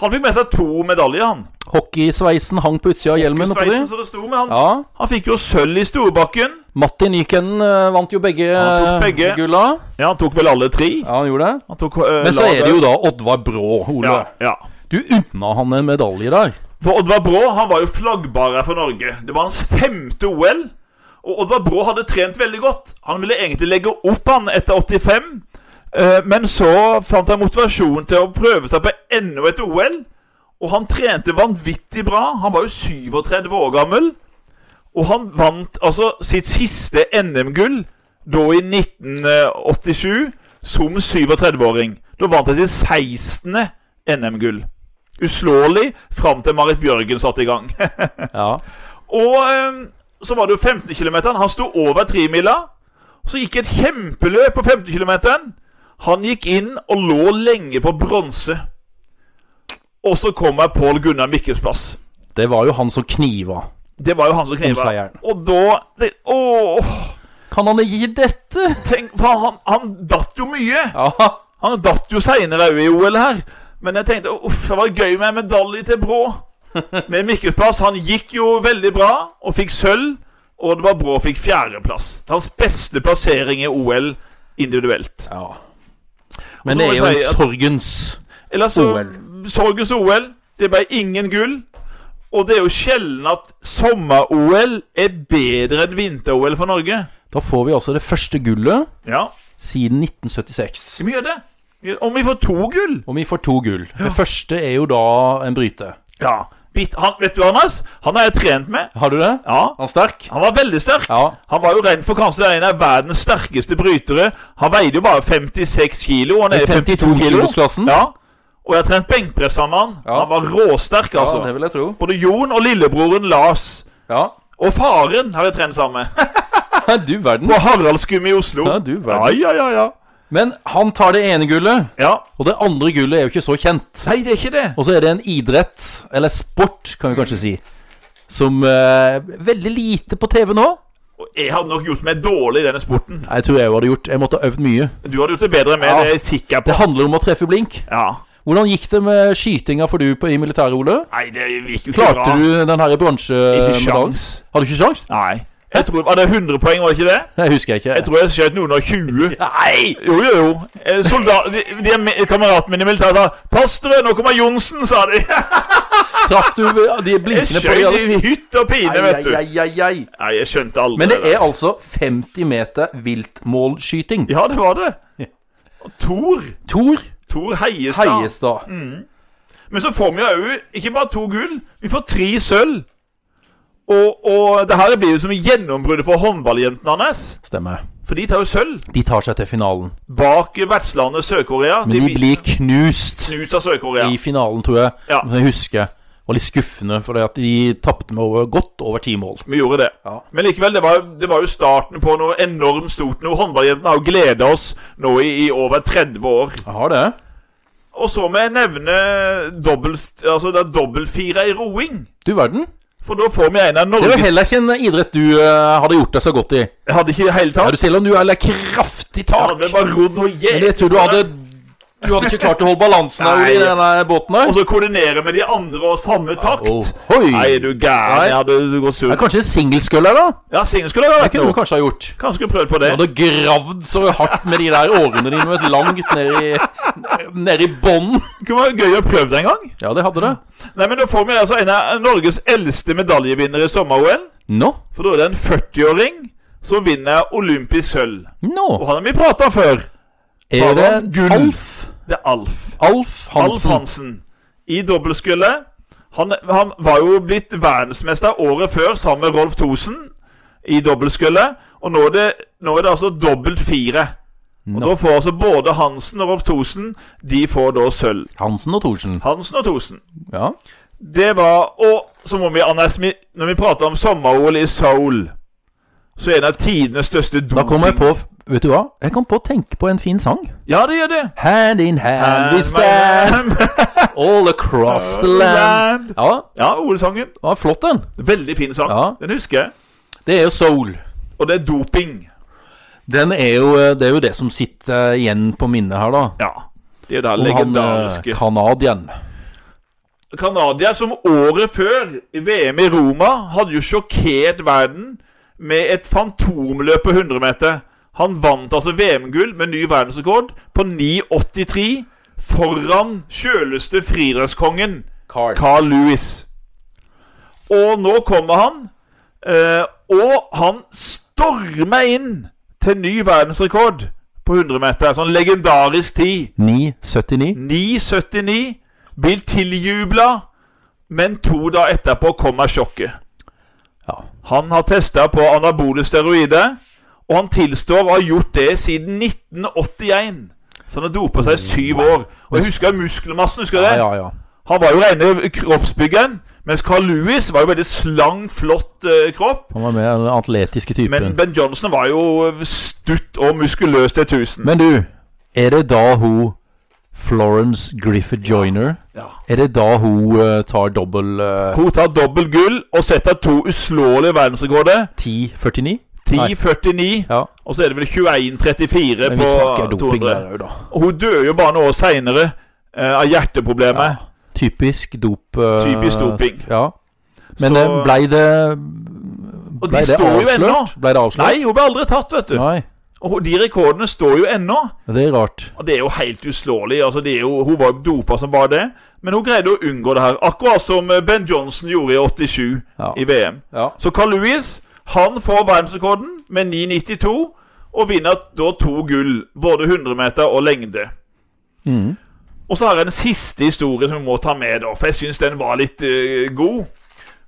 Speaker 2: Han fikk med seg to medaljer, han.
Speaker 1: Hockeysveisen hang på utsida av hjelmen. oppå
Speaker 2: Sveitsen,
Speaker 1: det.
Speaker 2: så det sto med han.
Speaker 1: Ja.
Speaker 2: Han fikk jo sølv i Storbakken.
Speaker 1: Martin Nykänen eh, vant jo begge,
Speaker 2: Han tok begge.
Speaker 1: eh, gulla.
Speaker 2: Ja, han tok vel alle tre.
Speaker 1: Ja, han gjorde det.
Speaker 2: Han tok, eh,
Speaker 1: Men så
Speaker 2: laget.
Speaker 1: er det jo da Oddvar Brå, Ole.
Speaker 2: ja, ja.
Speaker 1: Du unna han en medalje der.
Speaker 2: For Oddvar Brå han var jo flaggbarer for Norge. Det var hans femte OL. Og Oddvar Brå hadde trent veldig godt. Han ville egentlig legge opp han etter 85, eh, men så fant han motivasjon til å prøve seg på enda et OL. Og han trente vanvittig bra. Han var jo 37 år gammel. Og han vant altså sitt siste NM-gull da i 1987 som 37-åring. Da vant han sitt 16. NM-gull. Uslåelig fram til Marit Bjørgen satte i gang.
Speaker 1: Ja.
Speaker 2: Og eh, så var det jo 15 km. Han sto over tremila. Så gikk et kjempeløp på 15 km. Han gikk inn og lå lenge på bronse. Og så kommer Pål Gunnar Mikkels plass.
Speaker 1: Det var jo han som kniva.
Speaker 2: Det var jo han som kniva.
Speaker 1: seieren.
Speaker 2: Og da det, Åh!
Speaker 1: Kan han ikke gi dette?
Speaker 2: Tenk, for han, han datt jo mye.
Speaker 1: Ja.
Speaker 2: Han datt jo seinere òg i OL her, men jeg tenkte uff, det var gøy med en medalje til Brå. Med Mikkelsplass. Han gikk jo veldig bra og fikk sølv, og det var Brå fikk fjerdeplass. Hans beste plassering i OL individuelt.
Speaker 1: ja.
Speaker 2: Og så
Speaker 1: Men
Speaker 2: må
Speaker 1: det er
Speaker 2: jeg
Speaker 1: jo
Speaker 2: si
Speaker 1: en
Speaker 2: at-
Speaker 1: sorgens
Speaker 2: Eller så
Speaker 1: OL.
Speaker 2: Sorgens OL. Det ble ingen gull. Og det er jo sjelden at sommer-OL er bedre enn vinter-OL for Norge.
Speaker 1: Da får vi altså det første gullet
Speaker 2: Ja,
Speaker 1: siden 1976.
Speaker 2: vi gjør det. Om vi får to gull
Speaker 1: Og vi får to gull. Det første er jo da en bryte.
Speaker 2: Ja. Bitt, han, vet du, Anders? Han har jeg trent med.
Speaker 1: Har du det?
Speaker 2: Ja.
Speaker 1: Han er sterk?
Speaker 2: Han var veldig sterk.
Speaker 1: Ja.
Speaker 2: Han var jo rent for kanskje en av verdens sterkeste brytere. Han veide jo bare 56 kilo. og Han er
Speaker 1: I
Speaker 2: 52 kilo.
Speaker 1: kilosklassen?
Speaker 2: Ja. Og jeg har trent benkpress sammen med han.
Speaker 1: Ja.
Speaker 2: Han var råsterk, altså.
Speaker 1: det vil jeg tro.
Speaker 2: Både Jon og lillebroren Lars
Speaker 1: Ja.
Speaker 2: og faren har jeg trent sammen med.
Speaker 1: Du verden.
Speaker 2: På Haraldsgym i Oslo.
Speaker 1: Ja, du
Speaker 2: ja,
Speaker 1: verden.
Speaker 2: ja, ja, ja.
Speaker 1: Men han tar det ene gullet,
Speaker 2: ja.
Speaker 1: og det andre gullet er jo ikke så kjent.
Speaker 2: Nei, det er ikke det.
Speaker 1: Og så er det en idrett, eller sport, kan vi kanskje si, som eh, Veldig lite på TV nå.
Speaker 2: Og jeg hadde nok gjort meg dårlig i denne sporten.
Speaker 1: Jeg tror jeg hadde gjort Jeg måtte ha øvd mye.
Speaker 2: Du hadde gjort det bedre enn meg,
Speaker 1: Ja.
Speaker 2: det er jeg sikker på.
Speaker 1: Det handler om å treffe blink.
Speaker 2: Ja.
Speaker 1: Hvordan gikk det med skytinga for du på, i militæret, Ole?
Speaker 2: Nei, det gikk jo ikke
Speaker 1: Klarte
Speaker 2: bra.
Speaker 1: du eh, den her
Speaker 2: Ikke
Speaker 1: bronsemedaljen?
Speaker 2: sjans.
Speaker 1: Hadde du ikke sjans?
Speaker 2: Nei. Jeg tror, var det 100 poeng, var det ikke det?
Speaker 1: Nei, husker jeg ikke.
Speaker 2: Jeg tror jeg skjøt noen og 20.
Speaker 1: Nei!
Speaker 2: Jo, jo, jo. Eh, Soldat, de, de me- kameratene mine i militæret sa 'Pass dere, nå kommer Johnsen', sa de.
Speaker 1: Traff du de
Speaker 2: Jeg
Speaker 1: blinkene på
Speaker 2: skjøt i hytt og pine, vet du.
Speaker 1: Ai, ai, ai, ai.
Speaker 2: Nei, jeg skjønte aldri
Speaker 1: Men det
Speaker 2: der.
Speaker 1: er altså 50 meter viltmålskyting.
Speaker 2: Ja, det var det. Og Tor.
Speaker 1: Tor
Speaker 2: Tor Heiestad.
Speaker 1: Heiestad.
Speaker 2: Mm. Men så får vi jo òg ikke bare to gull, vi får tre sølv. Og, og det her blir jo som gjennombruddet for håndballjentene hans.
Speaker 1: Stemmer.
Speaker 2: For de tar jo sølv
Speaker 1: De tar seg til finalen.
Speaker 2: bak vertslandet Sør-Korea.
Speaker 1: Men de
Speaker 2: blir
Speaker 1: blir knust
Speaker 2: knust av Sør-Korea.
Speaker 1: i finalen, tror jeg.
Speaker 2: Ja.
Speaker 1: Som jeg husker. Det var litt skuffende, for de tapte med over, godt over ti mål.
Speaker 2: Vi gjorde det.
Speaker 1: Ja.
Speaker 2: Men likevel, det var, det var jo starten på noe enormt stort. Noe håndballjentene har jo gleda oss nå i, i over 30 år.
Speaker 1: Jeg har det.
Speaker 2: Og så må jeg nevne dobbelt, altså det er dobbeltfire i roing.
Speaker 1: Du verden.
Speaker 2: For da får vi en av
Speaker 1: Det var
Speaker 2: Norges
Speaker 1: heller ikke en idrett du eh, hadde gjort deg så godt i.
Speaker 2: Jeg hadde ikke i det hele
Speaker 1: Ja,
Speaker 2: tatt.
Speaker 1: du Selv om du er litt kraftig
Speaker 2: Jeg
Speaker 1: tak.
Speaker 2: hadde bare rodd noe
Speaker 1: Men jeg tror du hadde Du hadde ikke klart å holde balansen av i
Speaker 2: Nei.
Speaker 1: den der båten
Speaker 2: Og
Speaker 1: der.
Speaker 2: så koordinere med de andre og samme takt.
Speaker 1: Oh, hoi.
Speaker 2: Nei, er du
Speaker 1: Nei.
Speaker 2: gæren. Ja, du, du går sur.
Speaker 1: Det er kanskje en singleskull her, da.
Speaker 2: Ja, Signe skulle det
Speaker 1: Det
Speaker 2: vært
Speaker 1: kunne du
Speaker 2: noe.
Speaker 1: kanskje ha gjort.
Speaker 2: Kanskje skulle prøvd på
Speaker 1: Du
Speaker 2: det.
Speaker 1: hadde gravd så hardt med de der årene dine vet, langt ned i, ned i bånn.
Speaker 2: Det kunne vært gøy å prøve det en gang.
Speaker 1: Ja, det hadde det.
Speaker 2: Nei, men Da får vi altså en av Norges eldste medaljevinnere i sommer-OL.
Speaker 1: Nå?
Speaker 2: For da er det en 40-åring som vinner olympisk sølv.
Speaker 1: Nå
Speaker 2: Og han har vi prata om før.
Speaker 1: er det
Speaker 2: Harald Gull.
Speaker 1: Alf
Speaker 2: Det er Alf.
Speaker 1: Alf
Speaker 2: Alf
Speaker 1: Hansen.
Speaker 2: Hansen. I dobbeltskullet. Han, han var jo blitt verdensmester året før sammen med Rolf Thosen i dobbeltskullet. Og nå er det, nå er det altså dobbelt fire. Og Da får altså både Hansen og Rolf Thosen De får da sølv.
Speaker 1: Hansen og Thorsen.
Speaker 2: Hansen og Thosen.
Speaker 1: Ja.
Speaker 2: Det var Og så må vi, Anders, vi- når vi prater om sommer-OL i Seoul, så er en av tidenes største doping...
Speaker 1: Da kommer jeg på Vet du hva? Jeg kom på å tenke på en fin sang.
Speaker 2: Ja, det gjør det.
Speaker 1: Hand in hand
Speaker 2: Eh,
Speaker 1: we stand all across the land. Ja,
Speaker 2: Ja, OL-sangen.
Speaker 1: det var flott, den.
Speaker 2: Veldig fin sang.
Speaker 1: Ja.
Speaker 2: Den husker jeg.
Speaker 1: Det er jo soul.
Speaker 2: Og det er doping.
Speaker 1: Den er jo, eh, det er jo det som sitter igjen på minnet her, da.
Speaker 2: Ja. Det er jo
Speaker 1: Om han eh,
Speaker 2: det legendariske
Speaker 1: canadieren.
Speaker 2: Canadier som året før, i VM i Roma, hadde jo sjokkert verden med et fantomløp på 100 meter. Han vant altså VM-gull med ny verdensrekord på 9,83 foran sjøleste friidrettskongen
Speaker 1: Carl.
Speaker 2: Carl Lewis. Og nå kommer han, eh, og han stormer inn til ny verdensrekord på 100 meter. Sånn legendarisk tid.
Speaker 1: 979.
Speaker 2: 9,79 blir tiljubla, men to dager etterpå kommer sjokket.
Speaker 1: Ja.
Speaker 2: Han har testa på anabole steroider, og han tilstår å ha gjort det siden 1981. Så han har dopa seg i syv år. Og jeg husker muskelmassen, husker du
Speaker 1: Mm. ja,
Speaker 2: det?
Speaker 1: ja, ja.
Speaker 2: Han var jo rene kroppsbyggeren, mens Carl Lewis var jo veldig slang, flott eh, kropp.
Speaker 1: Han var med den atletiske typen.
Speaker 2: Men
Speaker 1: Men,
Speaker 2: Ben Johnson var jo eh, stutt og muskuløs til 1000.
Speaker 1: du, er det da hun Florence Griffith Joyner
Speaker 2: Ja.
Speaker 1: Er det da hun eh, tar dobbel eh,
Speaker 2: Hun tar dobbelt gull og setter to uslåelige verdensrekorder.
Speaker 1: 1049? Nei.
Speaker 2: 10,49,
Speaker 1: Ja.
Speaker 2: og så er det vel 21,34
Speaker 1: Men vi snakker
Speaker 2: på
Speaker 1: doping
Speaker 2: 200.
Speaker 1: der òg, da.
Speaker 2: Og hun dør jo bare noen år seinere av hjerteproblemer.
Speaker 1: Ja. Typisk dop. eh,
Speaker 2: Typisk doping.
Speaker 1: Ja. Men
Speaker 2: Så-
Speaker 1: eh, blei det
Speaker 2: Og
Speaker 1: Blei
Speaker 2: de
Speaker 1: Eh, det
Speaker 2: står jo ennå!
Speaker 1: avslørt? Blei det
Speaker 2: Nei,
Speaker 1: avslørt?
Speaker 2: hun ble aldri tatt, vet du.
Speaker 1: Nei.
Speaker 2: Og de rekordene står jo ennå.
Speaker 1: Det er rart.
Speaker 2: Og det er jo helt uslåelig. Altså, det er jo, hun var jo dopa som bare det. Men hun greide å unngå det her. Akkurat som eh, Ben Johnson gjorde i 87
Speaker 1: Ja.
Speaker 2: i VM.
Speaker 1: Ja.
Speaker 2: Så Carl Lewis han får verdensrekorden med 9,92 og vinner da to gull, både 100 meter og lengde.
Speaker 1: Mhm.
Speaker 2: Og så har jeg en siste historie som vi må ta med, da, for jeg syns den var litt eh, god.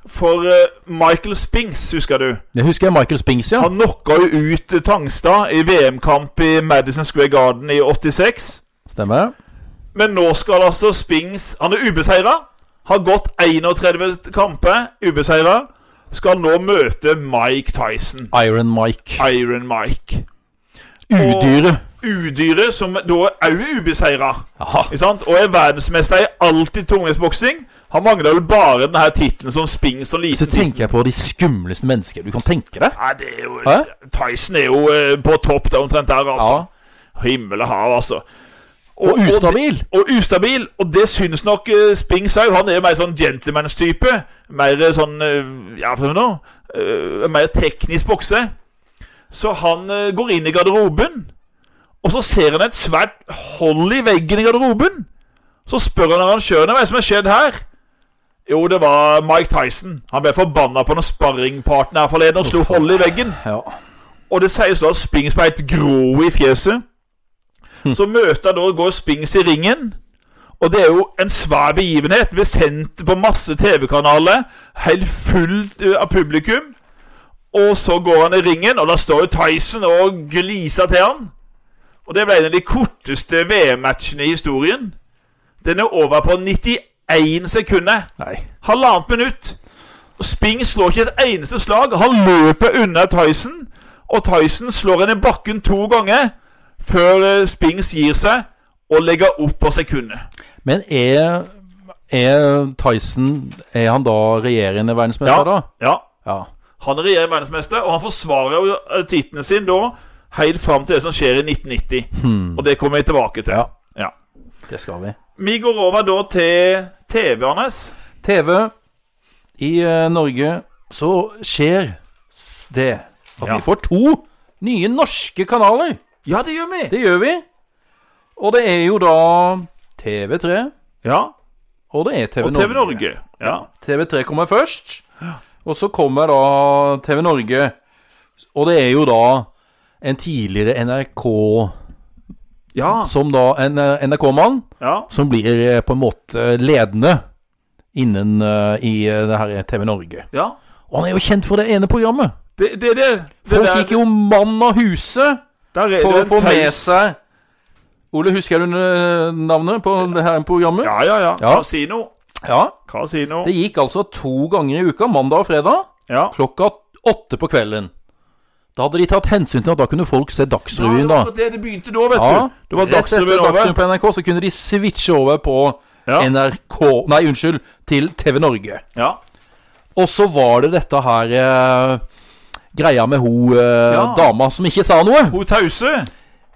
Speaker 2: For eh, Michael Spinks, husker du?
Speaker 1: Jeg husker Michael Spinks, ja.
Speaker 2: Han knocka jo ut eh, Tangstad i VM-kamp i Madison Square Garden i 86.
Speaker 1: Stemmer.
Speaker 2: Men nå skal altså Spings Han er ubeseira. Har gått 31 kamper ubeseira. Skal nå møte Mike Tyson.
Speaker 1: Iron Mike.
Speaker 2: Iron Mike.
Speaker 1: Udyret.
Speaker 2: Udyret, som da òg er ubeseira.
Speaker 1: Ja.
Speaker 2: Ikke sant? Og er verdensmester i alt i tungvektsboksing. Han mangler vel bare den her tittelen som spings og
Speaker 1: Så
Speaker 2: liten.
Speaker 1: tenker jeg på de skumleste mennesker du kan tenke deg.
Speaker 2: Nei, det er jo
Speaker 1: Hæ?
Speaker 2: Tyson er jo eh, på topp der omtrent der, altså.
Speaker 1: Ja.
Speaker 2: Himmel og hav, altså.
Speaker 1: Og ustabil.
Speaker 2: Og, og ustabil. Og det syns nok eh, Spinks òg. Han er jo mer sånn gentlemanstype. Mer eh, sånn eh, Ja, for noe? Eh, mer teknisk bokse. Så han eh, går inn i garderoben, og så ser han et svært hold i veggen i garderoben. Så spør han arrangørene hva er det som har skjedd her. Jo, det var Mike Tyson. Han ble forbanna på noen sparringpartner her forleden og slo hold i veggen.
Speaker 1: Ja.
Speaker 2: Og det sies da at Spings ble helt grå i fjeset. Så møter da går Spings i ringen. Og det er jo en svær begivenhet. Blir sendt på masse TV-kanaler. Helt fullt eh, av publikum. Og så går han i ringen, og da står jo Tyson og gliser til han. Og det ble en av de korteste VM-matchene i historien. Den er over på 91 sekunder.
Speaker 1: Nei.
Speaker 2: Halvannet minutt. Sping slår ikke et eneste slag. Han løper unna Tyson, og Tyson slår henne i bakken to ganger før eh, Spings gir seg og legger opp på sekundet.
Speaker 1: Men er, er Tyson Er han da regjerende
Speaker 2: Ja,
Speaker 1: verdensmester, da?
Speaker 2: ja.
Speaker 1: Ja.
Speaker 2: Han er regjerende verdensmester, og han forsvarer jo eh, tittelen sin da helt fram til det som skjer i 1990. Og det kommer vi tilbake til.
Speaker 1: Ja.
Speaker 2: Ja.
Speaker 1: Det skal vi.
Speaker 2: Vi går over da til TV, Anders.
Speaker 1: TV i eh, Norge så skjer s- det at
Speaker 2: Ja.
Speaker 1: vi får to nye norske kanaler.
Speaker 2: Ja, det gjør vi.
Speaker 1: Det gjør vi. Og det er jo da TV3,
Speaker 2: Ja,
Speaker 1: og det er TV
Speaker 2: Og TV Norge. Ja.
Speaker 1: TV3 kommer først, og så kommer da TV Norge. Og det er jo da en tidligere NRK
Speaker 2: Ja.
Speaker 1: Som da en eh, NRK-mann
Speaker 2: ja.
Speaker 1: som blir eh, på en måte ledende innen eh, i eh, det her TV Norge.
Speaker 2: ja.
Speaker 1: Og han er jo kjent for det ene programmet.
Speaker 2: Det, det, det, det
Speaker 1: Folk
Speaker 2: der-
Speaker 1: gikk jo mann av huset
Speaker 2: der er
Speaker 1: for å
Speaker 2: det en
Speaker 1: få med
Speaker 2: taus-
Speaker 1: seg Ole, husker du eh, navnet på det her programmet?
Speaker 2: Ja, ja, ja.
Speaker 1: Ja.
Speaker 2: Casino.
Speaker 1: ja.
Speaker 2: Casino.
Speaker 1: Det gikk altså to ganger i uka, mandag og fredag.
Speaker 2: Ja.
Speaker 1: klokka åtte på kvelden. Da hadde de tatt hensyn til at da kunne folk se Dagsrevyen, da.
Speaker 2: Ja, det var det det begynte da, vet
Speaker 1: Ja,
Speaker 2: du. Det var
Speaker 1: Rett etter
Speaker 2: Dagsrevyen over.
Speaker 1: Dagsrevyen på NRK, så kunne de switche over på
Speaker 2: Ja.
Speaker 1: NRK Nei, unnskyld, til TV Norge.
Speaker 2: Ja.
Speaker 1: Og så var det dette her eh, greia med ho eh,
Speaker 2: Ja.
Speaker 1: dama som ikke sa noe.
Speaker 2: Hun Tause.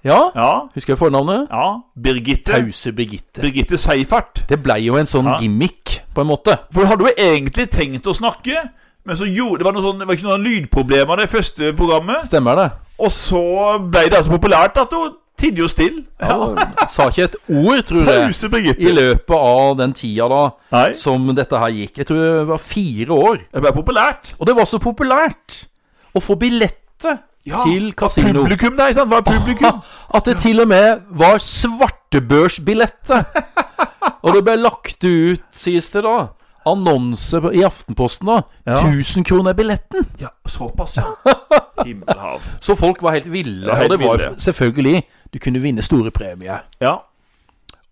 Speaker 1: Ja,
Speaker 2: Ja.
Speaker 1: husker jeg fornavnet?
Speaker 2: ja. Birgitte.
Speaker 1: Tause Birgitte.
Speaker 2: Birgitte Seifert.
Speaker 1: Det blei jo en sånn
Speaker 2: Ja.
Speaker 1: gimmick, på en måte.
Speaker 2: For hun hadde jo egentlig tenkt å snakke, men så gjorde det var, noe sånn, det var ikke noen lydproblemer det første programmet.
Speaker 1: Stemmer det?
Speaker 2: Og så ble det altså populært at hun tidde jo stille.
Speaker 1: Ja. Sa ikke et ord, tror jeg,
Speaker 2: Tause Birgitte.
Speaker 1: i løpet av den tida da
Speaker 2: Nei.
Speaker 1: som dette her gikk. Jeg tror det var fire år.
Speaker 2: Det ble populært.
Speaker 1: Og det var så populært å få billetter
Speaker 2: Ja,
Speaker 1: til kasino.
Speaker 2: Publikum der, ikke sant? Var publikum.
Speaker 1: At det til og med var svartebørsbilletter. og det ble lagt ut, sies det da, annonse på- i Aftenposten da.
Speaker 2: Ja.
Speaker 1: 1000 kroner billetten.
Speaker 2: Ja, såpass, ja. Himmelhav.
Speaker 1: Så folk var helt ville.
Speaker 2: Ja, helt
Speaker 1: og det var
Speaker 2: ville.
Speaker 1: jo f- selvfølgelig Du kunne vinne store premier.
Speaker 2: Ja.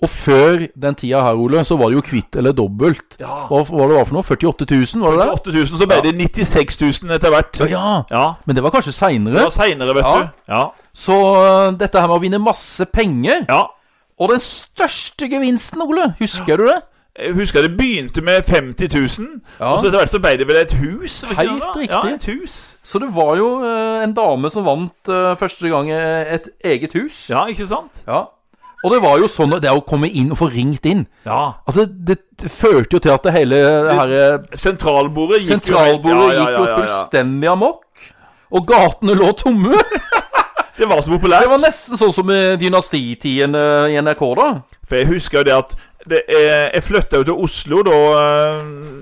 Speaker 1: Og før den tida her, Ole, så var det jo kvitt eller dobbelt.
Speaker 2: Ja.
Speaker 1: Hva var det var for noe? 48 000, var det det?
Speaker 2: 8000, så ble
Speaker 1: Ja.
Speaker 2: det 96 000 etter hvert.
Speaker 1: Ja, ja.
Speaker 2: Ja.
Speaker 1: Men det var kanskje
Speaker 2: Det
Speaker 1: seinere.
Speaker 2: var seinere, vet
Speaker 1: Ja.
Speaker 2: du. Ja.
Speaker 1: Så øh, dette her med å vinne masse penger
Speaker 2: ja.
Speaker 1: Og den største gevinsten, Ole, husker du det?
Speaker 2: Jeg husker det begynte med 50 000,
Speaker 1: Ja.
Speaker 2: og så etter hvert så ble det vel et hus? var ikke
Speaker 1: Helt
Speaker 2: det da?
Speaker 1: riktig.
Speaker 2: Ja, et hus.
Speaker 1: Så det var jo eh, en dame som vant eh, første gang eh, et eget hus.
Speaker 2: Ja, ikke sant?
Speaker 1: Ja. Og det var jo sånn at det å komme inn og få ringt inn
Speaker 2: Ja.
Speaker 1: Altså, det, det førte jo til at det hele det her eh,
Speaker 2: Sentralbordet gikk
Speaker 1: sentralbordet
Speaker 2: jo, helt-
Speaker 1: gikk jo fullstendig amok. Og gatene lå tomme.
Speaker 2: Det var så
Speaker 1: Det
Speaker 2: populært.
Speaker 1: var nesten sånn som eh, dynastitiden eh, i NRK, da.
Speaker 2: For jeg husker jo det at det, eh, jeg flytta jo til Oslo da eh,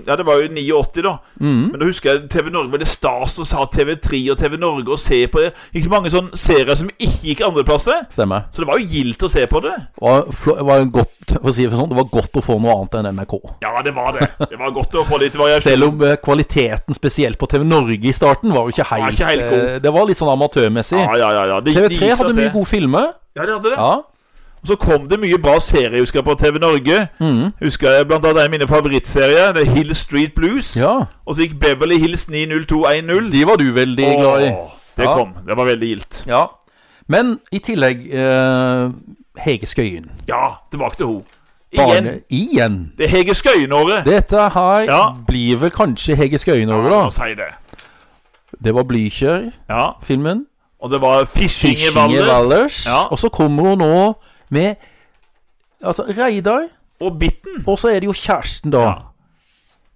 Speaker 2: Ja, det var jo i 89, da.
Speaker 1: Mm.
Speaker 2: Men da husker jeg TV Norge var det stas å sa TV3 og TV Norge og se på det. Gikk det mange sånne serier som ikke gikk andreplasser?
Speaker 1: Stemmer.
Speaker 2: Så det var jo gildt å se på det.
Speaker 1: Det var, fl- det var godt for å si det sånn, det var godt å få noe annet enn NRK.
Speaker 2: Ja, det var det. Det var godt å få litt variasjon.
Speaker 1: Selv om eh, kvaliteten spesielt på TV Norge i starten var jo ikke helt,
Speaker 2: ikke helt god.
Speaker 1: eh, Det var litt sånn amatørmessig.
Speaker 2: Ja, ja, ja, ja. Det, det
Speaker 1: TV3
Speaker 2: gikk seg
Speaker 1: hadde mye
Speaker 2: til.
Speaker 1: gode filmer.
Speaker 2: Ja, de hadde det.
Speaker 1: Ja.
Speaker 2: Og så kom det mye bra serier, husker jeg, på TV Norge.
Speaker 1: mm,
Speaker 2: Husker jeg blant annet en av mine favorittserier, det er Hill Street Blues.
Speaker 1: ja.
Speaker 2: Og så gikk Beverly Hills 90210.
Speaker 1: De var du veldig glad i.
Speaker 2: Åh, Det
Speaker 1: Ja.
Speaker 2: kom. Det var veldig gildt.
Speaker 1: Ja. Men i tillegg eh, Hege Skøyen.
Speaker 2: Ja, tilbake til ho. Igjen.
Speaker 1: Barne, igjen.
Speaker 2: Det er Hege Skøyen-året.
Speaker 1: Dette her
Speaker 2: Ja.
Speaker 1: blir vel kanskje Hege Skøyen over,
Speaker 2: Ja,
Speaker 1: da.
Speaker 2: si det.
Speaker 1: Det var Blykjør-filmen.
Speaker 2: Ja. Og det var Fishing i Valdres. Ja.
Speaker 1: Og så kommer hun nå med altså, Reidar,
Speaker 2: Og Bitten.
Speaker 1: og så er det jo kjæresten, da.
Speaker 2: Ja.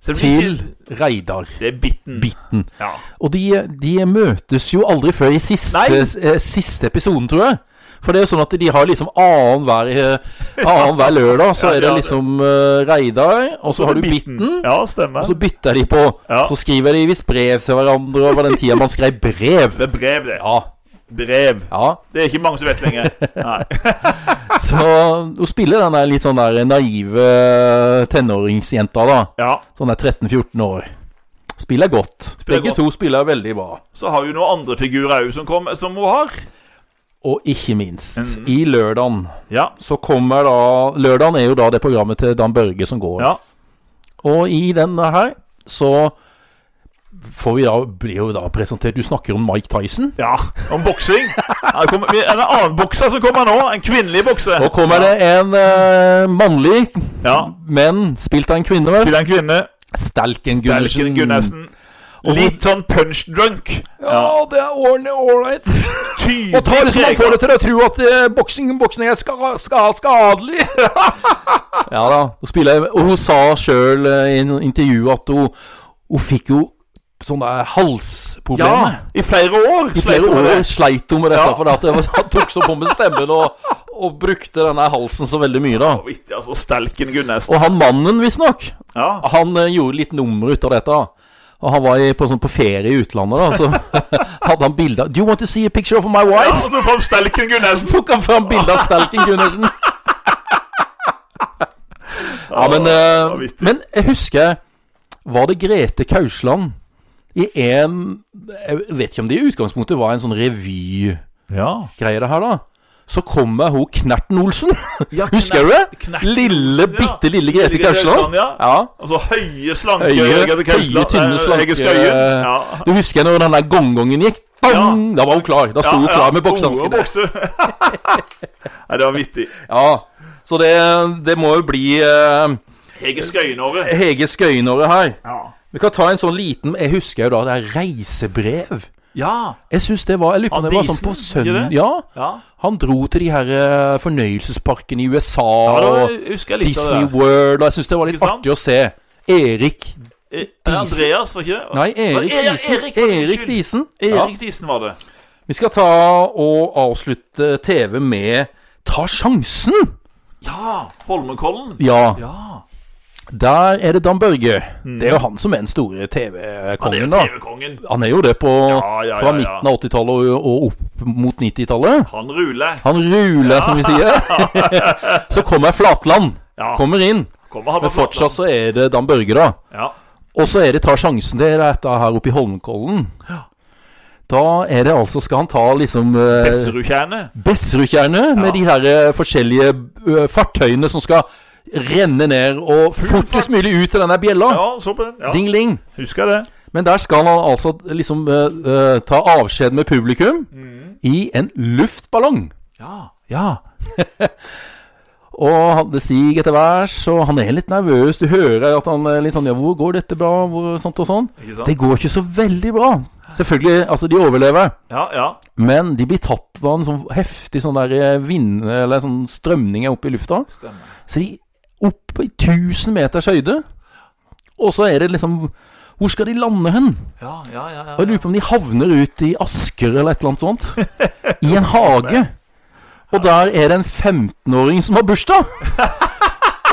Speaker 2: Selv om
Speaker 1: Til
Speaker 2: ikke-
Speaker 1: Reidar.
Speaker 2: Det er Bitten.
Speaker 1: Bitten.
Speaker 2: Ja.
Speaker 1: Og de, de møtes jo aldri før i siste,
Speaker 2: Nei.
Speaker 1: eh, siste episoden, tror jeg. For det er jo sånn at de har liksom annenhver annen hver lørdag, så
Speaker 2: Ja,
Speaker 1: er det
Speaker 2: ja, det-
Speaker 1: liksom eh, Reidar, og så har du Bitten.
Speaker 2: Ja, stemmer.
Speaker 1: Og så bytter de på.
Speaker 2: Ja.
Speaker 1: Så skriver de visst brev til hverandre over den tida man skrev brev.
Speaker 2: Det er brev, det.
Speaker 1: Ja,
Speaker 2: Brev.
Speaker 1: ja.
Speaker 2: Det er ikke mange som vet lenger. Nei.
Speaker 1: Så hun spiller den der litt sånn der naive eh, tenåringsjenta, da.
Speaker 2: Ja.
Speaker 1: Sånn der 13-14 år. Spiller godt.
Speaker 2: Spiller
Speaker 1: Begge
Speaker 2: godt.
Speaker 1: to spiller veldig bra.
Speaker 2: Så har vi noen andre figurer òg som, kom- som hun har.
Speaker 1: Og ikke minst,
Speaker 2: Mhm.
Speaker 1: i lørdagen
Speaker 2: Ja.
Speaker 1: så kommer da Lørdagen er jo da det programmet til Dan Børge som går.
Speaker 2: ja.
Speaker 1: Og i denne her så får vi da, blir jo da presentert Du snakker om Mike Tyson.
Speaker 2: Ja. Om boksing. Her kommer- vi- En annen bokser som kommer nå. En kvinnelig bokser.
Speaker 1: Nå kommer det en eh, mannlig,
Speaker 2: Ja.
Speaker 1: men spilt av en kvinne, vel?
Speaker 2: Til en kvinne.
Speaker 1: Stalken Gundersen.
Speaker 2: Sterken Gunnarsen. Litt sånn punch drunk. Ja.
Speaker 1: det er ordentlig ålreit.
Speaker 2: Tydelig
Speaker 1: Og tar liksom man
Speaker 2: preget.
Speaker 1: får det til å tro at eh, boksing boksing er ska, ska, skadelig. ja da. Hun spiller, og hun sa sjøl i en intervju at hun, hun fikk jo sånne
Speaker 2: Ja.
Speaker 1: halsproblemer.
Speaker 2: I flere år.
Speaker 1: I flere år sleit hun med dette,
Speaker 2: Ja.
Speaker 1: for at det var- han tok så på med stemmen og, og brukte denne halsen så veldig mye, da.
Speaker 2: Vanvittig, altså. Stelken Gunnarsen.
Speaker 1: Og han mannen, visstnok,
Speaker 2: Ja.
Speaker 1: han eh, gjorde litt nummer ut av dette. Og han var i, på, sånn, på ferie i utlandet, da. Så hadde han bilde av Do you want to see a picture of my
Speaker 2: ja. altså,
Speaker 1: wife?
Speaker 2: Og så fram Stelken Gunnarsen.
Speaker 1: tok han fram bilde av Stalken Gundersen. Ja, men, eh,
Speaker 2: vanvittig.
Speaker 1: men jeg husker Var det Grete Kausland i en Jeg vet ikke om det i utgangspunktet var en sånn revygreie,
Speaker 2: Ja.
Speaker 1: det her, da. Så kommer hun Knerten Olsen. Husker du det?
Speaker 2: Knerten
Speaker 1: Lille,
Speaker 2: Olsen, ja.
Speaker 1: bitte lille Grete
Speaker 2: Lille Grete
Speaker 1: Kausland.
Speaker 2: Kausland, ja.
Speaker 1: Ja.
Speaker 2: Altså høye, slanke
Speaker 1: Høye,
Speaker 2: Grete Kausland.
Speaker 1: høye, tynne,
Speaker 2: Eh, Hege
Speaker 1: slanke
Speaker 2: Skøyen. Ja.
Speaker 1: Du husker når den der gongongen gikk? Bang! Da var hun klar. Da sto hun klar med
Speaker 2: Gode
Speaker 1: boksehanskene.
Speaker 2: bokser. Nei, det var vittig.
Speaker 1: Ja, så det, det må jo bli eh,
Speaker 2: Hege Skøyen-året.
Speaker 1: Hege Skøyenåret her.
Speaker 2: Ja.
Speaker 1: Vi kan ta en sånn liten Jeg husker jo da det er reisebrev.
Speaker 2: ja.
Speaker 1: Jeg syns det var Jeg lurer på om det var sånn på
Speaker 2: Andisen, ikke
Speaker 1: søndag
Speaker 2: det?
Speaker 1: Ja.
Speaker 2: Ja.
Speaker 1: Han dro til de her eh, fornøyelsesparkene i USA
Speaker 2: da
Speaker 1: og
Speaker 2: husker jeg litt
Speaker 1: Disney
Speaker 2: av det.
Speaker 1: World, og jeg syns det var litt
Speaker 2: Ikke sant?
Speaker 1: artig å se. Erik
Speaker 2: Eh, Andreas, var ikke det?
Speaker 1: Nei, Erik
Speaker 2: Ja, ja,
Speaker 1: Diesen.
Speaker 2: Erik,
Speaker 1: Erik
Speaker 2: unnskyld.
Speaker 1: Diesen. Ja.
Speaker 2: Erik Diesen var det.
Speaker 1: Vi skal ta og avslutte TV med Ta sjansen!
Speaker 2: Ja! Holmenkollen.
Speaker 1: Ja.
Speaker 2: Ja.
Speaker 1: Der er det Dan Børge.
Speaker 2: Mm.
Speaker 1: Det er jo han som er den store TV-kongen, da.
Speaker 2: TV-kongen.
Speaker 1: Han er jo det på,
Speaker 2: Ja, ja,
Speaker 1: fra
Speaker 2: ja, ja.
Speaker 1: midten av 80-tallet og, og opp mot 90-tallet.
Speaker 2: Han ruler.
Speaker 1: Han ruler, som vi sier. så kommer Flatland.
Speaker 2: Ja.
Speaker 1: Kommer inn.
Speaker 2: Kommer han
Speaker 1: Men
Speaker 2: på
Speaker 1: fortsatt så er det Dan Børge, da.
Speaker 2: Ja.
Speaker 1: Og så er det Ta sjansen. Det er dette her oppe i Holmenkollen. Da er det altså Skal han ta liksom eh,
Speaker 2: Pesterudtjernet.
Speaker 1: Besserudtjernet med de her eh, forskjellige eh, fartøyene som skal renne ned og fortest mulig ut til denne bjella?
Speaker 2: Ja, så på den. Ja.
Speaker 1: Ding-ling.
Speaker 2: Husker det.
Speaker 1: Men der skal han altså liksom eh, eh, ta avskjed med publikum i en luftballong.
Speaker 2: Ja. Ja.
Speaker 1: Og han, det stiger etter værs, og han er litt nervøs. Du hører at han er litt sånn Ja, hvor går dette bra? Hvor, sånt og sånn.
Speaker 2: Ikke sant?
Speaker 1: Det går ikke så veldig bra. Selvfølgelig, altså, de overlever.
Speaker 2: Ja, ja.
Speaker 1: Men de blir tatt av en sånn heftig sånn der eh, vind Eller sånn strømning opp i lufta.
Speaker 2: Stemmer.
Speaker 1: Så de opp i 1000 meters høyde. Og så er det liksom Hvor skal de lande hen?
Speaker 2: Ja, ja, ja. ja.
Speaker 1: Og jeg lurer på om de havner ut i Asker eller et eller annet sånt. I en hage. Og der er det en 15-åring som har bursdag.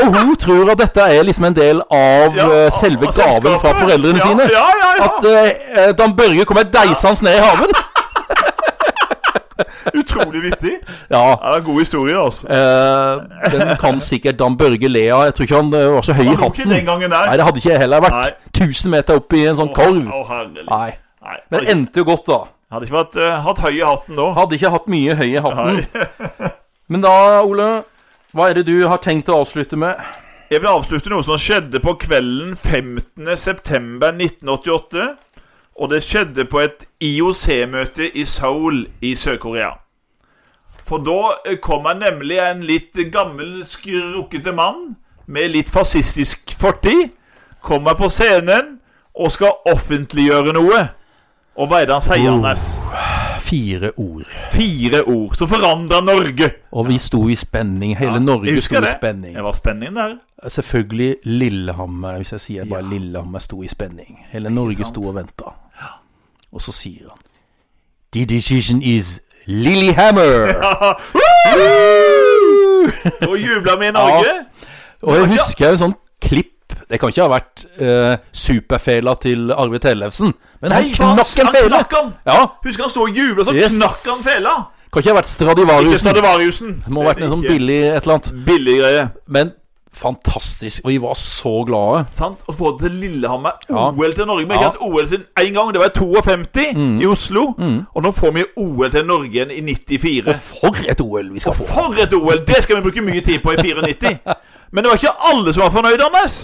Speaker 1: Og hun tror at dette er liksom en del av
Speaker 2: Ja,
Speaker 1: eh,
Speaker 2: og-
Speaker 1: selve
Speaker 2: og
Speaker 1: gaven
Speaker 2: selskapet.
Speaker 1: fra foreldrene
Speaker 2: ja,
Speaker 1: sine.
Speaker 2: Ja, ja, ja.
Speaker 1: At eh, eh, Dan Børge kommer deisende ned i haven.
Speaker 2: Utrolig vittig.
Speaker 1: Ja,
Speaker 2: Ja, det er en god historie, altså.
Speaker 1: eh, den kan sikkert Dan Børge le av. Jeg tror ikke han eh, var så høy i
Speaker 2: Han tok ikke
Speaker 1: hatten.
Speaker 2: den gangen der.
Speaker 1: Nei, det hadde ikke jeg heller vært. 1000 meter opp i en sånn korv.
Speaker 2: Å, herlig.
Speaker 1: Nei.
Speaker 2: Nei.
Speaker 1: Men det endte jo godt, da.
Speaker 2: Hadde ikke vært, eh, hatt høy i hatten nå.
Speaker 1: Hadde ikke hatt mye høy i hatten.
Speaker 2: Nei.
Speaker 1: Men da, Ole, hva er det du har tenkt å avslutte med?
Speaker 2: Jeg vil avslutte noe som skjedde på kvelden 15.9.1988. Og det skjedde på et IOC-møte i Seoul i Sør-Korea. For da eh, kommer nemlig en litt gammel, skrukkete mann med litt fascistisk fortid. Kommer på scenen og skal offentliggjøre noe. Og hva er det han sier,
Speaker 1: Oh.
Speaker 2: Anders?
Speaker 1: Fire ord.
Speaker 2: Fire ord som forandrer Norge.
Speaker 1: Og vi sto i spenning. Hele Norge
Speaker 2: Jeg
Speaker 1: sto
Speaker 2: husker
Speaker 1: i
Speaker 2: det.
Speaker 1: spenning.
Speaker 2: Det var spenning der.
Speaker 1: Selvfølgelig Lillehammer, hvis jeg sier bare
Speaker 2: Ja.
Speaker 1: Lillehammer sto i spenning. Hele Norge
Speaker 2: sant?
Speaker 1: sto og venta. Og så sier han The decision is Lillehammer!
Speaker 2: Og jubla vi i Norge.
Speaker 1: og jeg husker en sånn klipp Det kan ikke ha vært eh, superfela til Arve Tellefsen, men han
Speaker 2: Nei, for han-
Speaker 1: knakk en
Speaker 2: han
Speaker 1: fele!
Speaker 2: knakk han.
Speaker 1: Ja,
Speaker 2: Husker han sto og jubla, så
Speaker 1: Yes.
Speaker 2: knakk han fela.
Speaker 1: kan ikke ha vært
Speaker 2: Ikke
Speaker 1: Stradivariusen.
Speaker 2: Stradivariusen.
Speaker 1: Det må ha vært en sånn
Speaker 2: Ikke
Speaker 1: billig et eller annet.
Speaker 2: billig greie.
Speaker 1: Men fantastisk. Og vi var så glade.
Speaker 2: Sant? Å få det til Lillehammer.
Speaker 1: Ja.
Speaker 2: OL til Norge. Vi har
Speaker 1: Ja. Mm.
Speaker 2: ikke hatt OL siden én gang. Det var i 52 i Oslo. Og nå får vi OL til Norge igjen i 94.
Speaker 1: Og for et OL vi skal få!
Speaker 2: For et OL! Det skal vi bruke mye tid på i 94. Men det var ikke alle som var fornøyd, Anders.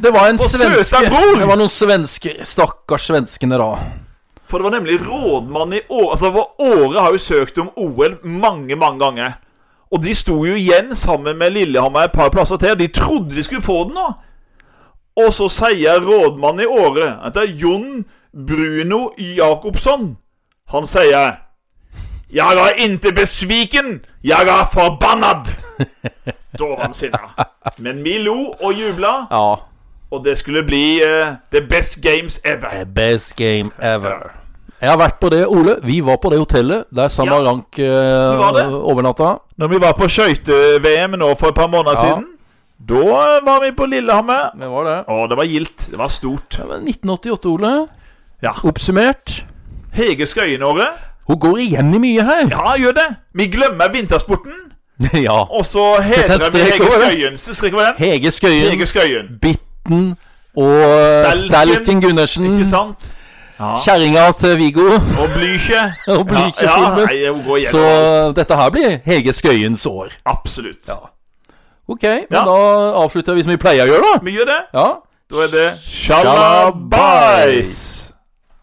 Speaker 1: Det var en
Speaker 2: Og
Speaker 1: svenske.
Speaker 2: søta bror!
Speaker 1: Det var noen svensker. Stakkars svenskene, da.
Speaker 2: For det var nemlig rådmann i Åre Altså, det var Åre har jo søkt om OL mange, mange ganger. Og de sto jo igjen sammen med Lillehammer et par plasser til. De trodde de skulle få den nå. Og så sier rådmannen i Åre at det er Jon Bruno Jacobsson. Han sier Jeg er inte besviken, jeg er forbannad. Da var han sinna. Men vi lo og jubla,
Speaker 1: Ja.
Speaker 2: og det skulle bli eh, the best games ever.
Speaker 1: Best game ever. Jeg har vært på det, Ole. Vi var på det hotellet der Sandra
Speaker 2: Ja.
Speaker 1: Rank eh,
Speaker 2: var det.
Speaker 1: overnatta.
Speaker 2: Når vi var på skøyte-VM nå for et par måneder
Speaker 1: Ja.
Speaker 2: siden, da var vi på Lillehammer.
Speaker 1: Det var det.
Speaker 2: Å, det var gildt. Det var stort.
Speaker 1: Det var 1988, Ole.
Speaker 2: Ja.
Speaker 1: Oppsummert.
Speaker 2: Hege Skøyenåret.
Speaker 1: Hun går igjen i mye her.
Speaker 2: Ja, gjør det. Vi glemmer vintersporten,
Speaker 1: ja.
Speaker 2: og så hedrer
Speaker 1: Setter
Speaker 2: vi
Speaker 1: strek
Speaker 2: Hege
Speaker 1: over det.
Speaker 2: Skøyen. Så strekker vi den.
Speaker 1: Hege Skøyen,
Speaker 2: Hege Skøyen.
Speaker 1: Bitten og eh,
Speaker 2: Stelken.
Speaker 1: Stelken Gundersen.
Speaker 2: Ikke sant?
Speaker 1: Kjerringa til Viggo.
Speaker 2: Og Blykje.
Speaker 1: Og Blykje
Speaker 2: ja,
Speaker 1: filmen.
Speaker 2: ja, nei, hun går
Speaker 1: Så
Speaker 2: gjennom alt.
Speaker 1: dette her blir Hege Skøyens år.
Speaker 2: Absolutt.
Speaker 1: Ok, men
Speaker 2: Ja.
Speaker 1: da avslutter vi som vi pleier å gjøre, da.
Speaker 2: Vi gjør det.
Speaker 1: Ja.
Speaker 2: Da er det sjalabais.